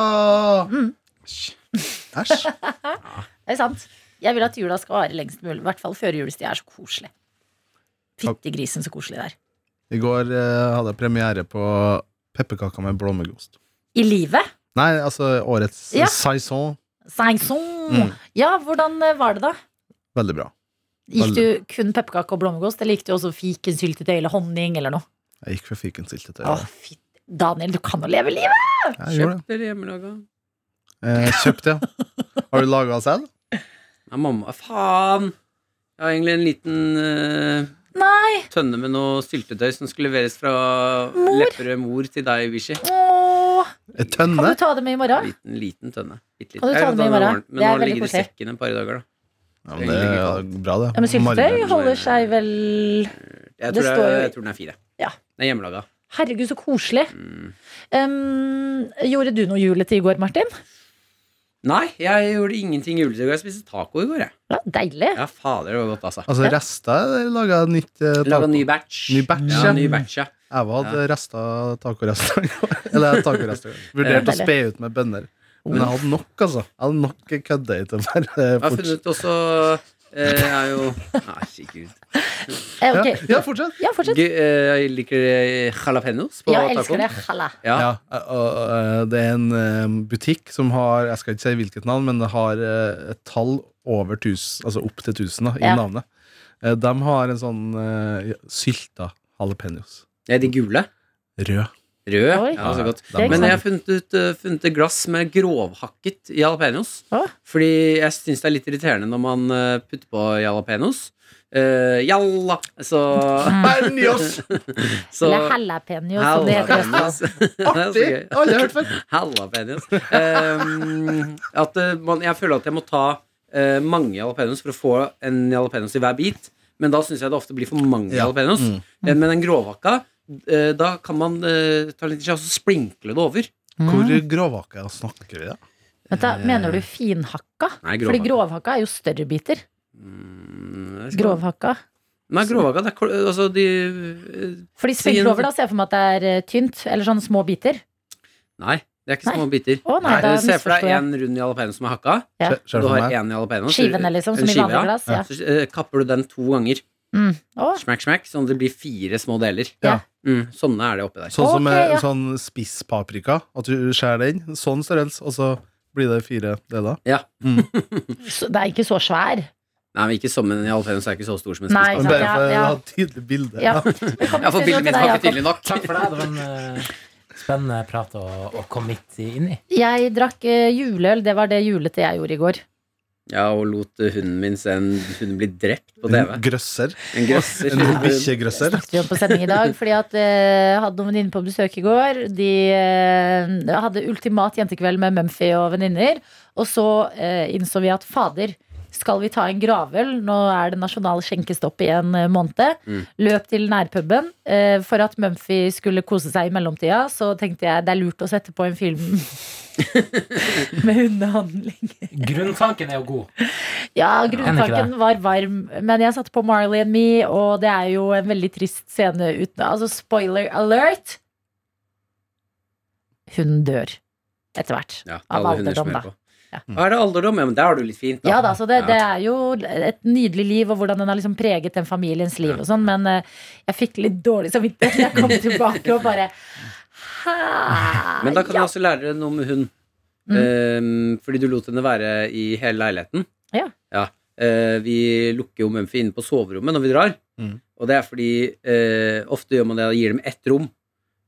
Speaker 2: Mm.
Speaker 4: Æsj.
Speaker 2: Det er sant. Jeg vil at jula skal vare lengst mulig. I hvert fall førjulstid er så koselig. Fytti grisen, så koselig det er.
Speaker 4: I går eh, hadde jeg premiere på pepperkaker med blåmuggost.
Speaker 2: I livet.
Speaker 4: Nei, altså årets
Speaker 2: Ja.
Speaker 4: saison.
Speaker 2: Saison.
Speaker 4: Mm.
Speaker 2: Ja, hvordan eh, var det, da?
Speaker 4: Veldig bra.
Speaker 2: Gikk du kun pepperkake og blåmuggost, eller gikk du også fikensyltetøy eller honning eller noe?
Speaker 4: Jeg gikk for fikensyltetøy.
Speaker 2: Å, fy. Daniel, du kan jo leve livet!
Speaker 4: Jeg gjorde det. Eh, kjøpt,
Speaker 2: (laughs)
Speaker 4: ja. Har du laga selv?
Speaker 3: Ja, mamma, faen! Jeg har egentlig en liten eh,
Speaker 2: Nei!
Speaker 3: tønne med noe syltetøy som skulle leveres fra Lepperød mor til deg, Bishi.
Speaker 2: Åh.
Speaker 4: En
Speaker 2: Kan
Speaker 4: tønne?
Speaker 2: du ta det med i morgen?
Speaker 3: Liten, liten tønne. Bitte liten.
Speaker 2: Kan du ta
Speaker 3: Jeg
Speaker 2: den med i
Speaker 3: den
Speaker 2: morgen?
Speaker 3: morgen,
Speaker 2: Det er
Speaker 3: Men nå
Speaker 2: veldig
Speaker 3: ligger det i
Speaker 2: koselig.
Speaker 3: sekken et par dager, da.
Speaker 4: Ja, men det er ja, bra, det.
Speaker 2: Ja, men syltetøy
Speaker 4: Marinert.
Speaker 2: holder seg vel
Speaker 3: Jeg
Speaker 2: Det
Speaker 3: tror, det
Speaker 2: står
Speaker 3: er,
Speaker 2: jo-
Speaker 3: jeg tror den er fire.
Speaker 2: Ja.
Speaker 3: Den er hjemmelaga.
Speaker 2: Herregud, så koselig.
Speaker 3: Mm.
Speaker 2: Um, gjorde du noe julete i går, Martin?
Speaker 3: Nei, jeg gjorde ingenting i juletida. Jeg spiste taco i går, jeg.
Speaker 2: Ja, deilig.
Speaker 3: Ja, fader, det var godt, altså.
Speaker 4: Altså rester eller laga nytt eh,
Speaker 3: Laga
Speaker 4: taco?
Speaker 3: ny batch.
Speaker 4: Ny batch,
Speaker 3: ja.
Speaker 4: ja.
Speaker 3: Ny batch, ja.
Speaker 4: Jeg hadde resta tacorester. (laughs) i går. Eller
Speaker 3: (laughs)
Speaker 4: tacorester. Vurderte å spe ut med bønner. Men jeg hadde nok, altså. Jeg hadde nok kødde i til å bare
Speaker 3: Jeg har
Speaker 4: fortsette.
Speaker 3: funnet også eh, Jeg er
Speaker 2: (laughs)
Speaker 3: jo Nei, herregud.
Speaker 2: Eh, ok.
Speaker 4: Ja, ja, fortsett.
Speaker 2: Ja, fortsett.
Speaker 3: Gu- eh, Jeg liker eh, jalapeños på
Speaker 2: Ja, jeg elsker
Speaker 3: tacoen.
Speaker 2: det. Halla.
Speaker 3: Ja.
Speaker 4: Ja, og, og, det er en eh, butikk som har Jeg skal ikke si hvilket navn, men det har eh, et tall over 1000, altså opp til 1000 da, i
Speaker 2: Ja.
Speaker 4: navnet. Eh, De har en sånn eh, sylta jalapeños.
Speaker 3: Ja, de gule.
Speaker 4: Rød. sånn
Speaker 3: Røde.
Speaker 2: Oi.
Speaker 3: Ja, så godt.
Speaker 2: Det
Speaker 3: Men
Speaker 2: kan-
Speaker 3: jeg har funnet, ut, eh, funnet et glass med grovhakket jalapeños.
Speaker 2: Å.
Speaker 3: Fordi jeg syns det er litt irriterende når man eh, putter på jalapeños. Eh, jalla! Så,
Speaker 4: Mm. Bernios!
Speaker 3: (laughs) så
Speaker 2: Eller jalapeño, som det heter. i Østfold.
Speaker 3: (laughs)
Speaker 4: Artig! Alle har hørt før.
Speaker 3: Jalapeños. Ehm, at eh, man, jeg føler at jeg må ta eh, mange jalapeños for å få en jalapeños i hver bit. Men da syns jeg det ofte blir for mange
Speaker 4: Ja.
Speaker 3: jalapeños.
Speaker 4: Mm.
Speaker 3: Eh, Men den grovhakka, eh, da kan man eh, ta litt sjanse og sprinkle det over.
Speaker 2: Mm.
Speaker 4: Hvor grovhakka snakker vi, da?
Speaker 2: Vent da, Mener du finhakka?
Speaker 3: Nei,
Speaker 2: Fordi
Speaker 3: grovhakka.
Speaker 2: grovhakka er jo større biter.
Speaker 3: Mm, jeg skal-
Speaker 2: Grovhakka.
Speaker 3: Nei, grovhakka, det er kol- altså de eh,
Speaker 2: Fordi
Speaker 3: Si en-
Speaker 2: spinkelover da ser jeg for meg at det er eh, tynt, eller sånne små biter.
Speaker 3: Nei, det er ikke
Speaker 2: Nei.
Speaker 3: små biter.
Speaker 2: Å, nei, da
Speaker 3: Se for
Speaker 2: misforstår
Speaker 3: deg
Speaker 2: jeg.
Speaker 3: en rund jalapeño som er hakka.
Speaker 2: Ja.
Speaker 4: Ser- ser
Speaker 3: Du
Speaker 4: du for
Speaker 3: har
Speaker 4: meg?
Speaker 3: en jalapeño. så-
Speaker 2: Skivene, liksom, som
Speaker 3: en
Speaker 2: i
Speaker 3: skive, ja.
Speaker 2: vanlig glass. Ja.
Speaker 3: Så eh, kapper du den to ganger.
Speaker 2: Mm. Å,
Speaker 3: Smack, smack, sånn at det blir fire små deler.
Speaker 2: Ja.
Speaker 3: Mm, sånne er det oppi der.
Speaker 4: Sånn som
Speaker 2: Ok,
Speaker 4: eh,
Speaker 2: ja.
Speaker 4: sånn spisspaprika. At du skjærer den. Sånn størrelse, og så blir det fire deler.
Speaker 2: så det er ikke så svær.
Speaker 3: Nei, men ikke som en jalapeño, så er det ikke så stor som en
Speaker 2: Nei,
Speaker 3: spisepose.
Speaker 2: sant,
Speaker 4: Bare
Speaker 2: ja,
Speaker 4: for å
Speaker 2: ja.
Speaker 4: ha et tydelig bilde.
Speaker 2: Ja.
Speaker 3: Ja, for bildet mitt var ikke tydelig nok.
Speaker 5: Takk for deg. Det var en eh, spennende prat å, å komme midt i- inn i.
Speaker 2: Jeg drakk eh, juleøl. Det var det julete jeg gjorde i går.
Speaker 3: Ja, og lot eh, hunden min se en hund bli drept på TV.
Speaker 4: En grøsser.
Speaker 3: En grøsser.
Speaker 4: En bikkjegrøsser.
Speaker 2: Snakket vi om på sending i dag, fordi at eh, hadde noen venninner på besøk i går. De eh, hadde ultimat jentekveld med Mumphy og venninner. Og så eh, innså vi at fader, skal vi ta en gravøl? Nå er det nasjonal skjenkestopp i en eh, måned.
Speaker 3: Mm.
Speaker 2: Løp til nærpuben. Eh, for at Mumphy skulle kose seg i mellomtida, så tenkte jeg det er lurt å sette på en film (laughs) med hundehandling.
Speaker 5: Grunntanken er jo god.
Speaker 2: Ja,
Speaker 5: Enig ikke
Speaker 2: grunntanken var varm, men jeg satte på Marley and Me, og det er jo en veldig trist scene uten Altså, spoiler alert! Hun dør etter hvert.
Speaker 3: Ja,
Speaker 2: Av
Speaker 3: alle hunder
Speaker 2: alderdom,
Speaker 3: som
Speaker 2: da.
Speaker 3: er på.
Speaker 2: Ja.
Speaker 3: Hva er det alderdom? Ja, men der har du litt fint, da.
Speaker 2: Ja da, så det,
Speaker 3: Ja.
Speaker 2: det er jo et nydelig liv, og hvordan den har liksom preget den familiens liv og sånn, men eh, jeg fikk litt dårlig samvittighet da
Speaker 3: (laughs)
Speaker 2: jeg kom tilbake og bare Hæ?
Speaker 3: Men da kan
Speaker 2: ja.
Speaker 3: du også lære deg noe med hund.
Speaker 2: Mm.
Speaker 3: Ehm, fordi du lot henne være i hele leiligheten.
Speaker 2: Ja.
Speaker 3: Eh, vi lukker jo Mumphy inne på soverommet når vi drar.
Speaker 4: Mm.
Speaker 3: Og det er fordi eh, ofte gjør man det og gir dem ett rom,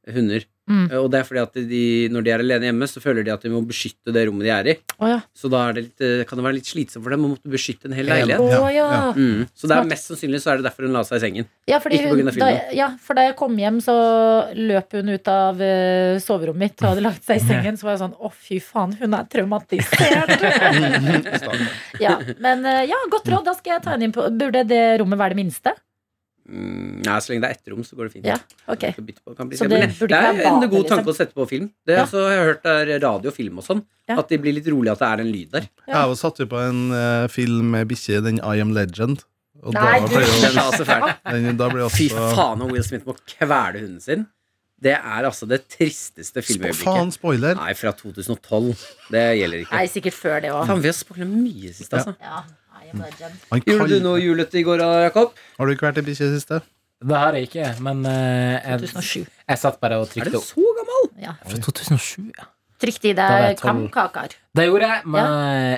Speaker 3: hunder.
Speaker 2: Mm.
Speaker 3: Eh, Og det er fordi at de, når de er alene hjemme, så føler de at de må beskytte det rommet de er i.
Speaker 2: Å ja.
Speaker 3: Så da er det litt, eh, kan det være litt slitsomt for dem å måtte beskytte en hel
Speaker 4: Ja.
Speaker 3: leilighet.
Speaker 2: Å ja.
Speaker 4: ja.
Speaker 3: Mm. Så det
Speaker 2: Smart.
Speaker 3: er mest sannsynlig så er det derfor hun la seg i sengen.
Speaker 2: Ja, fordi
Speaker 3: Ikke på
Speaker 2: hun,
Speaker 3: grunn av
Speaker 2: da,
Speaker 3: filmen.
Speaker 2: ja, for da jeg kom hjem, så løp hun ut av eh, soverommet mitt og hadde lagt seg i sengen. Så var jeg sånn Å, fy faen, hun er traumatisert. ja, men eh, ja, godt råd. Da skal jeg ta henne inn på Burde det rommet være det minste?
Speaker 3: Mm, nei, så lenge det er ett rom, så går det fint.
Speaker 2: Ja, ok.
Speaker 3: Kan bytte på, kan bli
Speaker 2: Så
Speaker 3: se-
Speaker 2: det
Speaker 3: Men
Speaker 2: burde
Speaker 3: det
Speaker 2: ikke
Speaker 3: er
Speaker 2: være
Speaker 3: en
Speaker 2: bade,
Speaker 3: god tanke
Speaker 2: liksom.
Speaker 3: å sette på film. Det
Speaker 2: Ja.
Speaker 3: er, så har jeg hørt det er radio og film og sånn.
Speaker 2: Ja.
Speaker 3: At de blir litt rolig at det er en lyd der.
Speaker 2: Ja.
Speaker 4: Jeg satte jo på en eh, film med bikkje, den I Am Legend. Og
Speaker 2: Nei,
Speaker 4: da
Speaker 2: du-
Speaker 4: ble
Speaker 3: Den
Speaker 4: jo,
Speaker 3: er altså fæl.
Speaker 4: den, da ble
Speaker 3: Fy
Speaker 4: også
Speaker 3: faen om Will Smith må kvele hunden sin. Det er altså det tristeste
Speaker 4: Spo-
Speaker 3: filmøyeblikket.
Speaker 4: Faen, spoiler!
Speaker 3: Nei, fra 2012. Det gjelder ikke.
Speaker 2: Nei, sikkert før det òg.
Speaker 3: Faen, vi har spoila mye sist, altså.
Speaker 2: Ja. I am legend.
Speaker 4: Han
Speaker 3: Gjorde du
Speaker 4: kan,
Speaker 3: noe julete i går, da, Jakob?
Speaker 4: har du ikke vært ei bikkje i det siste?
Speaker 5: Det har jeg ikke, men eh, jeg,
Speaker 2: 2007.
Speaker 5: jeg satt bare og
Speaker 3: Er
Speaker 5: trykte
Speaker 3: den
Speaker 5: opp.
Speaker 3: så gammel?
Speaker 5: Fra 2007, ja.
Speaker 2: Trykk i
Speaker 5: Da var jeg
Speaker 2: deg
Speaker 5: tolv.
Speaker 2: kamkaker.
Speaker 5: Det gjorde jeg med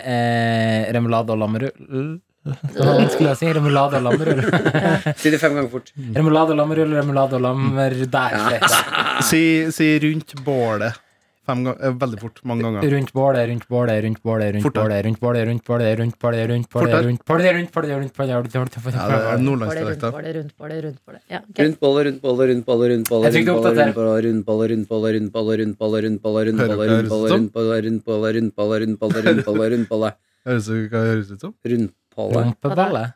Speaker 5: eh, remulade og lammerull.
Speaker 3: (laughs)
Speaker 5: Hva skulle jeg si? Remulade og lammerull.
Speaker 3: Si det fem ganger fort.
Speaker 5: Remulade og lammerull, remulade og lammer der.
Speaker 3: Ah.
Speaker 4: Si, si rundt bålet. Fem gang, eh, veldig fort. Mange ganger.
Speaker 5: Rundt bålet, rundt bålet, rundt bålet, rundt
Speaker 4: Fortere.
Speaker 5: bålet, rundt bålet, rundt bålet, rundt bålet, rundt bålet,
Speaker 4: Fortere.
Speaker 5: rundt bålet, rundt bålet, rundt bålet, rundt bålet,
Speaker 4: Ja, det er
Speaker 5: rundt bålet.
Speaker 2: Var det rundt
Speaker 4: nordlandsdialekta.
Speaker 2: på det, rundt på det, rundt på det. Ja, ok.
Speaker 3: Rundt bolle, rundt bolle, rundt bolle, rundt bolle,
Speaker 5: Jeg trykte
Speaker 3: rundt bolle,
Speaker 5: oppdater.
Speaker 3: rundt bolle, rundt bolle, rundt bolle, rundt bolle, rundt bolle, rundt bolle, rundt bolle,
Speaker 4: Hører
Speaker 3: rundt bolle,
Speaker 4: du hva jeg
Speaker 3: rundt bolle, rundt bolle, rundt bolle, rundt bolle, rundt bolle, rundt bolle,
Speaker 4: Høres det hva det høres ut som?
Speaker 3: rundt bolle.
Speaker 5: Rumpeballet.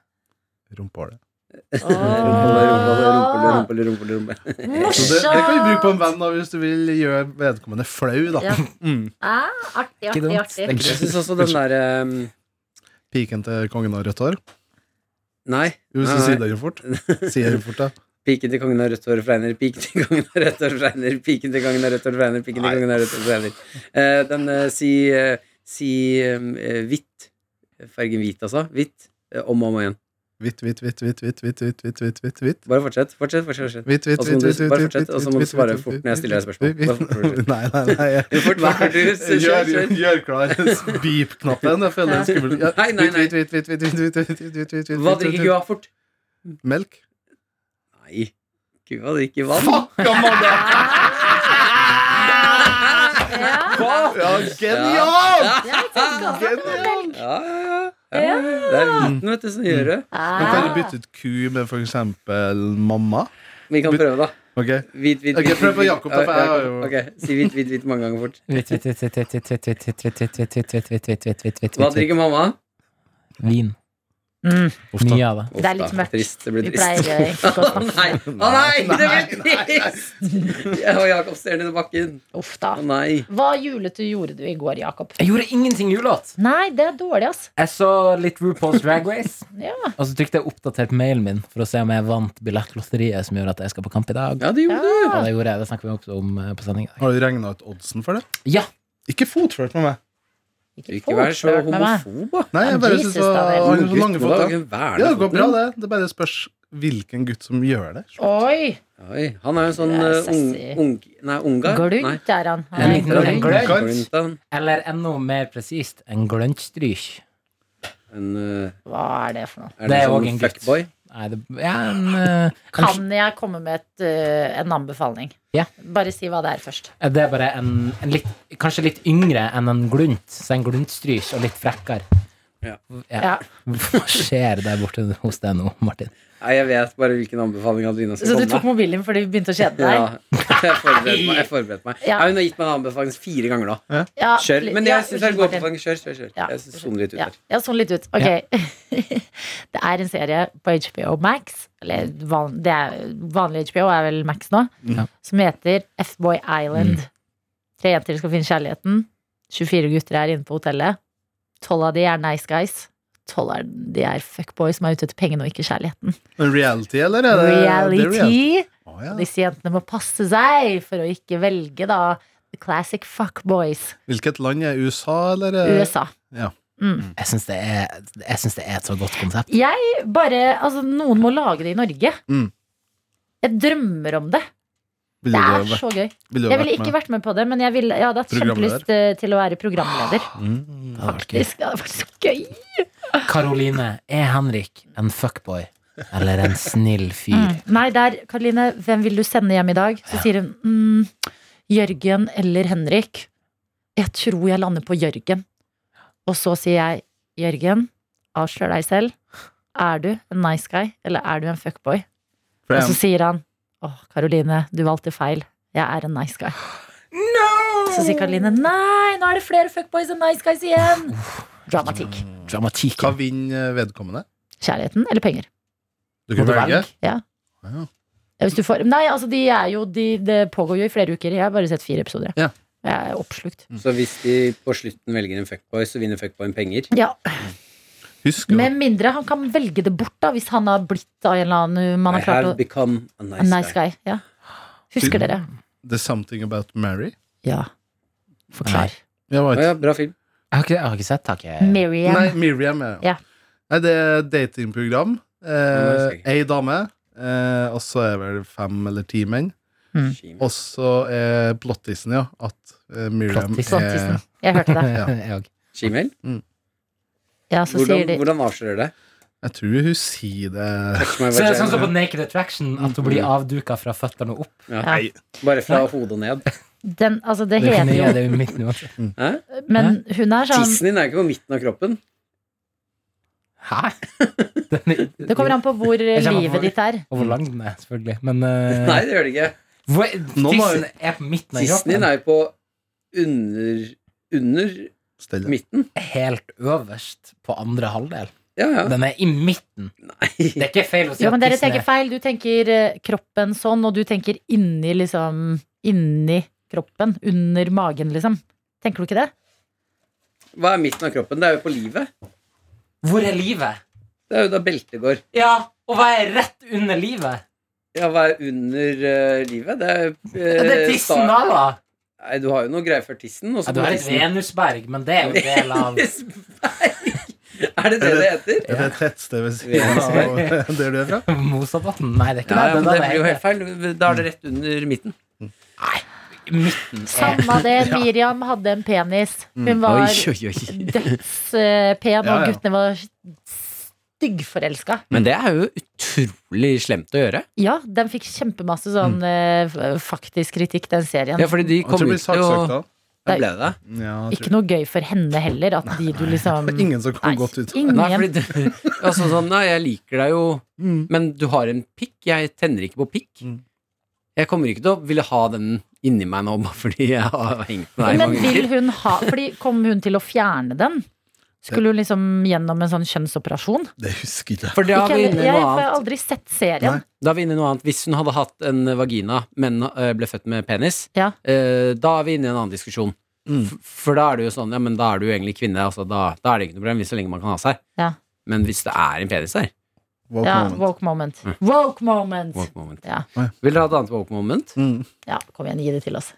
Speaker 4: Rumpehålet.
Speaker 2: Åh.
Speaker 3: Rumpelull, rumpelull, rumpelull.
Speaker 4: Så det, det kan vi bruke på en venn da, hvis du vil gjøre vedkommende flau. da
Speaker 2: Ja. Ah, artig,
Speaker 5: Ikke
Speaker 2: artig,
Speaker 5: dumt.
Speaker 2: artig.
Speaker 3: Jeg syns også Sånn den eh, derre
Speaker 4: Piken til kongen av rødt hår.
Speaker 3: Nei.
Speaker 4: Jo, Hvis du
Speaker 3: Nei,
Speaker 4: sier
Speaker 3: nei.
Speaker 4: det jo fort. Sier det fort, da.
Speaker 3: Piken til kongen av rødt hår fregner, piken til kongen av rødt hår fregner, piken til kongen av rødt hår fregner, piken til kongen av rødt hår fregner. Eh, den eh, si eh, si eh, hvitt. Fargen hvit, altså. Hvitt. eh, Om og om igjen.
Speaker 4: Hvitt, hvitt, hvitt, hvitt, hvitt, hvitt, hvitt, hvitt, hvitt, hvitt, hvitt.
Speaker 3: Bare fortsett. Fortsett, fortsett. fortsett.
Speaker 4: Hvitt, hvitt,
Speaker 3: Og så må
Speaker 4: hvitt,
Speaker 3: du
Speaker 4: hvitt, hvitt,
Speaker 3: bare
Speaker 4: hvitt,
Speaker 3: fortsette, og så
Speaker 4: hvitt,
Speaker 3: må du
Speaker 4: hvitt,
Speaker 3: svare
Speaker 4: hvitt,
Speaker 3: fort
Speaker 4: hvitt,
Speaker 3: når jeg stiller deg
Speaker 4: hvitt,
Speaker 3: spørsmål.
Speaker 4: hvitt,
Speaker 3: Bare fortsett.
Speaker 4: Nei, nei, nei. jeg-
Speaker 3: Jo, fort, vær du, så
Speaker 4: Gjør,
Speaker 3: kjør, kjør.
Speaker 4: gjør klar beep-knappen. Jeg føler det er skummelt. Ja,
Speaker 3: Nei, nei, nei.
Speaker 4: hvitt, hvitt, hvitt, hvitt, hvitt, hvitt, hvitt, hvitt, hvitt, hvitt,
Speaker 3: Hva
Speaker 4: hvitt,
Speaker 3: drikker
Speaker 4: hvitt,
Speaker 3: kua fort?
Speaker 4: hvitt. Melk.
Speaker 3: Nei, kua drikker vann.
Speaker 4: Fucka mann!
Speaker 2: Ja.
Speaker 4: Ja, genial!
Speaker 2: sånn
Speaker 4: Genial!
Speaker 3: Ja, ja, ja. ja. Det er viten, vet du, som gjør det.
Speaker 4: Men kan du bytte ut ku med for eksempel mamma?
Speaker 3: Vi kan prøve, da.
Speaker 4: Ok,
Speaker 3: Hvit, hvit,
Speaker 4: Ok,
Speaker 3: hvit,
Speaker 4: prøv på
Speaker 3: hvit,
Speaker 4: Jakob, da, for jeg har jo-
Speaker 3: Ok, Si hvit, hvit, hvit mange ganger fort.
Speaker 5: Hvitt, hvitt, hvitt, hvitt, hvitt, hvitt, hvitt, hvitt, hvitt, hvitt, hvitt, hvitt, hvitt, hvitt, hvitt, hvitt, hvitt,
Speaker 3: Hva
Speaker 5: hvitt.
Speaker 3: drikker mamma?
Speaker 5: Vin.
Speaker 4: Uff da.
Speaker 5: Mye av det.
Speaker 3: Uff
Speaker 2: Det er
Speaker 3: da,
Speaker 2: litt mørkt.
Speaker 3: Trist, det blir
Speaker 2: Vi
Speaker 3: trist.
Speaker 2: pleier eh, ikke å
Speaker 3: Å
Speaker 2: snakke
Speaker 3: (laughs) nei, å nei, det blir trist! Jeg og Jakob ser ned i bakken.
Speaker 2: Uff, da.
Speaker 3: Å nei.
Speaker 2: (laughs) Hva julete gjorde du i går, Jakob?
Speaker 5: Jeg gjorde ingenting julete.
Speaker 2: Nei, det er dårlig, ass.
Speaker 5: Jeg så litt RuPaul's Drag Race,
Speaker 2: Ja.
Speaker 5: og så trykte jeg oppdatert mailen min for å se om jeg vant billettlotteriet som gjør at jeg skal på kamp i dag.
Speaker 3: Ja, det gjorde du.
Speaker 5: Og
Speaker 2: Mm.
Speaker 5: det gjorde jeg. Det snakker vi også om eh, på sending i dag.
Speaker 4: Har du regna ut oddsen for det?
Speaker 5: Ja.
Speaker 4: Ikke fotflørt med meg.
Speaker 3: Ikke vær så
Speaker 2: fort med meg.
Speaker 3: homofob, da.
Speaker 4: Nei, jeg
Speaker 2: Ja,
Speaker 4: bare
Speaker 2: Jesus,
Speaker 4: synes det var
Speaker 2: Daniel.
Speaker 4: han har så lange
Speaker 3: Gutten, da,
Speaker 4: føtter.
Speaker 3: vær
Speaker 4: Ja, det
Speaker 3: det
Speaker 4: går
Speaker 3: foten
Speaker 4: bra,
Speaker 3: din.
Speaker 4: det. Det bare spørs hvilken gutt som gjør det.
Speaker 2: Oi!
Speaker 3: Oi, han er jo sånn
Speaker 2: Ja,
Speaker 3: eh, ung,
Speaker 2: sassy.
Speaker 3: ung... Nei, ungar? Nei.
Speaker 2: Glunt er han.
Speaker 5: En
Speaker 2: Nei,
Speaker 5: liten en glønn.
Speaker 3: Glunt, da.
Speaker 5: Eller enda mer presist, en glønstryk.
Speaker 3: En, eh,
Speaker 2: Hva er det for noe?
Speaker 3: er
Speaker 5: Det
Speaker 3: det
Speaker 5: er også
Speaker 3: sånn
Speaker 5: en gutt.
Speaker 3: fuckboy?
Speaker 5: Nei, det ja, en, eh, en,
Speaker 2: Kan jeg komme med et, eh, en anbefaling?
Speaker 5: Ja.
Speaker 2: Bare si hva det er først.
Speaker 5: Det er bare en, en litt, kanskje litt yngre enn en glunt. Så en gluntstryk og litt frekkere.
Speaker 3: Ja.
Speaker 2: Ja.
Speaker 5: Hva skjer der borte hos deg nå, Martin?
Speaker 3: Nei, jeg vet bare hvilken anbefaling Adelina
Speaker 2: Så
Speaker 3: skal
Speaker 2: du
Speaker 3: komme
Speaker 2: tok
Speaker 3: med.
Speaker 2: mobilen din fordi du begynte å kjede
Speaker 3: Sånn, Ja, (laughs)
Speaker 2: deg?
Speaker 3: jeg forberedte meg. Jeg, forberedte meg.
Speaker 2: Ja.
Speaker 3: Nei, hun har gitt meg en anbefaling fire ganger nå.
Speaker 2: Ja,
Speaker 3: Kjør.
Speaker 2: li-
Speaker 3: Men
Speaker 2: ja,
Speaker 3: jeg syns jeg
Speaker 2: unnskyld,
Speaker 3: går
Speaker 2: Martin.
Speaker 3: på den. Kjør, kjør, kjør.
Speaker 2: Ja,
Speaker 3: Jeg soner litt ut
Speaker 2: Ja,
Speaker 3: der.
Speaker 2: ja, sånn litt ut. Ok. (laughs) det er en serie på HBO Max, eller van, det er, vanlig HBO er vel Max nå,
Speaker 5: Ja.
Speaker 2: som heter F-Boy Island. Tre jenter skal finne kjærligheten. 24 gutter er inne på hotellet. Tolv av de er nice guys. Tolv av de er fuckboys som er ute etter pengene og ikke kjærligheten.
Speaker 4: Men reality, eller? Er det, Det er reality.
Speaker 2: Reality.
Speaker 4: Å, ja.
Speaker 2: Disse jentene må passe seg for å ikke velge da the classic fuckboys.
Speaker 4: Hvilket land er USA, eller? eh,
Speaker 2: USA. Mm.
Speaker 5: Jeg syns det, er- jeg syns det er et så godt konsept.
Speaker 2: Jeg bare Altså, noen må lage det i Norge.
Speaker 4: Mm.
Speaker 2: Jeg drømmer om det.
Speaker 4: Ville
Speaker 2: Det
Speaker 4: du ha
Speaker 2: er
Speaker 4: vært-
Speaker 2: så gøy.
Speaker 4: ville du ha
Speaker 2: Jeg ville
Speaker 4: vært
Speaker 2: ikke
Speaker 4: med?
Speaker 2: vært med på det, men jeg, ville, jeg hadde hatt
Speaker 4: Programleder.
Speaker 2: kjempelyst eh, til å være programleder.
Speaker 4: Mm.
Speaker 5: Det hadde vært gøy.
Speaker 2: Det skal være så gøy.
Speaker 5: Karoline, er Henrik en fuckboy eller en snill fyr?
Speaker 2: Nei, der, Karoline, hvem vil du sende hjem i dag? Så sier hun mm, Jørgen eller Henrik. Jeg tror jeg lander på Jørgen. Og så sier jeg Jørgen, avslør deg selv. Er du en nice guy, eller er du en fuckboy?
Speaker 4: For
Speaker 2: Og så
Speaker 4: jeg,
Speaker 2: sier han Åh, Karoline, du valgte feil. Jeg er en nice guy. Så sier Karoline nei, nå er det flere fuckboys enn nice guys igjen. Dramatikk.
Speaker 5: Dramatikk.
Speaker 4: hva vinner vedkommende?
Speaker 2: Kjærligheten eller penger?
Speaker 4: Du kan
Speaker 5: Må du
Speaker 4: velge.
Speaker 5: velge?
Speaker 2: Ja.
Speaker 4: Ja.
Speaker 2: Hvis du får, nei, altså de er jo de, Det pågår jo i flere uker. Jeg har bare sett fire episoder.
Speaker 4: Ja.
Speaker 2: Jeg er oppslukt.
Speaker 3: Så hvis de på slutten velger en fuckboy, så vinner fuckboyen penger?
Speaker 2: Ja,
Speaker 4: Husk jo
Speaker 2: Med mindre han kan velge det bort, da, hvis han har blitt da, en eller annen man
Speaker 3: I
Speaker 2: har klart
Speaker 3: have
Speaker 2: å
Speaker 3: become a nice,
Speaker 2: A Nice
Speaker 3: guy.
Speaker 2: guy. Ja. Husker
Speaker 4: Du-
Speaker 2: dere?
Speaker 4: There's Something About Mary.
Speaker 2: Ja. Forklar.
Speaker 4: Jeg var
Speaker 3: Å
Speaker 4: ikke-
Speaker 3: ja, bra film.
Speaker 5: Jeg har ikke, jeg har ikke sett taket.
Speaker 4: Nei,
Speaker 2: Miriam.
Speaker 4: Miriam, ja.
Speaker 2: Ja.
Speaker 4: Nei, det er datingprogram.
Speaker 3: Nice
Speaker 4: Eh,
Speaker 3: guy.
Speaker 4: Ei dame, eh, og så er vel fem eller ti menn.
Speaker 2: Mm.
Speaker 3: Shame.
Speaker 4: Og så er plottisen, eh, ja, at eh, Miriam
Speaker 5: Plottisen.
Speaker 4: er
Speaker 2: Plottisen. Jeg hørte det.
Speaker 4: (laughs)
Speaker 2: (laughs)
Speaker 4: Ja.
Speaker 5: Jeg òg.
Speaker 3: Shemale?
Speaker 2: Ja, så sier
Speaker 3: Hvordan,
Speaker 2: de
Speaker 3: hvordan avslører det?
Speaker 4: Jeg tror hun sier det
Speaker 3: Touch my
Speaker 5: (laughs) Så det er sånn som
Speaker 3: vagina.
Speaker 5: på Naked Attraction, at hun
Speaker 2: Mm.
Speaker 5: blir avduka fra føttene og opp.
Speaker 3: Ja.
Speaker 2: Ja.
Speaker 3: Bare fra hodet og ned.
Speaker 2: den, Altså, det
Speaker 5: Det er ikke
Speaker 2: heter
Speaker 5: nye,
Speaker 2: jo
Speaker 5: det er jo mitt nå. også.
Speaker 3: Hæ?
Speaker 2: Men hun er sånn
Speaker 3: Tissen din er jo ikke på midten av kroppen.
Speaker 5: Hæ?
Speaker 2: (laughs)
Speaker 5: Den er-
Speaker 2: Det kommer an på hvor eh,
Speaker 5: Jeg kommer på-
Speaker 2: livet ditt er.
Speaker 5: Og hvor lang den er, selvfølgelig. Men eh,
Speaker 3: (laughs) Nei, det gjør det ikke.
Speaker 5: hvor,
Speaker 4: Nå må jeg-
Speaker 5: tissen er på midten av
Speaker 3: Tissen din
Speaker 5: kroppen.
Speaker 3: er jo på under under
Speaker 4: Stella.
Speaker 3: midten.
Speaker 5: Helt øverst på andre halvdel.
Speaker 10: Ja, ja.
Speaker 5: Den er i midten. Det er ikke feil å si
Speaker 2: Ja, men
Speaker 5: at
Speaker 2: dere
Speaker 5: tissen
Speaker 2: tenker
Speaker 5: er
Speaker 2: feil. Du tenker eh, kroppen sånn, og du tenker inni liksom Inni kroppen. Under magen, liksom. Tenker du ikke det?
Speaker 10: Hva er midten av kroppen? Det er jo på livet.
Speaker 5: Hvor er livet?
Speaker 10: Det er jo da beltet går.
Speaker 5: Ja, og hva er rett under livet?
Speaker 10: Ja, hva er under eh, livet? Det er,
Speaker 5: Ja,
Speaker 10: eh,
Speaker 5: det er tissen da,
Speaker 10: sta-
Speaker 5: da.
Speaker 10: Nei, du har jo noe greier før tissen. Og
Speaker 5: Ja,
Speaker 10: så
Speaker 5: du
Speaker 10: kommer
Speaker 5: er et
Speaker 10: tissen.
Speaker 5: Venusberg, men det er jo en
Speaker 3: (laughs)
Speaker 5: del av
Speaker 10: Er det det det heter?
Speaker 4: Er det et tettsted ved
Speaker 10: Ja.
Speaker 2: (laughs)
Speaker 4: siden av (laughs) der du er fra?
Speaker 5: Mosabotn. Nei, det er ikke
Speaker 10: Ja, ja,
Speaker 5: det.
Speaker 10: men
Speaker 5: Den
Speaker 10: det
Speaker 5: er
Speaker 10: blir jo
Speaker 5: ikke-
Speaker 10: helt feil. Da er det rett under midten.
Speaker 5: midten. er-
Speaker 2: Samme det. Miriam hadde en penis. Hun var
Speaker 3: Oi, oi, oi.
Speaker 2: dødspen,
Speaker 4: Ja, ja.
Speaker 2: og guttene var styggforelska.
Speaker 3: Men det er jo utrolig slemt å gjøre.
Speaker 2: Ja, den fikk kjempemasse sånn eh, f- faktisk kritikk, den serien.
Speaker 3: Ja, fordi de
Speaker 4: Jeg
Speaker 3: kom
Speaker 4: tror det blir
Speaker 3: ut og
Speaker 4: saksøkt da.
Speaker 3: Ja, ble det det?
Speaker 4: Ja, jeg
Speaker 2: Ikke
Speaker 4: tror.
Speaker 2: noe gøy for henne heller, at de du liksom
Speaker 4: det er Ingen som
Speaker 2: Nei,
Speaker 4: kom godt ut.
Speaker 2: ingen.
Speaker 3: Nei, fordi det, (laughs) altså, sånn, nei, jeg liker deg jo, men du har en pikk. Jeg tenner ikke på pikk.
Speaker 10: Mm.
Speaker 3: Jeg kommer ikke til å ville ha den inni meg nå bare fordi jeg har hengt med deg i
Speaker 2: Men
Speaker 3: mange
Speaker 2: vil
Speaker 3: uker.
Speaker 2: hun ha Fordi kom hun til å fjerne den? Skulle hun liksom gjennom en sånn kjønnsoperasjon?
Speaker 4: Det husker ikke jeg.
Speaker 3: For da er
Speaker 2: Ikke
Speaker 3: vi
Speaker 2: heller-
Speaker 3: inne i
Speaker 2: jeg
Speaker 3: noe
Speaker 2: har
Speaker 3: annet.
Speaker 2: aldri sett serien.
Speaker 4: Nei.
Speaker 3: Da er vi inne i noe annet. Hvis hun hadde hatt en eh, vagina, men øh, ble født med penis,
Speaker 2: Ja.
Speaker 3: øh, da er vi inne i en annen diskusjon.
Speaker 4: Mm.
Speaker 3: F- For da er det jo sånn, ja, men da er du jo egentlig kvinne. Altså, da, da er det ikke noe problem, hvis så lenge man kan ha seg.
Speaker 2: Ja.
Speaker 3: Men hvis det er en penis der
Speaker 4: Woke
Speaker 2: Ja,
Speaker 4: moment.
Speaker 2: woke moment.
Speaker 3: Mm.
Speaker 2: Woke moment!
Speaker 3: woke moment.
Speaker 2: Ja.
Speaker 3: Vil dere ha et annet woke moment? Eh,
Speaker 4: Mm.
Speaker 2: Ja, kom igjen, gi det til oss.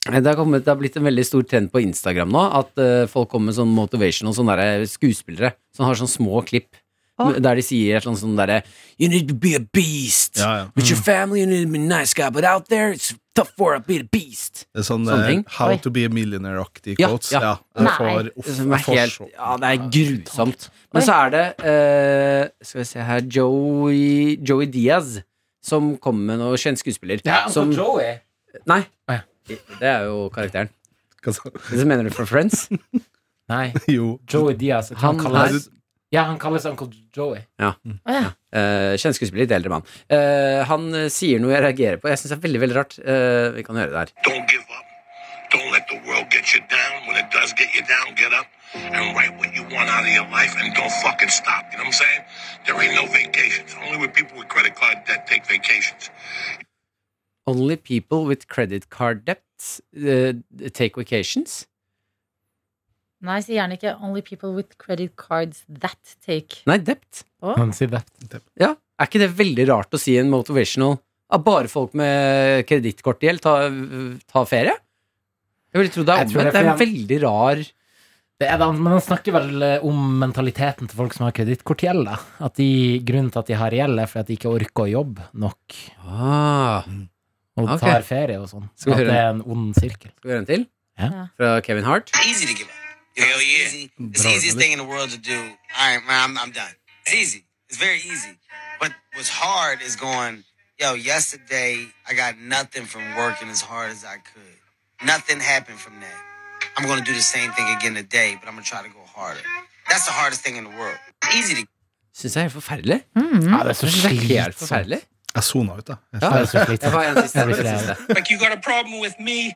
Speaker 3: Det har, kommet, det har blitt en veldig stor trend på Instagram nå at eh, folk kommer med sånn motivation og sånne der skuespillere som har sånne små klipp
Speaker 2: Å.
Speaker 3: der de sier et eller annet sånn derre You need to be a beast.
Speaker 4: Ja, Mm. ja.
Speaker 3: With your family, you need to be a nice guy, but out there it's tough for a bit of beast.
Speaker 4: Det er sånn
Speaker 3: Sånne
Speaker 4: eh,
Speaker 3: ting.
Speaker 4: How
Speaker 2: Oi.
Speaker 4: to be a millionaire-aktig
Speaker 3: Ja,
Speaker 4: quotes.
Speaker 3: ja.
Speaker 4: Ja, jeg
Speaker 2: Nei.
Speaker 4: får- uff,
Speaker 3: Det Som er
Speaker 4: jeg får
Speaker 3: helt,
Speaker 4: sjokk.
Speaker 3: ja, det er grusomt. Men så er det eh, Skal vi se her Joey, Joey Diaz som kommer med noe kjent skuespiller.
Speaker 5: Ja, Eh, Uncle
Speaker 3: som,
Speaker 5: Joey.
Speaker 3: nei,
Speaker 5: Å, ja.
Speaker 3: det er jo karakteren.
Speaker 4: Hva sa- (laughs)
Speaker 3: Det mener du for Friends? (laughs)
Speaker 5: Nei,
Speaker 4: Jo.
Speaker 5: Joey Diaz. jeg tror
Speaker 3: Han
Speaker 4: Nei,
Speaker 3: er-
Speaker 5: kalles,
Speaker 4: du-
Speaker 5: ja, han kalles Uncle Joey.
Speaker 2: Å ja.
Speaker 3: Uh, Kjent skuespiller, litt eldre mann. Eh, han eh, sier noe jeg reagerer på. Jeg syns det er veldig veldig rart. Eh, vi kan høre det her.
Speaker 9: Don't give up. Don't let the world get you down. When it does get you down, get up and write what you want out of your life and don't fucking stop. You know what I'm saying? There ain't no vacations. Only with people with credit card debt take vacations.
Speaker 3: Only people with credit card debts eh, take vacations.
Speaker 2: Nei, si gjerne ikke 'only people with credit cards that take'.
Speaker 3: Nei, debt.
Speaker 5: Han sier det.
Speaker 3: Ja, Er ikke det veldig rart å si i en motivational at bare folk med kredittkortgjeld tar ta ferie? Jeg ville tro det er
Speaker 5: Jeg tror
Speaker 3: omvendt.
Speaker 5: det
Speaker 3: Det
Speaker 5: er
Speaker 3: er en
Speaker 5: fordi
Speaker 3: veldig rar
Speaker 5: Det er det, han- men han snakker vel eh, om mentaliteten til folk som har kredittkortgjeld. da. At de, grunnen til at de har gjeld, er fordi at de ikke orker å jobbe nok.
Speaker 3: ah,
Speaker 5: Og
Speaker 3: Ok.
Speaker 5: tar ferie og sånn.
Speaker 3: Skal vi
Speaker 5: At
Speaker 3: høre
Speaker 5: det er en ond sirkel.
Speaker 3: Skal vi høre en til?
Speaker 5: Ja.
Speaker 3: Fra Kevin Hart.
Speaker 9: Easy to give up. You know, Hell yeah. Easy. It's the easiest thing in the world to do. All right, man, I'm, I'm done. It's easy. It's very easy. But what's hard is going, yo, yesterday I got nothing from working as hard as I could. Nothing happened from that. I'm going to do the same thing again today, but I'm going to try to go harder. That's the hardest thing in the world. Easy to
Speaker 3: Syns jeg er helt forferdelig.
Speaker 5: Ja, det er så
Speaker 3: Jeg synes det er helt
Speaker 5: slitsomt.
Speaker 3: forferdelig.
Speaker 4: Jeg sona ut, da.
Speaker 3: Ja.
Speaker 4: Jeg
Speaker 5: Det er så
Speaker 3: Jeg
Speaker 5: slitsomt.
Speaker 3: får en siste.
Speaker 5: Jeg blir
Speaker 3: en
Speaker 5: ikke
Speaker 3: siste.
Speaker 9: Like you got a problem with me?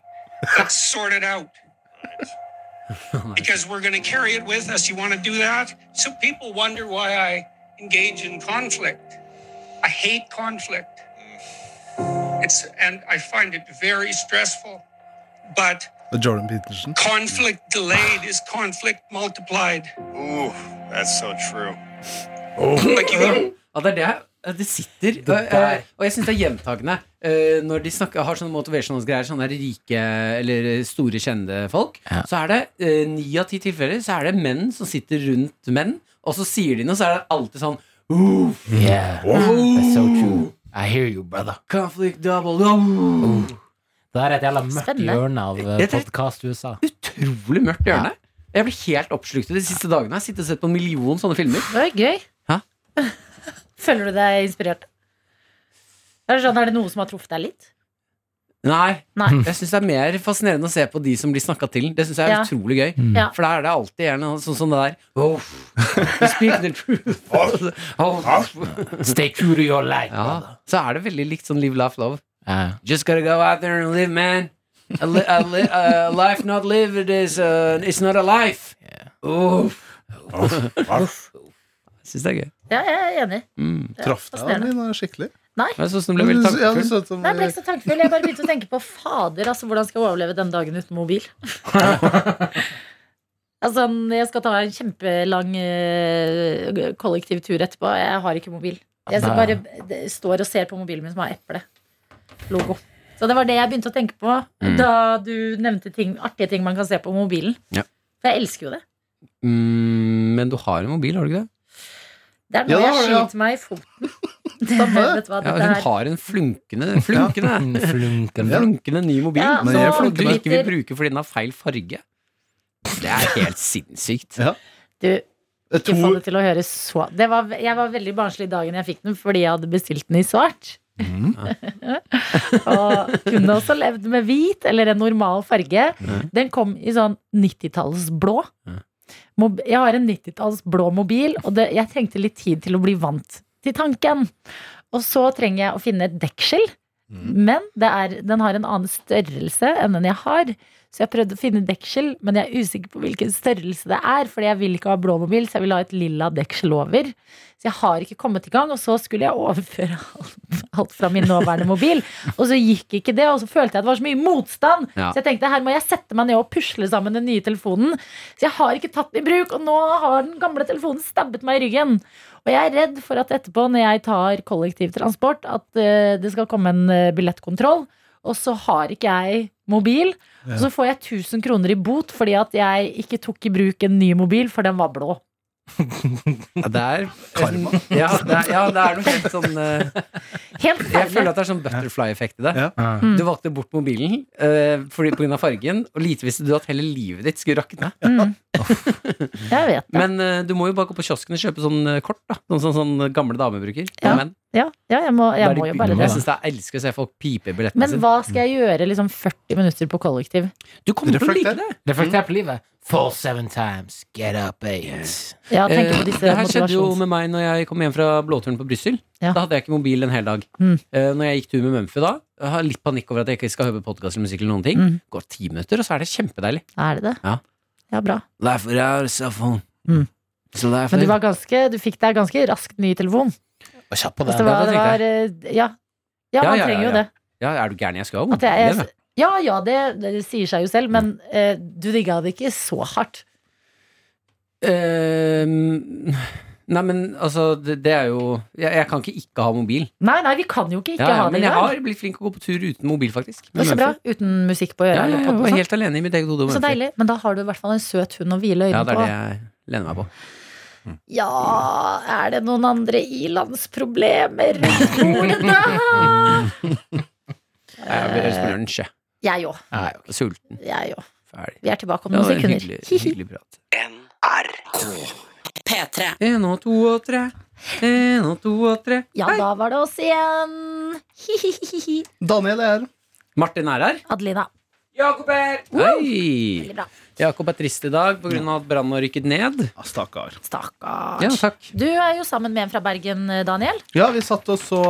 Speaker 9: Let's sort it out. Because we're going to carry it with us. You want to do that? So people wonder why I engage in conflict. I hate conflict. It's and I find it very stressful. But
Speaker 4: sa- Jordan Peterson.
Speaker 9: conflict delayed is conflict multiplied.
Speaker 11: Ooh, that's so true.
Speaker 9: Like you got
Speaker 3: Ja, det er det. Ja, Det sitter. Og,
Speaker 5: der.
Speaker 3: eh, og jeg syns det er gjentagende eh, når de snakker, har sånne motivationals-greier, sånne der rike eller eh, store, kjente folk.
Speaker 5: Ja.
Speaker 3: Så er det eh, ni av ti tilfeller så er det menn som sitter rundt menn, og så sier de noe, så er det alltid sånn Oof,
Speaker 5: Yeah, that's so true. I hear you, brother.
Speaker 3: conflict double oof.
Speaker 5: Det er et jævla mørkt
Speaker 2: Spennende.
Speaker 5: hjørne av
Speaker 3: Jeg tror-
Speaker 5: podkast USA.
Speaker 3: Utrolig mørkt hjørne. Jeg blir helt oppslukt i de siste dagene. Jeg har sittet og sett på en million sånne filmer.
Speaker 2: Det var gøy.
Speaker 3: Hæ?
Speaker 2: (laughs) Føler du deg inspirert? Er det, sånn, er det noe som har truffet deg litt?
Speaker 3: Nei. (laughs)
Speaker 2: Nei.
Speaker 3: Jeg syns det er mer fascinerende å se på de som blir snakka til. Det syns jeg er
Speaker 2: Ja.
Speaker 3: utrolig gøy.
Speaker 2: Ja.
Speaker 3: For da er det alltid gjerne sånn som det der. Oh, you speak the truth.
Speaker 4: (laughs)
Speaker 3: Oh.
Speaker 5: Stay true to your life,
Speaker 3: Ja,
Speaker 5: brother.
Speaker 3: så er det veldig likt sånn live, laugh, love.
Speaker 5: Ja.
Speaker 3: Just gotta go out there and live, man. A, li a, li a life not lived is uh, it's not a life. Uff. Syns det er gøy.
Speaker 2: Ja, jeg er enig.
Speaker 3: Mm.
Speaker 2: Ja,
Speaker 4: Traff deg
Speaker 2: fascinerende.
Speaker 4: Adelina, skikkelig?
Speaker 2: Nei.
Speaker 3: Jeg synes den ble veldig
Speaker 4: Ja, du
Speaker 3: tankefull.
Speaker 4: så ut som-
Speaker 2: Nei, jeg ble ikke så tankefull. Jeg bare begynte å tenke på fader, altså hvordan skal jeg overleve den dagen uten mobil? altså, jeg skal ta en kjempelang eh, kollektiv tur etterpå. Jeg har ikke mobil. Jeg så bare d- står og ser på mobilen min som har eple-logo. Så det var det jeg begynte å tenke på
Speaker 3: Mm.
Speaker 2: da du nevnte ting, artige ting man kan se på mobilen.
Speaker 3: Ja.
Speaker 2: For jeg elsker jo det.
Speaker 3: Mm, men du har en mobil, har du ikke det?
Speaker 2: Det er
Speaker 4: Ja,
Speaker 2: nå
Speaker 4: det
Speaker 2: jeg
Speaker 4: har du, ja.
Speaker 2: skyter meg i foten. (laughs)
Speaker 4: Stemmer.
Speaker 2: Vet du hva
Speaker 3: Ja,
Speaker 2: dette
Speaker 3: hun
Speaker 2: er?
Speaker 3: har en flunkende Flunkende, (laughs)
Speaker 5: Flunken.
Speaker 3: flunkende ny mobil
Speaker 2: Ja,
Speaker 4: Men
Speaker 2: så
Speaker 4: jeg
Speaker 3: som du
Speaker 4: flunkende.
Speaker 3: ikke vil bruke fordi den har feil farge. Det er helt sinnssykt.
Speaker 2: Du, ikke få
Speaker 4: To,
Speaker 2: det til å høres så det var, Jeg var veldig barnslig dagen jeg fikk den, fordi jeg hadde bestilt den i svart. (laughs) og kunne også levd med hvit eller en normal farge. Den kom i sånn 90-tallsblå.
Speaker 3: Ja.
Speaker 2: Mob- Jeg har en 90-tallsblå mobil, og det, jeg trengte litt tid til å bli vant til tanken. Og så trenger jeg å finne et dekkskill, men det er, den har en annen størrelse enn den jeg har. Så jeg prøvde å finne dekkskill, men jeg er usikker på hvilken størrelse det er. Fordi jeg vil ikke ha blå mobil, så jeg vil ha et lilla dekkskill over. Så jeg har ikke kommet i gang. Og så skulle jeg overføre (laughs) alt, alt fra min nåværende mobil. Og så gikk ikke det, og så følte jeg at det var så mye motstand.
Speaker 3: Ja.
Speaker 2: Så jeg tenkte her må jeg sette meg ned og pusle sammen den nye telefonen. Så jeg har ikke tatt den i bruk, og nå har den gamle telefonen stabbet meg i ryggen. Og jeg er redd for at etterpå, når jeg tar kollektivtransport, at eh, det skal komme en eh, billettkontroll. Og så har ikke jeg mobil. Og så får jeg 1000 kroner i bot fordi at jeg ikke tok i bruk en ny mobil, for den var blå.
Speaker 3: Ja, det er Karma. Ja, det er, ja, det er noe helt sånn eh,
Speaker 2: Helt
Speaker 3: Jeg føler
Speaker 2: forferdelig.
Speaker 3: at det er sånn butterfly-effekt i det.
Speaker 4: Ja.
Speaker 2: Mm.
Speaker 3: Du valgte bort mobilen eh, fordi, på grunn av fargen, og lite visste du at hele livet ditt skulle rakne.
Speaker 2: Mm.
Speaker 3: (laughs)
Speaker 2: Jeg vet det.
Speaker 3: Men eh, du må jo bare gå på kiosken og kjøpe sånn eh, kort, da. Noen sånn, sånn gamle damer bruker.
Speaker 2: Ja.
Speaker 3: Men,
Speaker 2: Ja, ja jeg, må, jeg må jo bare det.
Speaker 3: jeg syns jeg elsker å se folk pipe i billettene
Speaker 2: Men
Speaker 3: sine.
Speaker 2: hva skal jeg gjøre liksom 40 minutter på kollektiv?
Speaker 3: Du kommer til å like
Speaker 4: Reflekter.
Speaker 3: det!
Speaker 5: Reflekter på livet. Fall seven times, get up eight.
Speaker 2: Ja, tenke
Speaker 3: Eh,
Speaker 2: på disse
Speaker 3: det her skjedde jo
Speaker 2: motivasjons...
Speaker 3: med meg når jeg kom hjem fra blåturen på Brussel.
Speaker 2: Ja.
Speaker 3: Da hadde jeg ikke mobil en hel dag.
Speaker 2: Mm.
Speaker 3: Eh, når jeg gikk tur med Mumphy da, jeg har litt panikk over at jeg ikke skal høre på podkast eller musikk eller noen ting.
Speaker 2: Mm.
Speaker 3: Går ti minutter, og så er det kjempedeilig.
Speaker 2: Er det det?
Speaker 3: Ja.
Speaker 2: ja, bra.
Speaker 3: Derfor jeg har cell phone.
Speaker 2: Mm.
Speaker 3: Så derfor
Speaker 2: Men du, var ganske, du fikk deg ganske raskt ny telefon.
Speaker 5: Og kjapp på
Speaker 2: Altså,
Speaker 5: den.
Speaker 2: det var,
Speaker 3: da
Speaker 2: det
Speaker 3: tenkte
Speaker 2: var, eh, ja. ja,
Speaker 3: Ja,
Speaker 2: man
Speaker 3: ja, ja,
Speaker 2: trenger jo
Speaker 3: ja.
Speaker 2: det.
Speaker 3: Ja, er du gæren? Jeg skal jo ha
Speaker 2: At jeg,
Speaker 3: mobil.
Speaker 2: jeg, ja, ja, det, det sier seg jo selv, men eh, du digga det ikke så hardt.
Speaker 3: Eh, nei, men altså, det, det er jo jeg, jeg kan ikke ikke ha mobil.
Speaker 2: Nei, nei, vi kan jo ikke ikke
Speaker 3: Ja, ja,
Speaker 2: ha det
Speaker 3: men
Speaker 2: i
Speaker 3: jeg
Speaker 2: dag.
Speaker 3: har blitt flink til å gå på tur uten mobil, faktisk.
Speaker 2: Det er så bra.
Speaker 3: Mumphy.
Speaker 2: Uten musikk på
Speaker 3: Ja,
Speaker 2: øret.
Speaker 3: ja,
Speaker 2: eller
Speaker 3: jeg
Speaker 2: podd og
Speaker 3: var
Speaker 2: sånt.
Speaker 3: helt alene i mitt eget hode. og
Speaker 2: så
Speaker 3: Mumphy.
Speaker 2: deilig. Men da har du i hvert fall en søt hund å hvile
Speaker 3: Ja,
Speaker 2: øynene
Speaker 3: det er det
Speaker 2: på.
Speaker 3: jeg lener meg på.
Speaker 2: Ja, er det noen andre i-landsproblemer rundt bordet da?
Speaker 3: (laughs) Jeg vil helst lunsj, jeg.
Speaker 2: Jeg òg.
Speaker 3: Sulten.
Speaker 2: Jeg òg.
Speaker 3: Ferdig.
Speaker 2: Vi er tilbake om
Speaker 3: Det
Speaker 2: noen
Speaker 3: var en
Speaker 2: sekunder.
Speaker 3: hyggelig,
Speaker 2: Hi, hi.
Speaker 3: hyggelig prat. NRK P3. En og to og tre. En og to og tre.
Speaker 2: Ja, da var det oss igjen. Hi-hi-hi.
Speaker 4: Daniel er her.
Speaker 3: Martin er her.
Speaker 2: Adelina.
Speaker 3: Hei!
Speaker 2: Veldig bra.
Speaker 3: Jakob er trist i dag pga. at brannen har rykket ned.
Speaker 4: Ja, Stakkar.
Speaker 2: Stakkars.
Speaker 3: Ja, takk.
Speaker 2: Du er jo sammen med en fra Bergen, eh, Daniel.
Speaker 4: Ja, vi satt og så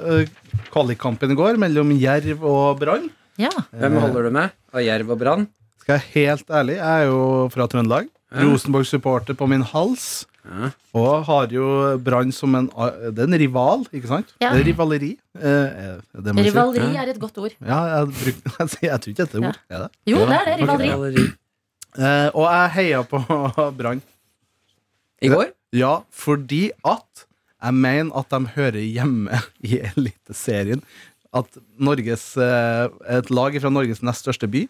Speaker 4: eh, kvalikkampen i går mellom Jerv og Brann. Eh,
Speaker 2: Ja.
Speaker 3: Hvem holder du med? Av Jerv og Brann?
Speaker 4: Skal jeg helt ærlig, jeg er jo fra Trøndelag.
Speaker 3: Ja.
Speaker 4: Rosenborg-supporter på min hals.
Speaker 3: Ja.
Speaker 4: Og har jo Brann som en Det er en rival, ikke sant?
Speaker 2: Ja.
Speaker 4: Det er rivaleri. Eh, eh, det må jeg si.
Speaker 2: Rivaleri er et godt ord.
Speaker 4: Ja, jeg, bruk, (laughs) jeg, tror ikke dette er ord. Er det?
Speaker 2: Jo, det er det. Rivaleri.
Speaker 4: Eh, og jeg heia på (laughs) Brann.
Speaker 3: I går?
Speaker 4: Ja, fordi at jeg mener at de hører hjemme i Eliteserien. At Norges, eh, et lag fra Norges nest største by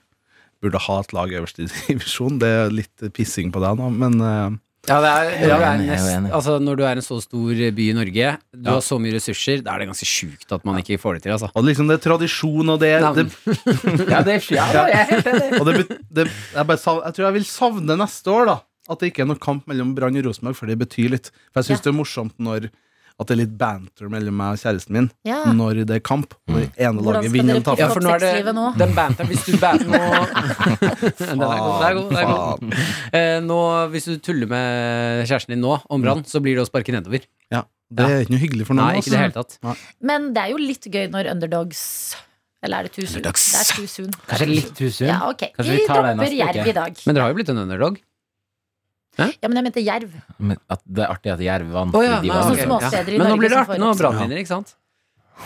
Speaker 4: burde ha et lag øverst i divisjon. Det er litt pissing på deg nå, men eh,
Speaker 3: Ja, det er, det
Speaker 5: Jeg er
Speaker 3: er
Speaker 5: enig, jeg er
Speaker 3: nest,
Speaker 5: enig.
Speaker 3: altså, når du er en så stor by i Norge, du
Speaker 4: Ja.
Speaker 3: har så mye ressurser, da er det ganske sjukt at man ikke får det til. Altså.
Speaker 4: og liksom det er tradisjon, og det,
Speaker 3: Navn.
Speaker 4: det,
Speaker 5: Ja, det er ja, jeg er helt enig.
Speaker 4: og det, bet- det jeg, bare, sav- jeg tror jeg vil savne neste år, da. At det ikke er noen kamp mellom Brann og Rosenborg, for det betyr litt. For jeg syns det er morsomt når at det er litt banter mellom meg og kjæresten min
Speaker 2: Ja.
Speaker 4: når det er kamp. Når
Speaker 3: Mm.
Speaker 4: det ene
Speaker 2: Hvordan
Speaker 4: laget
Speaker 2: skal
Speaker 4: vinner
Speaker 2: dere
Speaker 4: eller taper.
Speaker 3: Ja, for nå er det
Speaker 2: Toppsekslivet nå.
Speaker 3: Den banteren, hvis du banter nå Den er god, den er god, den er god. Eh, nå, Hvis du tuller med kjæresten din nå om brann, så blir det å sparke nedover.
Speaker 4: Ja, det er ikke noe hyggelig for noen.
Speaker 3: Nei,
Speaker 4: altså.
Speaker 3: ikke i det hele tatt.
Speaker 2: Men det er jo litt gøy når underdogs Eller er det too soon? Det
Speaker 3: Underdogs.
Speaker 2: er too soon.
Speaker 5: Kanskje litt too soon.
Speaker 2: Ja, ok.
Speaker 5: Kanskje
Speaker 2: Vi
Speaker 5: vi tar det
Speaker 2: dropper
Speaker 5: neste uke.
Speaker 2: Jerv i dag.
Speaker 3: Men dere har jo blitt en underdog.
Speaker 2: Ja, men jeg mente jerv.
Speaker 5: Men at det er artig at jerv vant.
Speaker 3: Å ja,
Speaker 5: fordi de
Speaker 3: nei,
Speaker 5: var-
Speaker 2: Sånne
Speaker 3: ok,
Speaker 2: småsteder i
Speaker 3: Men nå
Speaker 2: Norge
Speaker 3: blir det
Speaker 2: som
Speaker 3: artig
Speaker 2: får
Speaker 3: nå,
Speaker 2: opp-
Speaker 3: brannlinjer, ikke sant?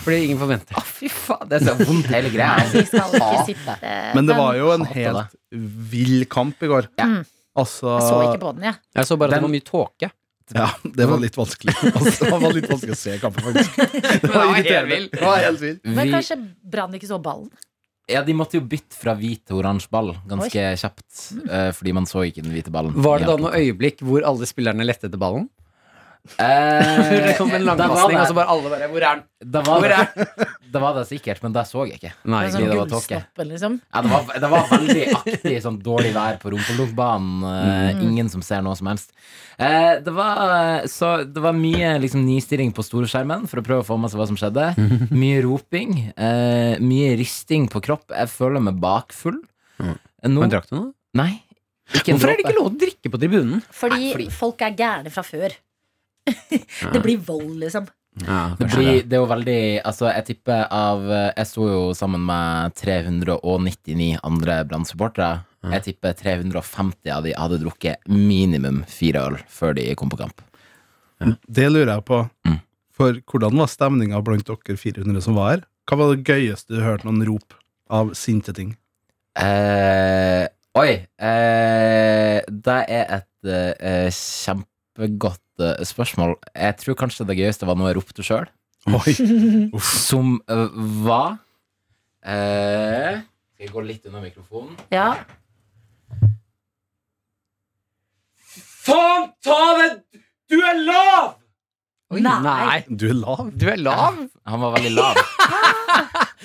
Speaker 3: Fordi ingen forventer.
Speaker 10: Fy faen,
Speaker 5: Det er så vondt hele greia.
Speaker 2: Nei, vi skal ikke
Speaker 5: Ja.
Speaker 2: sitte
Speaker 4: Men det var jo en
Speaker 5: Hater det.
Speaker 4: helt vill kamp i går.
Speaker 2: Mm.
Speaker 4: Altså
Speaker 2: Jeg så ikke på den, jeg.
Speaker 3: Jeg så bare at
Speaker 5: Den-
Speaker 3: det var mye tåke.
Speaker 4: Ja, det var litt vanskelig. (laughs) Altså, det var litt vanskelig å se kampen, faktisk. Det
Speaker 10: var helt vill.
Speaker 4: Det var helt vill.
Speaker 2: Men
Speaker 5: Vi,
Speaker 2: kanskje Brann ikke så ballen?
Speaker 5: ja, de måtte jo bytte fra hvit til oransje ball ganske kjapt. eh, fordi man så ikke den hvite ballen.
Speaker 3: Var det da noe øyeblikk hvor alle spillerne lette etter ballen? (laughs)
Speaker 5: Eh,
Speaker 3: Det kom en
Speaker 5: da var
Speaker 3: langpasning,
Speaker 5: det-
Speaker 3: og så bare alle bare Hvor er den?
Speaker 5: Da var det, da var det sikkert, men det så jeg ikke.
Speaker 3: Nei,
Speaker 2: Med
Speaker 5: fordi
Speaker 2: sånn
Speaker 5: det var
Speaker 2: gullsnoppen, liksom.
Speaker 5: Ja, det, var, det var veldig aktig sånn dårlig vær på Rumpeldunkbanen.
Speaker 2: Mm.
Speaker 5: Eh, ingen som ser noe som helst. Eh, det, var, så, det var mye liksom, nistirring på storskjermen for å prøve å få med seg hva som skjedde. Mye roping. Eh, mye risting på kropp. Jeg føler meg bakfull. Eh, nå-
Speaker 3: Men drakk du noe?
Speaker 5: Nei. Ikke en
Speaker 3: Mm. Hvorfor er det
Speaker 5: dråpe.
Speaker 3: ikke lov å drikke på tribunen?
Speaker 2: Fordi, folk er gærne fra før. (laughs) det blir vold, liksom.
Speaker 5: Det, blir,
Speaker 3: sånn?
Speaker 5: det er jo veldig Altså, jeg tipper av eh, Jeg sto jo sammen med 399 andre Brann-supportere.
Speaker 3: Mm.
Speaker 5: Jeg tipper 350 av de hadde drukket minimum fire øl før de kom på kamp.
Speaker 4: Det lurer jeg på.
Speaker 5: Mm.
Speaker 4: For hvordan var stemninga blant dere 400 som var her? Hva var det gøyeste du hørte noen rop av sinte ting?
Speaker 5: Eh, oi! Eh, det er et eh, kjempegodt eh, spørsmål. Jeg tror kanskje det gøyeste var noe jeg ropte sjøl, (laughs)
Speaker 4: Oi.
Speaker 5: som eh, var eh, Skal jeg gå litt unna mikrofonen?
Speaker 2: Ja.
Speaker 5: Faen ta det! Du er lav!
Speaker 2: Nei.
Speaker 4: Du er lav.
Speaker 3: Du er lav!
Speaker 5: Han var veldig (laughs) lav.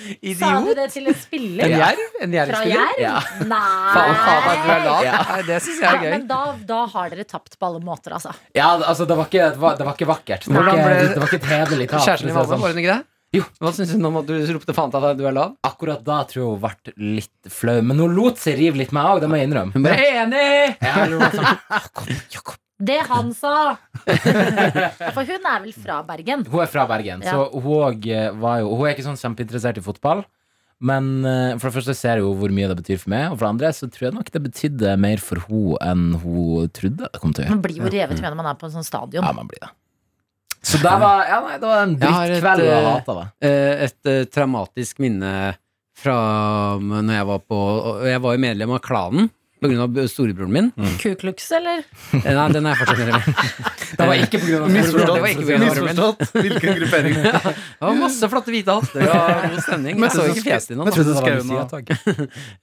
Speaker 2: Sa du
Speaker 3: Idiot!
Speaker 2: det til en spiller?
Speaker 3: En jerv? En
Speaker 2: Fra
Speaker 3: jervspiller?
Speaker 2: jerv?
Speaker 5: Ja.
Speaker 3: Faen, faen,
Speaker 2: Nei!
Speaker 3: at du er lav.
Speaker 5: Ja.
Speaker 3: Nei, det syns
Speaker 2: Ja,
Speaker 3: jeg er gøy.
Speaker 2: men da, da har dere tapt på alle måter, altså.
Speaker 5: ja, altså, det var ikke, det var, det var ikke vakkert. Det var
Speaker 3: Hvordan
Speaker 5: ikke,
Speaker 3: ble-
Speaker 5: det var ikke et hederlig tap. for å si
Speaker 3: Kjæresten
Speaker 5: det
Speaker 3: din Valma,
Speaker 5: sånn.
Speaker 3: var hun ikke det?
Speaker 5: Jo.
Speaker 3: Hva syns hun om at du ropte faen til deg du er lav?
Speaker 5: Akkurat da tror jeg hun ble litt flau. Men hun lot seg rive litt med òg, det må jeg innrømme.
Speaker 3: Hun bare enig!
Speaker 5: Ja, eller hun var sånn, Jakob, Jakob.
Speaker 2: Det han sa!
Speaker 3: (laughs)
Speaker 2: Ja, For hun er vel fra Bergen?
Speaker 5: Hun er fra Bergen,
Speaker 2: Ja.
Speaker 5: så hun, og, eh, var jo, hun er ikke sånn kjempeinteressert i fotball. Men eh, for det første ser jeg jo hvor mye det betyr for meg, og for det andre så tror jeg nok det betydde mer for hun enn hun trodde det kom til å gjøre.
Speaker 2: Man blir jo revet med når man er på en sånn stadion.
Speaker 5: Ja, man blir det. Så det var, ja, nei, det var en
Speaker 3: Jeg har et,
Speaker 5: drittkveld, og jeg
Speaker 3: eh,
Speaker 5: hata det.
Speaker 3: Eh, et eh, traumatisk minne fra eh, når jeg var på og Jeg var jo medlem av klanen pga. storebroren min.
Speaker 2: Ku Klux, eller?
Speaker 3: Eh, Nei, den er jeg fortsatt (laughs) medlem i.
Speaker 5: Det var ikke på grunn av
Speaker 3: Misforstått. Det var ikke på grunn av armen.
Speaker 4: Misforstått. Hvilken gruppering?
Speaker 3: Det var masse flotte hvite hatter og god stemning. Jeg så ikke fjeset ditt.
Speaker 4: Møttes i
Speaker 3: altså.
Speaker 4: skauen og-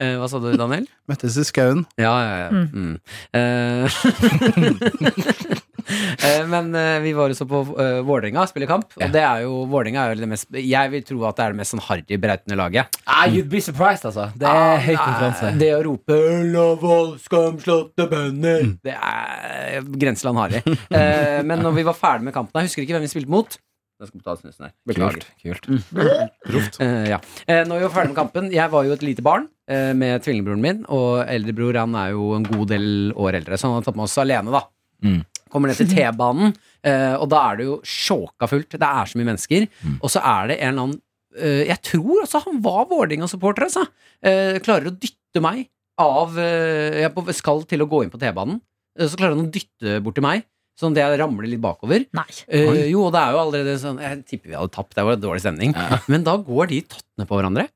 Speaker 3: (laughs) Eh, Hva sa du, Daniel?
Speaker 4: (laughs) Møttes i skauen.
Speaker 3: Ja, ja, ja. Mm. Eh, (laughs) eh, men eh, vi var også på uh, Vålerenga spille kamp, og det er jo Vålerenga er jo det mest Jeg vil tro at det er det mest sånn harry brautende laget. Ah,
Speaker 5: Ah, you'd be surprised, altså. Det er høy konkurranse.
Speaker 3: Det å rope 'Lavoll, skamslåtte bønder'
Speaker 5: Mm.
Speaker 3: Det er grenseland harry. Eh, men når vi var ferdig med kampen Jeg husker ikke hvem vi spilte mot. Jeg skal ta snusen her. Beklager.
Speaker 5: Kult. kult. (laughs)
Speaker 3: Eh, ja. Eh, når vi var ferdig med kampen Jeg var jo et lite barn eh, med tvillingbroren min, og eldrebror han er jo en god del år eldre, så han har tatt med oss alene, da.
Speaker 5: Mm.
Speaker 3: Kommer ned til T-banen, eh, og da er det jo sjåka fullt. Det er så mye mennesker.
Speaker 5: Mm.
Speaker 3: Og så er det en eller annen eh, Jeg tror altså han var Vålerenga-supporter, altså. Eh, klarer å dytte meg av eh, Jeg er på- skal til å gå inn på T-banen, eh, så klarer han å dytte bort til meg, sånn at jeg ramler litt bakover.
Speaker 2: Nei.
Speaker 3: Eh, jo, og det er jo allerede sånn Jeg tipper vi hadde tapt, det var dårlig stemning.
Speaker 5: Ja.
Speaker 3: Men da går de tottene på hverandre.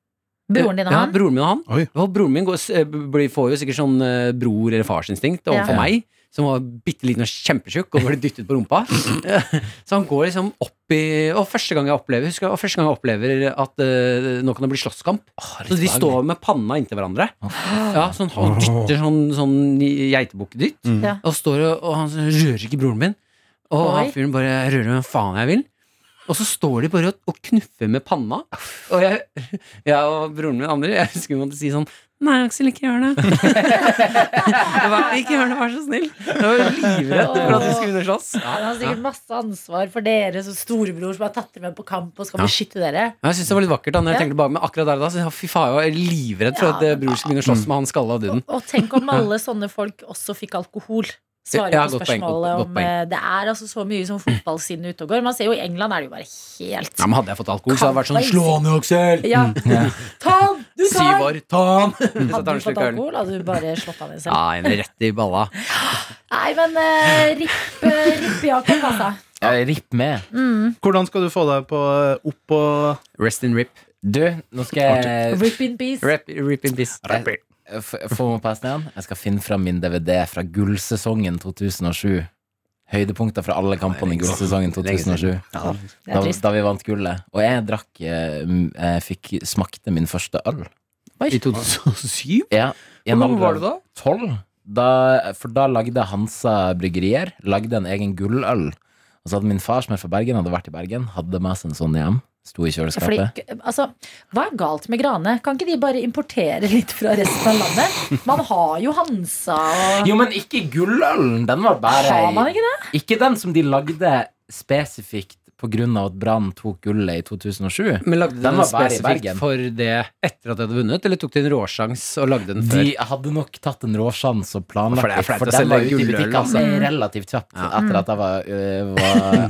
Speaker 2: Broren din og
Speaker 3: ja,
Speaker 2: han?
Speaker 3: Broren min og han.
Speaker 4: Oi.
Speaker 3: Og broren min går, s- eh, blir, får jo sikkert sånn eh, bror- eller farsinstinkt overfor
Speaker 5: Ja.
Speaker 3: meg, som var bitte liten og kjempetjukk og ble dyttet på rumpa. (laughs) Så han går liksom opp i Og første gang jeg opplever Husker jeg, og første gang jeg opplever at eh, nå kan det bli slåsskamp. Så de står med panna inntil hverandre. Ja, sånn, han dytter sånn, sånn geitebukkedytt.
Speaker 4: Mm.
Speaker 2: Ja.
Speaker 3: Og, står og, og han sånn, rører ikke broren min. Og
Speaker 2: Oi.
Speaker 3: han fyren bare jeg rører hvem faen jeg vil. Og så står de bare og, og knuffer med panna. Og jeg, jeg og broren min og andre Jeg husker vi måtte si sånn Nei, Aksel, ikke gjør det. (laughs) Det var- ikke gjør det, vær så snill. Jeg var livredd for at vi skulle begynne å slåss.
Speaker 2: Han har sikkert masse ansvar for dere som storebror som har tatt dere med på kamp og skal
Speaker 3: Ja.
Speaker 2: beskytte dere.
Speaker 3: Ja, Jeg synes det var litt vakkert da Når jeg
Speaker 2: Ja.
Speaker 3: tenker tilbake Men akkurat der og da så, Fy faen, jeg var livredd for
Speaker 2: Ja,
Speaker 3: at eh, bror skulle begynne å slåss med han skalla og duden.
Speaker 2: Og, og tenk om alle sånne folk også fikk alkohol. Svarer
Speaker 3: Ja,
Speaker 2: på
Speaker 3: godt
Speaker 2: spørsmålet
Speaker 3: poeng, godt- godt
Speaker 2: om
Speaker 3: poeng.
Speaker 2: eh, Det er altså så mye som fotballsinne ute og går. Man ser jo i England er det jo bare helt
Speaker 3: Ja, men Hadde jeg fått alkohol, så hadde det vært sånn
Speaker 2: Kampen-
Speaker 3: Slå han i Aksel! Mm.
Speaker 2: Ja. (laughs) Ta han! Du tar
Speaker 3: Syv
Speaker 2: han!
Speaker 3: år, ta han! (laughs) Så tar
Speaker 2: Hadde
Speaker 3: han
Speaker 2: du
Speaker 3: en slurk
Speaker 2: fått
Speaker 3: øl.
Speaker 2: alkohol, hadde du bare slått av deg selv.
Speaker 3: Ja, en rett i balla.
Speaker 2: Nei, men eh, ripp, eh, ripp Jakob, altså.
Speaker 5: Ripp med.
Speaker 2: Mm.
Speaker 4: Hvordan skal du få deg på opp og
Speaker 3: Rest in rip.
Speaker 5: Du, nå skal jeg
Speaker 2: Rip in peace.
Speaker 3: Rip, rip in peace.
Speaker 5: F- få meg på igjen. Jeg skal finne fram min DVD fra gullsesongen 2007. Høydepunkter fra alle kampene i gullsesongen 2007.
Speaker 3: Ja.
Speaker 2: Det
Speaker 5: Da,
Speaker 2: er trist.
Speaker 5: da vi vant gullet. Og jeg drakk eh, m- Jeg fikk smakte min første øl.
Speaker 3: I 2007?
Speaker 5: Ja, i en
Speaker 3: Hvor gammel
Speaker 5: alder
Speaker 3: var
Speaker 5: av
Speaker 3: du da?
Speaker 5: 12. Da, for da lagde Hansa Bryggerier Lagde en egen gulløl. Og så hadde min far, som er fra Bergen, hadde vært i Bergen, hadde med seg en sånn hjem. Sto i
Speaker 2: Fordi,
Speaker 5: kjøleskapet.
Speaker 2: altså, hva er galt med Grane? Kan ikke de bare importere litt fra resten av landet? Man har jo Hansa og
Speaker 5: Jo, men ikke gullølen! Den var bare
Speaker 2: Har man ikke det?
Speaker 5: Ikke den som de lagde spesifikt på grunn av at Brann tok gullet i 2007.
Speaker 3: Men lagde du
Speaker 5: Den
Speaker 3: den,
Speaker 5: var bare i
Speaker 3: spesifikt
Speaker 5: Bergen.
Speaker 3: for det etter at jeg hadde vunnet, eller tok de en råsjans og lagde den før?
Speaker 5: De hadde nok tatt en råsjans og planlagt
Speaker 3: For det er flaut å
Speaker 5: den
Speaker 3: selge
Speaker 5: var ute i
Speaker 3: gulløl,
Speaker 5: butikkene
Speaker 3: altså.
Speaker 5: relativt kjapt etter at jeg var, øh,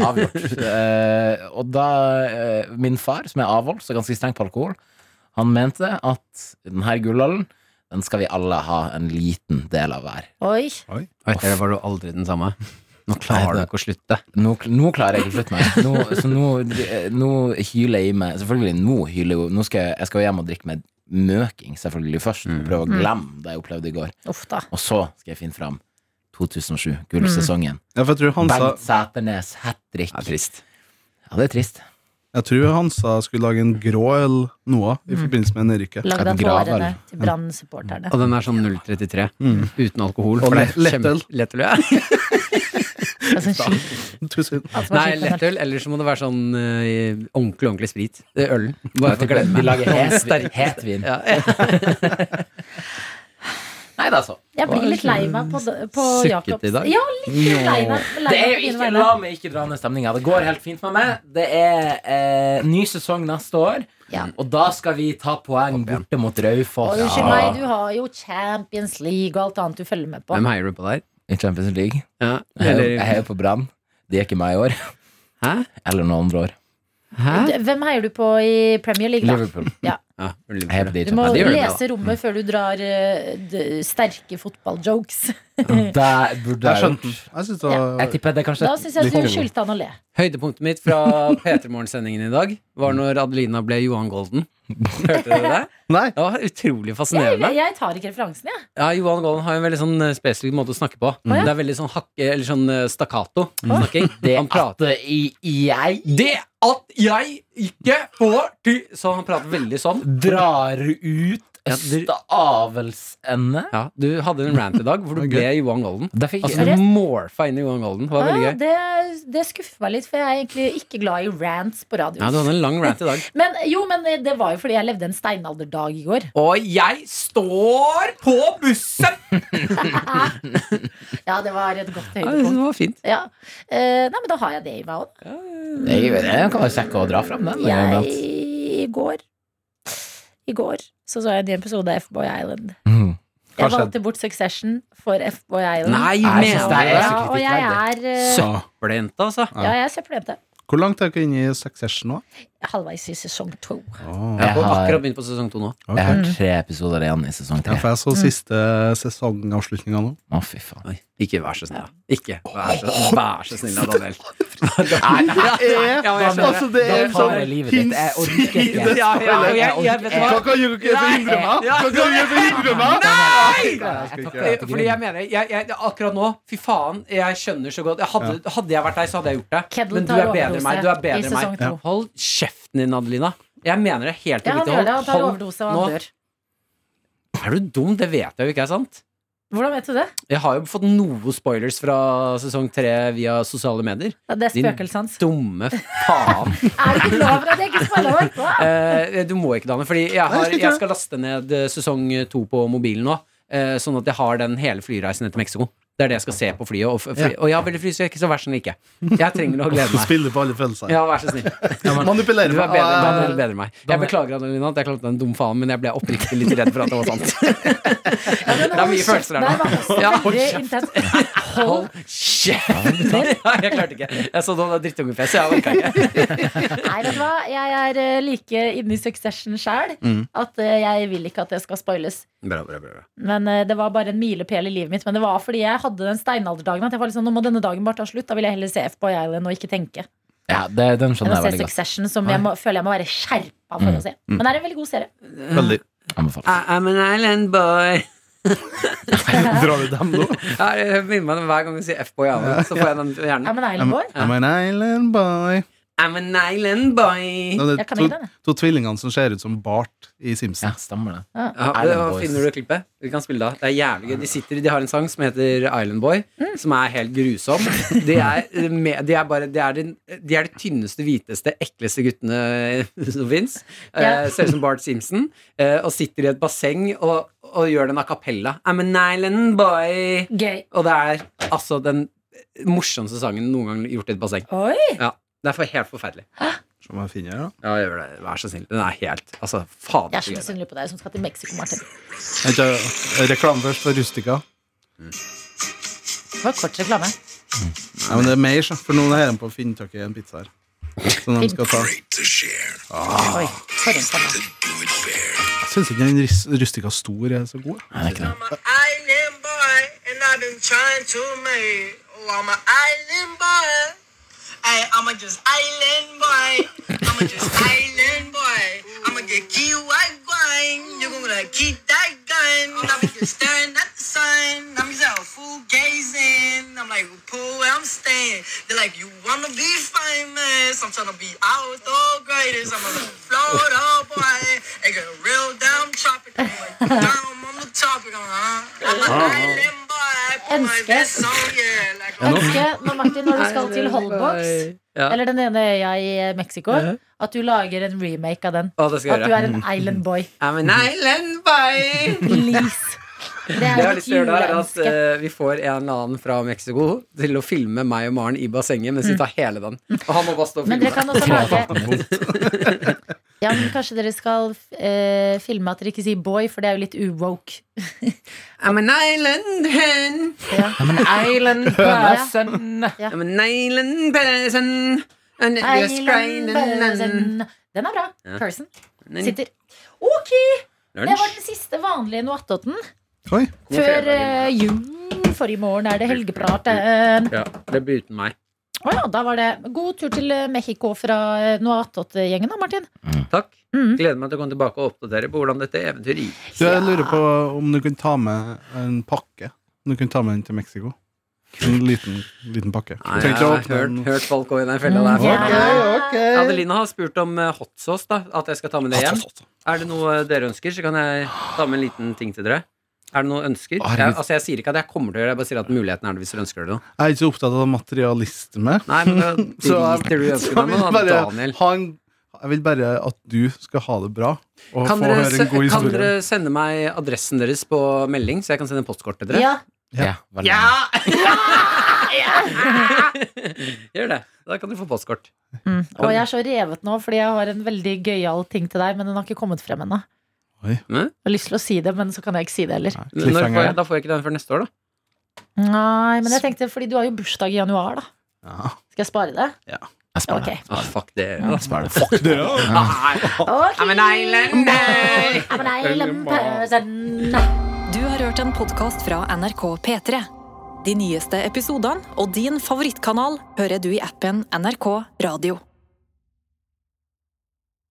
Speaker 5: var
Speaker 3: (laughs)
Speaker 5: avgjort. Eh, og da eh, Min far, som er avholds og ganske streng på alkohol, han mente at denne gullølen den skal vi alle ha en liten del av hver.
Speaker 2: Oi.
Speaker 3: Oi, der var du aldri den samme. Nå
Speaker 5: Nei,
Speaker 3: klarer du
Speaker 5: det-
Speaker 3: ikke å slutte.
Speaker 5: Nå, nå klarer jeg ikke å flytte meg. Nå, så nå, nå hyler jeg i meg Selvfølgelig, nå hyler jeg jo Nå skal jeg, jeg skal jo hjem og drikke meg møking selvfølgelig først.
Speaker 3: Mm.
Speaker 5: og Prøve å glemme det jeg opplevde i går.
Speaker 2: Uff da.
Speaker 5: Og så skal jeg finne fram 2007, gullsesongen.
Speaker 4: Ja, for jeg tror Hansa
Speaker 5: Bengt Sæternes hat trick.
Speaker 3: Det er trist.
Speaker 5: Ja, det er trist.
Speaker 4: Jeg tror Hansa skulle lage en grå øl nå, i forbindelse med nedrykket.
Speaker 2: Lagd av
Speaker 5: Et gravar.
Speaker 2: tårene til Brann-supporterne.
Speaker 3: Og den er sånn 0,33. Uten alkohol.
Speaker 4: Og
Speaker 3: for det er
Speaker 4: lett- lettøl.
Speaker 3: kjempe- Lettøl, ja.
Speaker 2: Altså, skitt-
Speaker 4: Tusen.
Speaker 2: altså,
Speaker 3: Nei,
Speaker 2: skitt-
Speaker 3: lettøl. Eller så må det være sånn eh, ordentlig, ordentlig sprit. Det er Ølen. Bare for å glemme.
Speaker 5: (laughs) De lager het- hetvin.
Speaker 3: Ja.
Speaker 5: (laughs) Nei da, så.
Speaker 2: Jeg blir litt lei meg på, på
Speaker 3: Sukket
Speaker 2: Jakobs
Speaker 3: i dag?
Speaker 2: Ja, litt lei meg. Lei
Speaker 5: Det er
Speaker 2: meg på
Speaker 5: jo
Speaker 2: dine
Speaker 5: ikke,
Speaker 2: vegne.
Speaker 5: la meg ikke dra ned stemninga. Det går helt fint med meg. Det er eh, ny sesong neste år,
Speaker 2: Ja.
Speaker 5: og da skal vi ta poeng borte mot Raufoss.
Speaker 2: Og Unnskyld meg, du har jo Champions League og alt annet du følger med på.
Speaker 3: Hvem heier du på der?
Speaker 5: I Champions League.
Speaker 3: Ja.
Speaker 5: Jeg er jo- jeg
Speaker 3: Eller
Speaker 5: er jo på Brann. Det er ikke meg i år. (laughs)
Speaker 3: Hæ?
Speaker 5: Eller noen andre år.
Speaker 3: Hæ?
Speaker 2: Du, Hvem heier du på i Premier League, da?
Speaker 5: Liverpool.
Speaker 3: Ja,
Speaker 5: Jeg er på
Speaker 3: Liverpool.
Speaker 5: de
Speaker 2: Du må
Speaker 5: Champions League.
Speaker 3: det gjør du bra.
Speaker 2: lese rommet før du drar eh, d- sterke fotballjokes.
Speaker 5: Der burde
Speaker 4: Jeg
Speaker 5: jeg gjort.
Speaker 4: skjønte den. Jeg synes det var
Speaker 5: Jeg tipper det er
Speaker 2: (laughs)
Speaker 5: kanskje
Speaker 2: Da syns jeg
Speaker 5: litt
Speaker 2: du
Speaker 5: over.
Speaker 2: skyldte han å le.
Speaker 3: Høydepunktet mitt fra P3morgen-sendingen i dag var når Adelina ble Johan Golden. Hørte dere det?
Speaker 4: Nei.
Speaker 3: Det var utrolig
Speaker 2: Jeg,
Speaker 3: fascinerende.
Speaker 2: jeg tar ikke referansen, jeg.
Speaker 3: Ja, Johan Golden har jo en veldig sånn eh, spesifikk måte å snakke på.
Speaker 2: ja.
Speaker 3: Det er veldig sånn hakke, eller sånn eh, stakkato snakking. Han prater
Speaker 5: At i- jeg
Speaker 3: Det at jeg ikke får til Så han prater veldig sånn.
Speaker 5: drar ut
Speaker 3: Ja, du-
Speaker 5: østavelsende.
Speaker 3: Ja, Du hadde en rant i dag hvor du ble Johan Golden.
Speaker 5: Da fikk
Speaker 3: Altså,
Speaker 5: jeg
Speaker 3: du morfa inn i Johan Golden. Det var
Speaker 2: Ah, ja,
Speaker 3: veldig gøy.
Speaker 2: det, det skuffer meg litt, for jeg er egentlig ikke glad i rants på radio.
Speaker 3: Ja, Du hadde en lang rant i dag.
Speaker 2: Men jo, men eh, det var jo fordi jeg levde en steinalderdag i går.
Speaker 3: Og jeg står på bussen!
Speaker 2: Ja, det var et godt
Speaker 3: Ja, det
Speaker 2: høydepunkt.
Speaker 3: var fint.
Speaker 2: Ja. Eh, nei, men da har jeg det i meg òg.
Speaker 5: Jeg, jeg kan være kjekk å dra fram den.
Speaker 2: Jeg I går I går så, så jeg en ny episode av F-Boy Island.
Speaker 5: Mhm.
Speaker 4: Hva
Speaker 2: Jeg
Speaker 4: skjedde?
Speaker 2: valgte bort Succession for F-Boy Island.
Speaker 3: Nei,
Speaker 5: Jeg
Speaker 3: mener
Speaker 5: synes det er
Speaker 3: du
Speaker 2: ja, og jeg er eh,
Speaker 3: Søppeljente, altså.
Speaker 2: Ja, jeg er søppeljente.
Speaker 4: Hvor langt er dere inne i Succession nå?
Speaker 2: Halvveis i sesong to.
Speaker 4: Oh.
Speaker 5: Jeg
Speaker 3: Jeg har
Speaker 5: har,
Speaker 3: akkurat begynt på sesong to nå.
Speaker 5: jeg har tre episoder igjen i sesong
Speaker 4: Ja,
Speaker 5: tre.
Speaker 4: for jeg
Speaker 3: Mm.
Speaker 4: så siste sesongavslutninga nå.
Speaker 5: Å, fy faen.
Speaker 3: Oi, ikke vær så snill. Ikke vær så, vær så snill, da, (laughs) Daniel.
Speaker 5: jeg skjønner.
Speaker 4: Altså, det
Speaker 5: Da
Speaker 4: er
Speaker 5: tar
Speaker 4: sånn
Speaker 5: jeg livet ditt. Jeg orker ikke.
Speaker 4: hinsides
Speaker 5: Ja, ja, ja, jeg- jeg vet hva.
Speaker 4: Hva kan dere ikke forhindre meg? Hva kan dere forhindre meg?
Speaker 5: Jeg
Speaker 4: Nei!
Speaker 5: takler-
Speaker 3: Fordi jeg mener, jeg, jeg, akkurat nå, fy faen, jeg skjønner så godt jeg hadde, hadde jeg vært deg, så hadde jeg gjort det.
Speaker 2: Kedden
Speaker 3: Men du
Speaker 2: tar
Speaker 3: er bedre
Speaker 2: overdose
Speaker 3: enn meg. Du er
Speaker 2: i
Speaker 3: bedre enn
Speaker 2: sesong
Speaker 3: meg.
Speaker 2: to.
Speaker 3: Hold kjeften din, Adelina. Jeg mener det helt
Speaker 2: Ja, han
Speaker 3: oppriktig.
Speaker 2: gjør det. Han tar
Speaker 3: Hold-
Speaker 2: overdose, og han
Speaker 3: nå.
Speaker 2: dør.
Speaker 3: Er du dum? Det vet jeg jo ikke er sant.
Speaker 2: Hvordan vet du det?
Speaker 3: Jeg har jo fått noe spoilers fra sesong tre via sosiale medier.
Speaker 2: Ja, Det er
Speaker 3: Din-
Speaker 2: spøkelsens.
Speaker 3: Dumme faen.
Speaker 2: (laughs) Er det ikke lov for at jeg ikke spiller over? Hva?
Speaker 3: Eh, du må ikke, Danne. Fordi jeg, har, jeg skal laste ned eh, sesong to på mobilen nå. eh, sånn at jeg har den hele flyreisen ned til Mexico. Det er det jeg skal se på flyet. Og, f- fly, og jeg har veldig flyskrekk, så vær så snill ikke. Jeg trenger å glede
Speaker 4: Du
Speaker 3: meg.
Speaker 4: spiller på alle følelser.
Speaker 3: Ja, vær så snill.
Speaker 4: Manipulerer
Speaker 3: Du er
Speaker 4: meg.
Speaker 3: bedre,
Speaker 4: Ah,
Speaker 3: Daniel, bedre enn meg. Jeg beklager Adelina, at jeg kalte deg en dum faen, men jeg ble oppriktig litt redd for at det var sant.
Speaker 2: Ja, men
Speaker 3: (laughs) Det er
Speaker 2: hold
Speaker 3: mye følelser her
Speaker 2: kjeft. Nei,
Speaker 3: nå.
Speaker 2: det var også
Speaker 3: Ja, hold
Speaker 2: veldig intenst. Hold
Speaker 3: Kjeft! (laughs) Ja, jeg klarte ikke. Jeg så det var drittungefjes. Jeg orka ikke.
Speaker 2: Nei, vet du hva? Jeg er eh, like inne i Succession sjæl at eh, jeg vil ikke at det skal spoiles.
Speaker 3: Mm. Bra, bra, bra.
Speaker 2: Men eh, Det var bare en milepæl i livet mitt. Men det var fordi jeg hadde den steinalderdagen. At jeg var litt sånn, nå må denne dagen bare ta slutt. Da vil jeg heller se FBI Island og ikke tenke.
Speaker 5: Ja, det, den
Speaker 2: Enn
Speaker 5: skjønner
Speaker 2: å
Speaker 5: jeg
Speaker 2: se
Speaker 5: veldig godt.
Speaker 2: Succession, som jeg må, føler jeg må være skjerpa for
Speaker 5: Mm,
Speaker 2: å se. Men
Speaker 5: mm.
Speaker 2: det er en veldig god serie.
Speaker 3: (laughs)
Speaker 4: Veldig.
Speaker 3: (laughs) I, I'm an island boy.
Speaker 4: Drar du dem nå?
Speaker 3: (laughs) Ja, det minner meg om hver gang du sier F-boy, i alle, så får jeg den på hjernen.
Speaker 2: I'm an island
Speaker 4: I'm,
Speaker 2: boy.
Speaker 4: I'm an island boy.
Speaker 3: I'm an island boy.
Speaker 4: Nå, det
Speaker 2: Jeg
Speaker 4: er
Speaker 2: kan
Speaker 4: to,
Speaker 2: ikke den. jeg.
Speaker 4: to tvillingene som ser ut som Bart i
Speaker 5: Ja,
Speaker 4: Simpsons.
Speaker 5: stemmer det.
Speaker 3: Ja,
Speaker 5: Island
Speaker 3: og
Speaker 5: Boys.
Speaker 3: finner du klippet? Vi kan spille det av. Det er jævlig gøy. De, sitter, de har en sang som heter Island Boy, som er helt grusom. De er, eh, med, de er, bare, de er, den, de er de tynneste, hviteste, ekleste guttene (laughs) som fins.
Speaker 2: Ja.
Speaker 3: ser ut som Bart Simpson. eh, og sitter i et basseng og, og gjør den a cappella. I'm an island boy.
Speaker 2: Gøy.
Speaker 3: Og det er altså den morsomste sangen noen gang gjort i et basseng.
Speaker 2: Oi!
Speaker 3: Ja, Det er for, helt forferdelig.
Speaker 4: Som jeg finner her, da.
Speaker 3: Ja, gjør det. Vær så snill. Den er helt Altså, fader.
Speaker 2: Jeg er så
Speaker 3: så gøy det er.
Speaker 2: misunnelig på deg som skal til Mexico, Martin.
Speaker 4: Vent, jeg- Reklame først for Rustica.
Speaker 2: Det var kort reklame.
Speaker 4: Nei, men det er mer, så, for noen har dem på å finne tak i en pizza her. Som de skal ta.
Speaker 2: Oi, for en stemme.
Speaker 4: Syns ikke den ris- Rustica stor er så god.
Speaker 5: Nei, det er ikke det.
Speaker 9: I'm an island boy, and I've been trying to make. Oh, I'm an island boy. Ay, I'm a just island boy. I'm a just island boy. I'm a get key white going. You're gonna keep that gun. I'm just staring at the sun. I'm just out full gazing. I'm like, pull where I'm staying. They're like, you wanna be famous? I'm trying to be out the greatest. I'm a little Florida boy. I got a real damn tropic. I'm like, down on the topic. Uh-huh. I'm an island boy. I put my
Speaker 2: Elsker.
Speaker 9: best on, yeah. Like,
Speaker 2: Jeg ønsker, når Martin, når du skal til Holbox,
Speaker 3: Ja.
Speaker 2: eller den ene øya i eh, Mexico,
Speaker 3: Ja.
Speaker 2: at du lager en remake av den.
Speaker 3: Å, det skal
Speaker 2: At
Speaker 3: jeg
Speaker 2: du
Speaker 3: gjøre.
Speaker 2: er en island boy.
Speaker 3: I'm an island boy.
Speaker 2: Please. Det
Speaker 3: Det jeg
Speaker 2: er
Speaker 3: har
Speaker 2: mitt
Speaker 3: lyst til å gjøre, det er at
Speaker 2: juleønske.
Speaker 3: eh, vi får en eller annen fra Mexico til å filme meg og Maren i bassenget mens vi tar hele den. Og han må bare stå og
Speaker 2: Mm. Men dere
Speaker 3: filme.
Speaker 2: kan også lage (laughs) Ja, men Kanskje dere skal eh, filme at dere ikke sier boy, for det er jo litt uwoke.
Speaker 3: I'm an island hen.
Speaker 2: Ja.
Speaker 5: I'm an island person.
Speaker 3: I'm an island person. And it was crying and- and-
Speaker 2: Person. Den er bra.
Speaker 3: Ja.
Speaker 2: Person.
Speaker 3: and-
Speaker 2: Sitter. Ok, det var
Speaker 3: Lunsj.
Speaker 2: den siste vanlige Noattoten
Speaker 4: Oi.
Speaker 3: God
Speaker 2: før
Speaker 3: fredag.
Speaker 2: eh, jul. Forrige morgen er det helgepraten.
Speaker 3: Ja, det blir uten meg.
Speaker 2: Å ja, da var det God tur til eh, Mexico fra eh, Noatot-gjengen, da, Martin.
Speaker 3: Takk.
Speaker 2: Mm.
Speaker 3: Gleder meg til å komme tilbake og oppdatere på hvordan dette eventyret gikk.
Speaker 4: Du, jeg lurer på om du kunne ta med en pakke. Om du kunne ta med den til Mexico. En liten, liten pakke.
Speaker 3: Nei,
Speaker 4: Trenger
Speaker 3: jeg
Speaker 4: ikke å
Speaker 3: har
Speaker 4: åpne
Speaker 3: hørt,
Speaker 4: den.
Speaker 3: hørt folk gå i den fella
Speaker 5: Mm.
Speaker 3: der.
Speaker 2: Ja.
Speaker 3: før.
Speaker 4: Ok, ok.
Speaker 3: Adelina har spurt om eh, hot sauce, da. At jeg skal ta med det hjem. Er det noe dere ønsker, så kan jeg ta med en liten ting til dere. Er det noe ønsker?
Speaker 4: Herregud.
Speaker 3: Jeg, altså, jeg sier ikke at jeg kommer til å gjøre det, jeg bare sier at muligheten er det hvis dere ønsker det. Noe.
Speaker 4: Jeg er ikke så opptatt av materialisme.
Speaker 3: Nei, men da
Speaker 4: (laughs) Så jeg,
Speaker 3: driter du i
Speaker 4: så jeg
Speaker 3: ønskene
Speaker 4: vil
Speaker 3: dine,
Speaker 4: bare
Speaker 3: da, Daniel.
Speaker 4: ha en jeg vil bare at du skal ha det bra, og
Speaker 3: Kan
Speaker 4: få
Speaker 3: dere,
Speaker 4: høre en god
Speaker 3: se- kan
Speaker 4: historie.
Speaker 3: dere sende meg adressen deres på melding, så jeg kan sende postkort til dere?
Speaker 2: Ja,
Speaker 5: Ja, veldig.
Speaker 3: Gjør det. Da kan dere få postkort.
Speaker 2: Mm. Og jeg er så revet nå, fordi jeg har en veldig gøyal ting til deg, men den har ikke kommet frem ennå.
Speaker 4: Oi.
Speaker 3: Hæ?
Speaker 2: Jeg har lyst til å si det, men så kan jeg ikke si det heller.
Speaker 4: Nei,
Speaker 3: Når får jeg,
Speaker 4: Cliffhanger.
Speaker 3: da får jeg ikke den før neste år, da.
Speaker 2: Nei, men jeg tenkte, fordi du har jo bursdag i januar, da.
Speaker 4: Ja.
Speaker 2: Skal jeg spare det?
Speaker 5: Jeg sparer
Speaker 2: Ok.
Speaker 5: det.
Speaker 3: Ah, fuck det.
Speaker 5: Jeg sparer det. Fuck
Speaker 4: Det, ja.
Speaker 3: Nei.
Speaker 2: Ok.
Speaker 3: I'm an island boy.
Speaker 2: I'm an island person.
Speaker 1: Du har hørt en podkast fra NRK P3. De nyeste episodene og din favorittkanal hører du i appen NRK Radio.